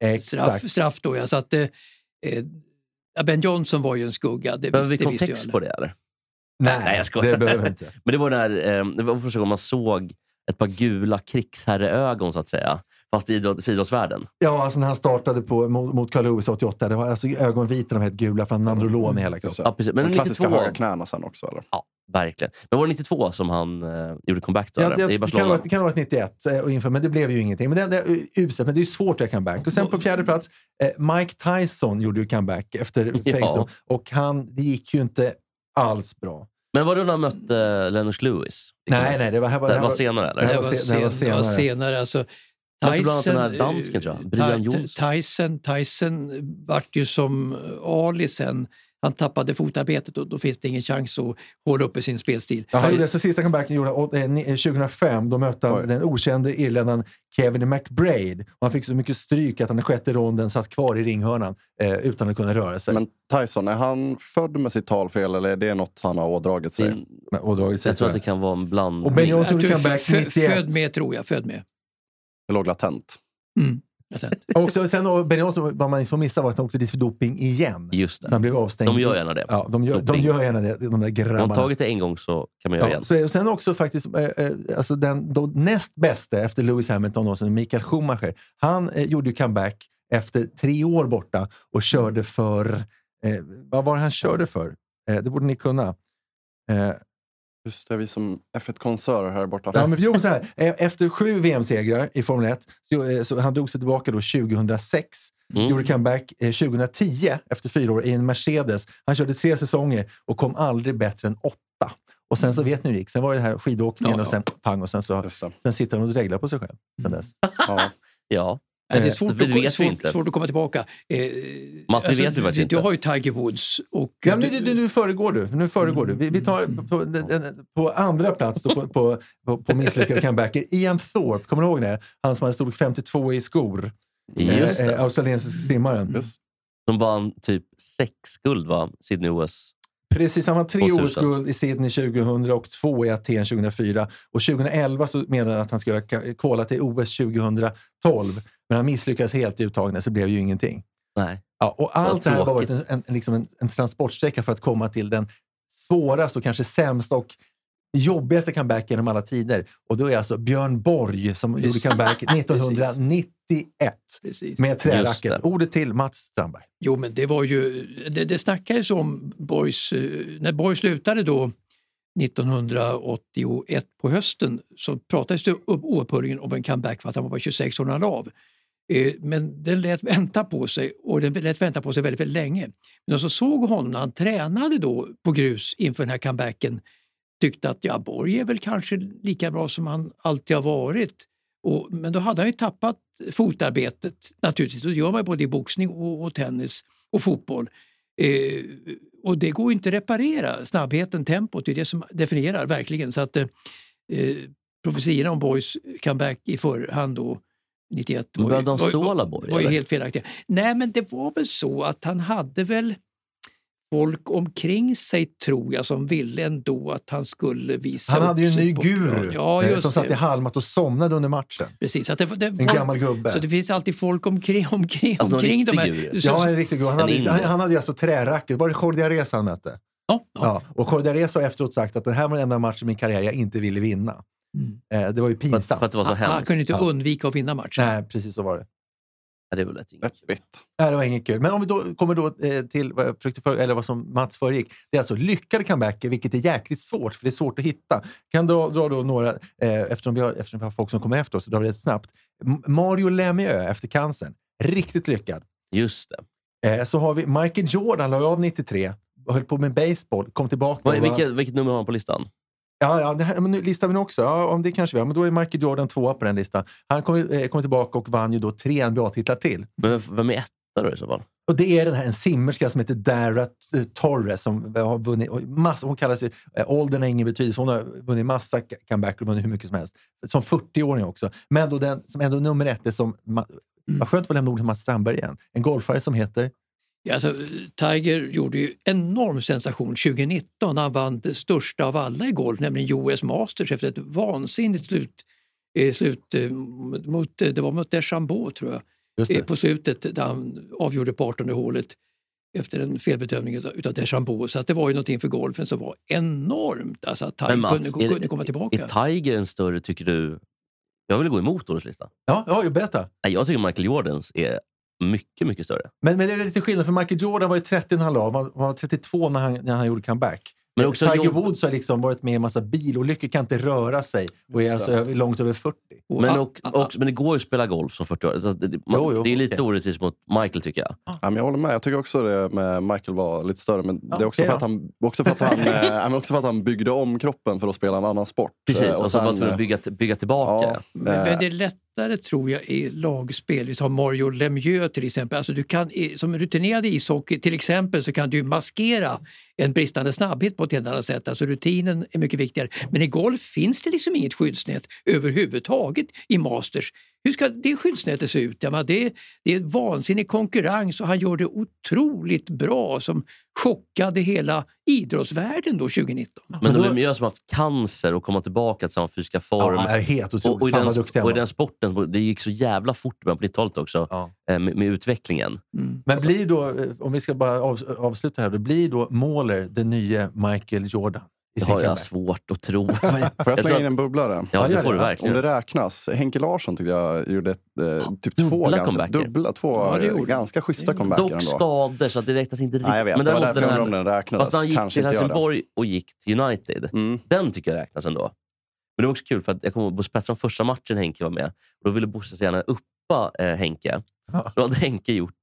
[SPEAKER 1] eh, straff,
[SPEAKER 2] Exakt.
[SPEAKER 1] straff då. Ja. Så att, eh, eh, ja, ben Johnson var ju en skugga. Det
[SPEAKER 3] Behöver vi
[SPEAKER 1] visste, det visste ju
[SPEAKER 3] kontext
[SPEAKER 1] alla.
[SPEAKER 3] på det eller? [laughs] Nej,
[SPEAKER 2] Nej,
[SPEAKER 3] jag skojar.
[SPEAKER 2] det behöver vi inte.
[SPEAKER 3] Men det var, när, eh, det var första gången man såg ett par gula krigsherreögon, så att säga. Fast i idrott, för idrottsvärlden.
[SPEAKER 2] Ja, alltså när han startade på, mot, mot Carl Lewis 88, det var alltså ögonvita, de hette gula, för han
[SPEAKER 3] Mm.
[SPEAKER 2] hade nandrolon i hela
[SPEAKER 4] Just
[SPEAKER 2] kroppen.
[SPEAKER 3] Ja,
[SPEAKER 4] det.
[SPEAKER 3] precis. Men
[SPEAKER 4] De klassiska
[SPEAKER 3] 92.
[SPEAKER 4] höga knäna sen också, eller?
[SPEAKER 3] Verkligen. Men var det 92 som han eh, gjorde comeback då?
[SPEAKER 2] Ja,
[SPEAKER 3] eller?
[SPEAKER 2] det,
[SPEAKER 3] I
[SPEAKER 2] det kan ha
[SPEAKER 3] Barcelona?
[SPEAKER 2] varit- det kan ha varit 91, eh, och inför, men det blev ju ingenting. Men det, det är uselt, men det är ju svårt att göra comeback. Och sen på fjärde plats, eh, Mike Tyson gjorde ju comeback efter
[SPEAKER 3] Ja.
[SPEAKER 2] fängelse. Och han, det gick ju inte alls bra.
[SPEAKER 3] Men var det när han mötte eh, Lennox Lewis? Det kan-
[SPEAKER 2] Nej, nej, det var, här var,
[SPEAKER 3] Det
[SPEAKER 2] här
[SPEAKER 3] var
[SPEAKER 2] var-
[SPEAKER 3] senare eller?
[SPEAKER 2] Det här
[SPEAKER 1] Det
[SPEAKER 2] var
[SPEAKER 1] var,
[SPEAKER 2] se- det här var
[SPEAKER 1] sen, det var
[SPEAKER 2] senare.
[SPEAKER 1] senare. Alltså,
[SPEAKER 3] var inte bland annat den här
[SPEAKER 1] eh,
[SPEAKER 3] dansken, tror jag. Brian
[SPEAKER 1] Ty-
[SPEAKER 3] Johnson.
[SPEAKER 1] Tyson, Tyson vart ju som eh, Ali sen. Han tappade fotarbetet och då finns det ingen chans att hålla uppe sin spelstil.
[SPEAKER 2] Ja, han gjorde alltså sista comebacken gjorde han åt- eh, ni- eh, 2005. Då mötte han
[SPEAKER 4] Oj.
[SPEAKER 2] den okände irländaren Kevin McBride. Och han fick så mycket stryk att han i sjätte ronden satt kvar i ringhörnan eh, utan att kunna röra sig.
[SPEAKER 4] Men Tyson, är han född med sitt talfel eller är det något han har ådragit sig?
[SPEAKER 3] Det-
[SPEAKER 2] Men- och dragit sig
[SPEAKER 3] Jag tror att
[SPEAKER 2] för
[SPEAKER 3] det kan vara en bland...
[SPEAKER 2] Och Ben Johnson
[SPEAKER 1] Jag
[SPEAKER 2] gjorde
[SPEAKER 1] tror
[SPEAKER 2] comeback
[SPEAKER 1] fö- fö-
[SPEAKER 2] 91.
[SPEAKER 1] Född med, tror jag. Född med.
[SPEAKER 4] Det låg latent.
[SPEAKER 1] Mm. jag ser.
[SPEAKER 2] det. Och så, sen och Ben Johnson, vad man inte får missa var att han åkte dit för doping igen.
[SPEAKER 3] Just
[SPEAKER 2] Så han
[SPEAKER 3] det.
[SPEAKER 2] blev avstängd.
[SPEAKER 3] De gör gärna det.
[SPEAKER 2] Ja, de gör, de
[SPEAKER 3] Doping.
[SPEAKER 2] gör gärna det, de där
[SPEAKER 3] Om
[SPEAKER 2] grabbarna.
[SPEAKER 3] man tagit det en gång så kan man göra
[SPEAKER 2] Ja,
[SPEAKER 3] igen.
[SPEAKER 2] så, och sen också faktiskt, eh, eh, alltså den då näst bäste efter Lewis Hamilton, och sen Michael Schumacher. Han eh, gjorde ju comeback efter tre år borta och körde för... Eh, vad var det han körde för? Eh, det borde ni kunna. Eh,
[SPEAKER 4] Just det, vi som F1-konsörer här borta.
[SPEAKER 2] ja, men, jo, så här, eh, efter sju VM-segrar i Formel 1, så, eh, så han drog sig tillbaka då 2006.
[SPEAKER 3] Mm.
[SPEAKER 2] Gjorde comeback eh, 2010 efter fyra år i en Mercedes. Han körde tre säsonger och kom aldrig bättre än åtta. Och sen så vet ni hur det gick. Sen var det här skidåkningen
[SPEAKER 1] Ja,
[SPEAKER 2] och sen pang och sen så
[SPEAKER 4] Just det.
[SPEAKER 2] Sen sitter han och dreglar på sig själv sen dess.
[SPEAKER 4] Ja.
[SPEAKER 3] Ja.
[SPEAKER 1] Nej, det är
[SPEAKER 2] Eh,
[SPEAKER 1] svårt,
[SPEAKER 3] det
[SPEAKER 1] att,
[SPEAKER 3] vet vi
[SPEAKER 1] ko- svårt,
[SPEAKER 3] inte.
[SPEAKER 1] svårt att komma tillbaka. Eh,
[SPEAKER 3] Matti vet vi faktiskt
[SPEAKER 1] du,
[SPEAKER 3] inte.
[SPEAKER 1] Du har ju Tiger Woods. Och
[SPEAKER 2] Ja, men nu, nu, nu föregår du. Nu föregår du. Vi, vi tar på, på, på andra plats då, på, på, på, på misslyckade comebacker. Ian Thorpe, kommer du ihåg det? Han som hade storlek 52 i skor.
[SPEAKER 3] Just
[SPEAKER 2] Eh,
[SPEAKER 3] det. Mm.
[SPEAKER 2] eh, australiensisk simmaren.
[SPEAKER 4] Just.
[SPEAKER 3] De vann typ sex guld, va? Sydney OS.
[SPEAKER 2] Precis, han var tre
[SPEAKER 3] 2000.
[SPEAKER 2] års guld i Sydney 2000 och två i Aten 2004. Och 2011 så menade han att han skulle kolla till OS 2012. Men han misslyckades helt i uttagningen så det blev ju ingenting.
[SPEAKER 3] Nej.
[SPEAKER 2] Ja, och allt det här har varit
[SPEAKER 3] tråkigt.
[SPEAKER 2] en, en, liksom en, en transportsträcka för att komma till den svåraste och kanske sämsta och jobbigaste comeback genom alla tider. Och då är alltså Björn Borg
[SPEAKER 1] [laughs]
[SPEAKER 2] som
[SPEAKER 1] Precis.
[SPEAKER 2] gjorde comeback 1991
[SPEAKER 1] Precis.
[SPEAKER 2] med
[SPEAKER 3] Just
[SPEAKER 2] träracket.
[SPEAKER 3] det.
[SPEAKER 2] Ordet till Mats Strandberg.
[SPEAKER 1] Jo, men det var ju, det, det snackades om Borgs, eh, när Borg slutade då 1981 på hösten så pratades det upp- oupphörligen om en comeback för att han var bara 26 år när han la av. Eh, Men den lät vänta på sig och den lät vänta på sig väldigt, väldigt länge. Men de som såg honom när han tränade då på grus inför den här comebacken tyckte att ja, Borg är väl kanske lika bra som han alltid har varit. Och, men då hade han ju tappat fotarbetet naturligtvis. Det gör man ju både i boxning och, och tennis och fotboll. Eh, och det går ju inte att reparera. Snabbheten, tempot, det är det som definierar verkligen. Så att eh, eh, profetiorna om Borgs comeback i förhand då 91
[SPEAKER 3] Men
[SPEAKER 1] var ju-
[SPEAKER 3] började han
[SPEAKER 1] var ju-
[SPEAKER 3] ståla Borg,
[SPEAKER 1] var ju
[SPEAKER 3] eller?
[SPEAKER 1] helt felaktiga. Nej, men det var väl så att han hade väl folk omkring sig tror jag som ville ändå att han skulle visa
[SPEAKER 2] Han
[SPEAKER 1] upp
[SPEAKER 2] hade ju en
[SPEAKER 1] sig
[SPEAKER 2] ny
[SPEAKER 1] på
[SPEAKER 2] guru
[SPEAKER 1] plan. Ja,
[SPEAKER 2] eh,
[SPEAKER 1] just
[SPEAKER 2] som satt
[SPEAKER 1] det.
[SPEAKER 2] i halmmat och somnade under matchen.
[SPEAKER 1] Precis, att det, det,
[SPEAKER 2] En
[SPEAKER 1] folk,
[SPEAKER 2] gammal gubbe.
[SPEAKER 1] Så det finns alltid folk omkring, [laughs] omkring,
[SPEAKER 3] Alltså, en
[SPEAKER 1] omkring de
[SPEAKER 3] riktig
[SPEAKER 1] här.
[SPEAKER 3] guru.
[SPEAKER 1] som-
[SPEAKER 2] Ja, en riktig gubbe. Han,
[SPEAKER 3] En
[SPEAKER 2] hade-
[SPEAKER 3] indier.
[SPEAKER 2] han, han hade ju alltså träracket. Var det Cordia Reza han mötte?
[SPEAKER 1] Ja, ja.
[SPEAKER 2] Ja. Och Cordareso har efteråt sagt att det här var den enda matchen i min karriär jag inte ville vinna.
[SPEAKER 1] Mm.
[SPEAKER 2] Eh, det var ju
[SPEAKER 3] För, att-
[SPEAKER 2] pinsamt. ah,
[SPEAKER 3] för att det var så
[SPEAKER 1] Han, han
[SPEAKER 3] hemskt.
[SPEAKER 1] kunde inte
[SPEAKER 2] Ja.
[SPEAKER 1] undvika att vinna matchen.
[SPEAKER 2] Nej, precis så var det.
[SPEAKER 3] Ja, det är väl ett inget.
[SPEAKER 4] Deppigt.
[SPEAKER 2] Nej, det var inget kul. Men om vi då kommer då eh, till vad, jag försökte för, eller vad som Mats föregick. Det är alltså lyckade comebacker, vilket är jäkligt svårt, för det är svårt att hitta. Kan dra, dra då några, eh, eftersom, vi har, eftersom vi har folk som kommer efter oss, så drar vi det snabbt. M- Mario Lemieux efter cancern. Riktigt lyckad.
[SPEAKER 3] Just det.
[SPEAKER 2] Eh, så har vi Michael Jordan, la av 93, höll på med baseball, kom tillbaka.
[SPEAKER 3] Vad,
[SPEAKER 2] och var-
[SPEAKER 3] vilket, vilket nummer har han på listan?
[SPEAKER 2] Ja, ja det här, men nu listar vi den också. Ja, om det kanske vi har. Men då är Michael Jordan tvåa på den listan. Han kom, ju- eh, kom tillbaka och vann ju då tre NBA-titlar till.
[SPEAKER 3] Men vem- vem är etta då i så fall?
[SPEAKER 2] Och det är den här en simmerska som heter Dara eh, Torres som har vunnit och massa, hon kallas ju, eh, åldern har ingen betydelse, hon har vunnit massa c- comebacker och vunnit hur mycket som helst. Som 40-åring också. Men då den som ändå nummer ett är som, Ma-
[SPEAKER 3] Mm.
[SPEAKER 2] vad skönt att få lämna ordet till Mats Strandberg igen. En golfare som heter,
[SPEAKER 1] Ja, Alltså, Tiger gjorde ju enorm sensation 2019 när han vann det största av alla i golf, nämligen US Masters efter ett vansinnigt slut, eh, slut eh, mot, eh, det var mot Deschambault tror jag,
[SPEAKER 2] just
[SPEAKER 1] eh,
[SPEAKER 2] det,
[SPEAKER 1] på slutet där han avgjorde på 18 hålet efter en felbedömning utav utav Deschambault. Så att det var ju någonting för golfen som var enormt, alltså att Tiger
[SPEAKER 3] Men Mats,
[SPEAKER 1] kunde,
[SPEAKER 3] är det-
[SPEAKER 1] kunde komma tillbaka.
[SPEAKER 3] Är Tiger en större, tycker du? Jag vill gå emot årets lista.
[SPEAKER 2] ja, ja, berätta.
[SPEAKER 3] Nej, jag tycker Michael Jordans är mycket, mycket större.
[SPEAKER 2] Men, men det är lite skillnad, för Michael Jordan var ju 30 när han la av. han var 32 när han, när han gjorde comeback.
[SPEAKER 3] Men också
[SPEAKER 2] Tiger
[SPEAKER 3] Jordan-
[SPEAKER 2] Woods har liksom varit med i en massa bilolyckor, kan inte röra sig och är
[SPEAKER 4] Just
[SPEAKER 2] alltså
[SPEAKER 4] det.
[SPEAKER 2] över, långt över 40.
[SPEAKER 4] Oh,
[SPEAKER 1] Och-
[SPEAKER 3] Men,
[SPEAKER 1] ah,
[SPEAKER 3] och,
[SPEAKER 1] ah, ah.
[SPEAKER 3] och, men det går ju att spela golf som 40 år. Så att det, man,
[SPEAKER 2] Jo, jo,
[SPEAKER 3] det är lite
[SPEAKER 2] okej.
[SPEAKER 3] orättvist mot Michael, tycker jag.
[SPEAKER 4] Ja, men jag håller med. Jag tycker också det med Michael var lite större. Men
[SPEAKER 2] Ja,
[SPEAKER 4] det är också
[SPEAKER 2] okej
[SPEAKER 4] för, att han, också, för
[SPEAKER 3] [laughs]
[SPEAKER 4] att han, eh, ja, men också för att han byggde om kroppen för att spela en annan sport.
[SPEAKER 3] Precis,
[SPEAKER 4] Eh,
[SPEAKER 3] och, så
[SPEAKER 4] sen,
[SPEAKER 3] bara för
[SPEAKER 4] eh,
[SPEAKER 3] att bygga, bygga tillbaka.
[SPEAKER 4] ja,
[SPEAKER 1] Men,
[SPEAKER 4] eh,
[SPEAKER 1] men det är lättare tror jag i lagspel, som Mario Lemieux till exempel. Alltså du kan, i- som rutinerad i ishockey till exempel så kan du maskera en bristande snabbhet på ett helt annat sätt. Alltså rutinen är mycket viktigare. Men i golf finns det liksom inget skyddsnät överhuvudtaget i Masters. Hur ska det skyddsnätet se ut? Jag menar, det, det är en vansinnig konkurrens och han gör det otroligt bra som chockade hela idrottsvärlden då 2019.
[SPEAKER 3] Men,
[SPEAKER 2] Men
[SPEAKER 3] de
[SPEAKER 2] då-
[SPEAKER 3] Lemieux som haft cancer och komma tillbaka till samma fysiska form.
[SPEAKER 2] Ja, är helt
[SPEAKER 3] och, och, i
[SPEAKER 2] otroligt. Fan
[SPEAKER 3] den,
[SPEAKER 2] vad duktig han
[SPEAKER 3] och i
[SPEAKER 2] var.
[SPEAKER 3] den sporten, det gick så jävla fort med på 90-talet också,
[SPEAKER 2] Ja.
[SPEAKER 3] eh, med, med utvecklingen.
[SPEAKER 1] Mm.
[SPEAKER 2] Men blir då, eh, om vi ska bara av, avsluta här, då blir då Måler den nya Michael Jordan? I
[SPEAKER 3] Det
[SPEAKER 2] sin
[SPEAKER 3] har jag
[SPEAKER 2] comeback?
[SPEAKER 3] svårt att tro.
[SPEAKER 4] [laughs] eh, får jag slänga
[SPEAKER 3] tror
[SPEAKER 4] in
[SPEAKER 3] att-
[SPEAKER 4] en bubblare?
[SPEAKER 3] Ja,
[SPEAKER 2] gör
[SPEAKER 3] det får
[SPEAKER 2] det.
[SPEAKER 3] du
[SPEAKER 4] Om
[SPEAKER 3] verkligen.
[SPEAKER 4] det räknas. Henke Larsson tyckte jag gjorde ett, eh, typ två,
[SPEAKER 3] Dubbla
[SPEAKER 4] ganska,
[SPEAKER 3] comebacker.
[SPEAKER 4] dubbla, två
[SPEAKER 1] Ja, det gjorde han.
[SPEAKER 4] ganska schyssta comebacker
[SPEAKER 3] Dock
[SPEAKER 4] ändå.
[SPEAKER 3] skador, så att det räknas inte riktigt.
[SPEAKER 4] Nej, jag vet.
[SPEAKER 3] men
[SPEAKER 4] det var
[SPEAKER 3] däremot
[SPEAKER 4] därför
[SPEAKER 3] den
[SPEAKER 4] jag undrade om
[SPEAKER 3] här,
[SPEAKER 4] den räknades.
[SPEAKER 3] fast när han gick
[SPEAKER 4] Kanske
[SPEAKER 3] till
[SPEAKER 4] inte gör det.
[SPEAKER 3] Helsingborg Alltså- och gick till United,
[SPEAKER 4] Mm.
[SPEAKER 3] den tycker jag räknas ändå. Men det var också kul, för att jag kommer ihåg Bosse Pettersson, första matchen Henke var med, då ville Bosse så gärna uppa eh, Henke.
[SPEAKER 2] Ja.
[SPEAKER 3] Då hade Henke gjort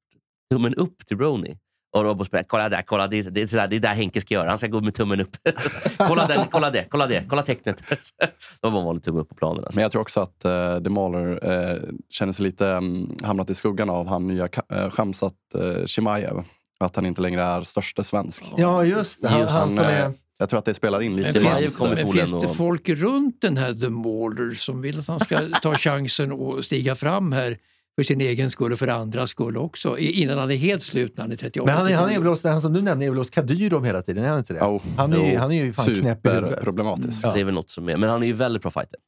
[SPEAKER 3] tummen upp till Brony. Och då var Bosse Pettersson, kolla där, kolla, det, är- det, är sådär, det är där Henke ska göra. Han ska gå med tummen upp. [laughs] kolla, den, kolla det, kolla det, kolla tecknet. [laughs] då var en vanlig tumme upp på planen. Alltså.
[SPEAKER 4] Men jag tror också att eh, The Mahler eh, känner sig lite mm, hamnat i skuggan av han nya ka- eh, Shamsat eh, Chimaev. Att han inte längre är största svensk.
[SPEAKER 2] Ja, just det. Han,
[SPEAKER 3] Just
[SPEAKER 2] han som
[SPEAKER 4] eh,
[SPEAKER 2] är...
[SPEAKER 4] Jag tror att det spelar in lite.
[SPEAKER 1] Men
[SPEAKER 3] Det typ var ju
[SPEAKER 1] finns,
[SPEAKER 3] kommit
[SPEAKER 1] men
[SPEAKER 3] Polen
[SPEAKER 1] finns det
[SPEAKER 3] och-
[SPEAKER 1] folk runt den här The Mauler som vill att han
[SPEAKER 3] [laughs]
[SPEAKER 1] ska ta chansen och stiga fram här för sin egen skull och för andras skull också i- innan han är helt slut när han är 38?
[SPEAKER 2] Men han, är- han, är väl hos, han som du nämnde är väl hos Kadyrov hela tiden, är han inte det?
[SPEAKER 4] Ja,
[SPEAKER 2] Han är ju-
[SPEAKER 4] jo,
[SPEAKER 2] han är ju fan knäpp i huvudet.
[SPEAKER 4] Superproblematiskt.
[SPEAKER 2] Ja.
[SPEAKER 3] Det är väl något som är, men han är ju väldigt bra fighter.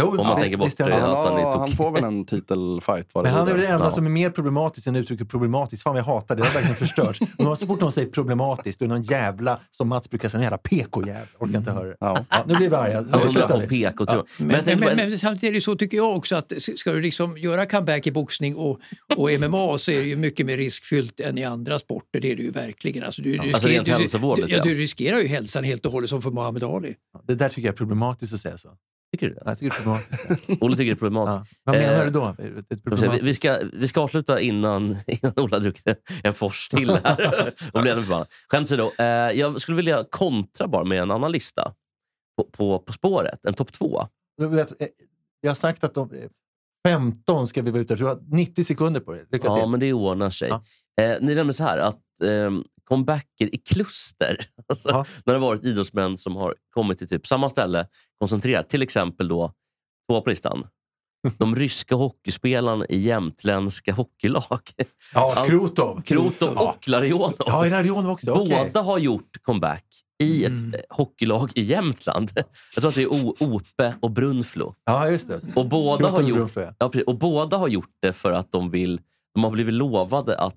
[SPEAKER 2] Jo,
[SPEAKER 3] Om man
[SPEAKER 2] ja,
[SPEAKER 3] tänker bort
[SPEAKER 2] visst är
[SPEAKER 3] det,
[SPEAKER 2] han-
[SPEAKER 3] ja. att han
[SPEAKER 4] Han,
[SPEAKER 3] är
[SPEAKER 4] har,
[SPEAKER 3] tokig.
[SPEAKER 4] han får väl en titelfight vad det
[SPEAKER 2] Men han är väl
[SPEAKER 4] lider.
[SPEAKER 2] den enda
[SPEAKER 3] Ja.
[SPEAKER 2] som är mer problematisk än uttrycket problematiskt. Fan vad jag hatar det. Det har verkligen
[SPEAKER 3] [laughs]
[SPEAKER 2] förstörts. Och så fort någon säger problematiskt, då är det någon jävla, som Mats brukar säga, en jävla PK-jävla. Orkar
[SPEAKER 3] Mm.
[SPEAKER 2] inte höra det.
[SPEAKER 4] Ja.
[SPEAKER 2] Ja, nu blir vi arga. Nu
[SPEAKER 3] Han håller på
[SPEAKER 2] slutar
[SPEAKER 3] och
[SPEAKER 2] vi.
[SPEAKER 3] pekar och tror. Men,
[SPEAKER 1] Men,
[SPEAKER 3] jag
[SPEAKER 1] men,
[SPEAKER 3] tänkte
[SPEAKER 1] men,
[SPEAKER 3] bara-
[SPEAKER 1] samtidigt är det så tycker jag också att s- ska du liksom göra comeback i boxning och,
[SPEAKER 3] [laughs]
[SPEAKER 1] och MMA så är det ju mycket mer riskfyllt än i andra sporter. Det är det ju verkligen. Alltså, du, du,
[SPEAKER 3] Alltså, rent hälsovårdligt,
[SPEAKER 1] du, ja,
[SPEAKER 3] ja.
[SPEAKER 1] du riskerar ju hälsan helt och hållet som för Muhammad Ali.
[SPEAKER 2] Det där tycker jag är problematiskt att säga så.
[SPEAKER 3] tycker du det?
[SPEAKER 2] Jag tycker det är problematiskt.
[SPEAKER 3] Olle tycker det är problematiskt.
[SPEAKER 2] Ja. Vad menar
[SPEAKER 3] Eh,
[SPEAKER 2] du då? Ett
[SPEAKER 3] Ska vi se, Vi,
[SPEAKER 2] problematiskt?
[SPEAKER 3] vi, ska, vi ska avsluta innan, [laughs] innan Ola har druckit en fors till
[SPEAKER 2] [laughs]
[SPEAKER 3] här och blir ännu förbannad. Skämt åsido, eh, jag skulle vilja kontra bara med en annan lista på, på, på spåret. En topp två.
[SPEAKER 2] Du vet, eh, Jag har sagt att de, eh, 15 ska vi vara ute efter. Du har 90 sekunder på dig. Lycka
[SPEAKER 3] Ja,
[SPEAKER 2] till.
[SPEAKER 3] men det ordnar sig.
[SPEAKER 2] Ja.
[SPEAKER 3] Eh, ni nämnde så här att eh, comebacker i kluster. [laughs] Alltså,
[SPEAKER 2] Ja.
[SPEAKER 3] När det har varit idrottsmän som har kommit till typ samma ställe koncentrerat. Till exempel då, två
[SPEAKER 2] [laughs]
[SPEAKER 3] på listan. De ryska hockeyspelarna i jämtländska hockeylag. [laughs]
[SPEAKER 2] Ja,
[SPEAKER 3] Allt-
[SPEAKER 2] Krutov.
[SPEAKER 3] Krotov
[SPEAKER 2] Ja.
[SPEAKER 3] och Larionov.
[SPEAKER 2] Ja, Ilarion också. okej. Mm.
[SPEAKER 3] Båda har gjort comeback i ett eh, hockeylag i Jämtland. [laughs] Jag tror att det är O- Ope och Brunflo.
[SPEAKER 2] Ja, just det.
[SPEAKER 3] Och båda,
[SPEAKER 2] Krutov
[SPEAKER 3] har
[SPEAKER 2] och
[SPEAKER 3] gjort,
[SPEAKER 2] Brunflo, ja.
[SPEAKER 3] ja, precis, och båda har gjort det för att de vill de har blivit lovade att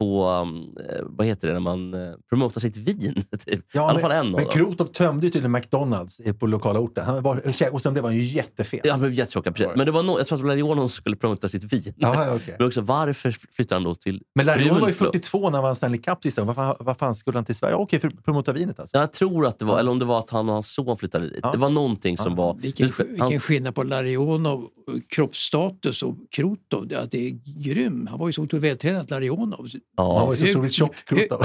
[SPEAKER 3] på, um, eh, vad heter det, när man eh, promotar sitt vin. [laughs] Typ.
[SPEAKER 2] Ja,
[SPEAKER 3] I alla
[SPEAKER 2] men-
[SPEAKER 3] fall en av
[SPEAKER 2] Men
[SPEAKER 3] dem.
[SPEAKER 2] Krotov tömde ju tydligen McDonalds eh, på lokala orten. Han var, och sen blev han ju jättefet.
[SPEAKER 3] Ja, han blev jättetjockad. precis. Men det var no, jag tror att det var Larionon som skulle promota sitt vin.
[SPEAKER 2] Ja, okej.
[SPEAKER 3] Men också varför flyttade han då till
[SPEAKER 2] Men Larion var ju
[SPEAKER 3] Brunflo?
[SPEAKER 2] 42 när han vann Stanley Cup sist. Vad fan, vad fan skulle han till Sverige? Okej, för att promota vinet alltså.
[SPEAKER 3] Jag tror att det var, eller om det var att han och hans son flyttade dit.
[SPEAKER 2] Ja.
[SPEAKER 3] Det var någonting som var...
[SPEAKER 1] Vilken,
[SPEAKER 3] hans-
[SPEAKER 1] vilken skillnad på Larionov, kroppsstatus och Krotov. Det, att det är grym. Han var ju så otroligt vältränad, Larionov.
[SPEAKER 2] Han
[SPEAKER 3] ja.
[SPEAKER 2] var ju så
[SPEAKER 1] Hur-
[SPEAKER 2] otroligt tjock, Krotov.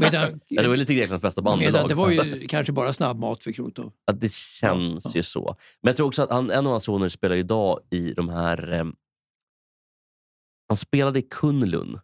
[SPEAKER 1] Medan,
[SPEAKER 3] [laughs] Ja, det var lite Greklands bästa band.
[SPEAKER 1] medan
[SPEAKER 2] Mm,
[SPEAKER 3] idag.
[SPEAKER 1] det var ju kanske bara snabbmat för Krotov.
[SPEAKER 3] Att det känns ju så. Men jag tror också att han, en av hans soner spelar ju idag i de här... ehm, han spelade i Kunlun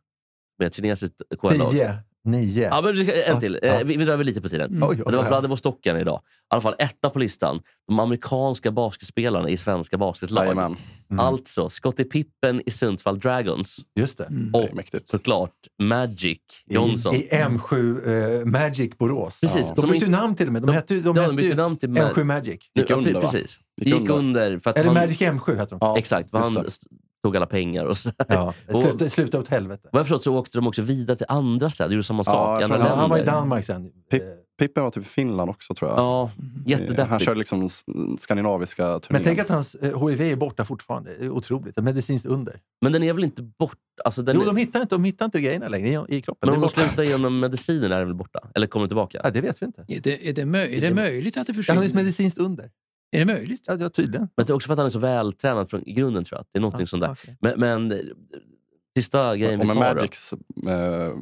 [SPEAKER 3] med ett kinesiskt KL-lag.
[SPEAKER 2] Nio. Nio.
[SPEAKER 3] Ja, men det- en
[SPEAKER 2] Ja,
[SPEAKER 3] till.
[SPEAKER 2] ja.
[SPEAKER 3] Eh, Vi, vi drar väl lite på tiden.
[SPEAKER 2] Oj, oj,
[SPEAKER 3] Men det var
[SPEAKER 2] oj.
[SPEAKER 3] Vladivostocken idag. I alla fall etta på listan. De amerikanska basketspelarna i svenska basketlag.
[SPEAKER 4] Jajamän.
[SPEAKER 2] Mm.
[SPEAKER 3] Alltså Scottie Pippen i Sundsvall Dragons.
[SPEAKER 2] Just det.
[SPEAKER 4] Det
[SPEAKER 3] Och
[SPEAKER 4] är mäktigt.
[SPEAKER 3] såklart Magic
[SPEAKER 2] Mm. I,
[SPEAKER 3] Johnson.
[SPEAKER 2] I M7 eh, Magic Borås.
[SPEAKER 3] Precis,
[SPEAKER 2] De
[SPEAKER 3] som
[SPEAKER 2] bytte ju
[SPEAKER 3] inte-
[SPEAKER 2] namn till och med. De,
[SPEAKER 3] de-
[SPEAKER 2] hette ju, de
[SPEAKER 3] ja,
[SPEAKER 2] hette
[SPEAKER 3] de bytte
[SPEAKER 2] ju
[SPEAKER 3] namn till
[SPEAKER 2] M7
[SPEAKER 3] Magic.
[SPEAKER 2] Magic.
[SPEAKER 4] Gick under, va?
[SPEAKER 3] Precis.
[SPEAKER 4] Gick
[SPEAKER 3] Gick
[SPEAKER 4] under.
[SPEAKER 3] under. För att
[SPEAKER 2] Eller
[SPEAKER 3] han,
[SPEAKER 2] Magic M7 heter de.
[SPEAKER 4] Ja,
[SPEAKER 3] Exakt, för han
[SPEAKER 4] exakt.
[SPEAKER 3] st- tog alla pengar och sådär. [laughs]
[SPEAKER 2] Ja.
[SPEAKER 3] Och-
[SPEAKER 2] Sluta, sluta åt helvete.
[SPEAKER 3] Vad jag förstått så åkte de också vidare till andra städer. Gjorde samma sak i
[SPEAKER 4] jag
[SPEAKER 3] andra
[SPEAKER 4] tror
[SPEAKER 2] Ja,
[SPEAKER 3] länder.
[SPEAKER 2] han var i Danmark sen.
[SPEAKER 4] Pip-
[SPEAKER 2] Eh,
[SPEAKER 4] Pippen var typ i Finland också tror jag.
[SPEAKER 3] Ja,
[SPEAKER 4] Eh, han
[SPEAKER 3] jättedeppigt.
[SPEAKER 4] körde liksom s- skandinaviska
[SPEAKER 2] Men
[SPEAKER 4] turnén.
[SPEAKER 2] tänk att hans eh, HIV är borta fortfarande. Det är otroligt. Ett medicinskt under.
[SPEAKER 3] Men den är väl inte bort... Alltså den
[SPEAKER 2] Jo,
[SPEAKER 3] är-
[SPEAKER 2] de hittar inte, de hittar inte grejerna längre i, i kroppen.
[SPEAKER 3] men om
[SPEAKER 2] Det
[SPEAKER 3] de
[SPEAKER 2] är borta.
[SPEAKER 3] slutar genom medicinen är den väl borta? Eller kommer den tillbaka?
[SPEAKER 2] ja, det vet vi inte.
[SPEAKER 1] Är det, är det, mö,
[SPEAKER 3] Mm.
[SPEAKER 1] är det möjligt att det
[SPEAKER 2] Ja, Han är ett
[SPEAKER 1] försvinner?
[SPEAKER 2] medicinskt under.
[SPEAKER 1] Är det möjligt?
[SPEAKER 2] Ja, ja tydligen.
[SPEAKER 3] Men det är också för att han är så vältränad från i grunden tror jag. Att det är någonting sånt där.
[SPEAKER 2] Ja, okej.
[SPEAKER 3] Men, men eh, sista grejen
[SPEAKER 4] och
[SPEAKER 3] vi
[SPEAKER 4] med
[SPEAKER 3] tar då.
[SPEAKER 4] Magics eh,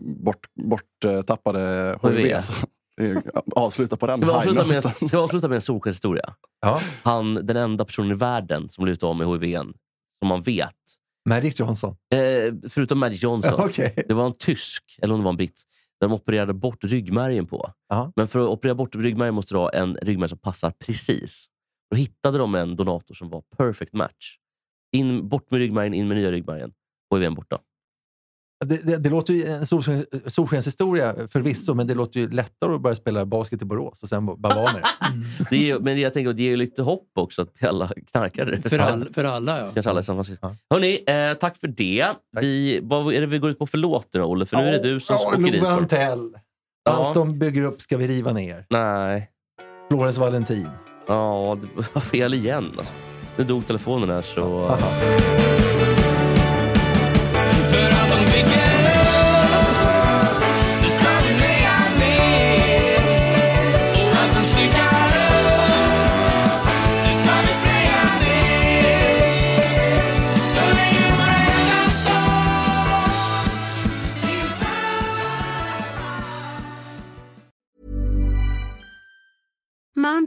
[SPEAKER 4] bort, borttappade HIV.
[SPEAKER 3] HIV.
[SPEAKER 4] Alltså. Det är ju- Avsluta på den
[SPEAKER 3] Ska vi avsluta med,
[SPEAKER 4] high-noten.
[SPEAKER 3] ska vi avsluta med en solskenshistoria?
[SPEAKER 2] Ja.
[SPEAKER 3] Han, den enda personen i världen som blivit av med hiv som man vet.
[SPEAKER 2] Magic Johnson.
[SPEAKER 3] Eh, förutom Magic Johnson.
[SPEAKER 2] [laughs] Okej.
[SPEAKER 3] Det var en tysk, eller om det var en britt, där de opererade bort ryggmärgen på.
[SPEAKER 2] Ja.
[SPEAKER 3] Men för att operera bort ryggmärgen måste du ha en ryggmärg som passar precis. Då hittade de en donator som var perfect match. In, bort med ryggmärgen, in med nya ryggmärgen. Och är borta.
[SPEAKER 2] Det, det, det låter ju en solsken- solskenshistoria förvisso, men det låter ju lättare att börja spela basket i Borås och sen bavaner.
[SPEAKER 3] Det är, ju- men jag tänker att det ger ju lite hopp också till alla knarkare.
[SPEAKER 1] För, all, för alla, ja.
[SPEAKER 3] Kanske alla i San Francisco.
[SPEAKER 2] Ja.
[SPEAKER 3] Hörrni, eh, tack för det. Vi, vad är det vi går ut på för låt nu då, Olle? För nu är det du som
[SPEAKER 2] Ja,
[SPEAKER 3] åker dit.
[SPEAKER 2] Love
[SPEAKER 3] för-
[SPEAKER 2] Antell.
[SPEAKER 3] Ja.
[SPEAKER 2] Allt de bygger upp ska vi riva ner.
[SPEAKER 3] Nej.
[SPEAKER 2] Florens Valentin.
[SPEAKER 3] Ja, det var fel igen. Alltså. Nu dog telefonen här så...
[SPEAKER 2] Haha.
[SPEAKER 7] Mom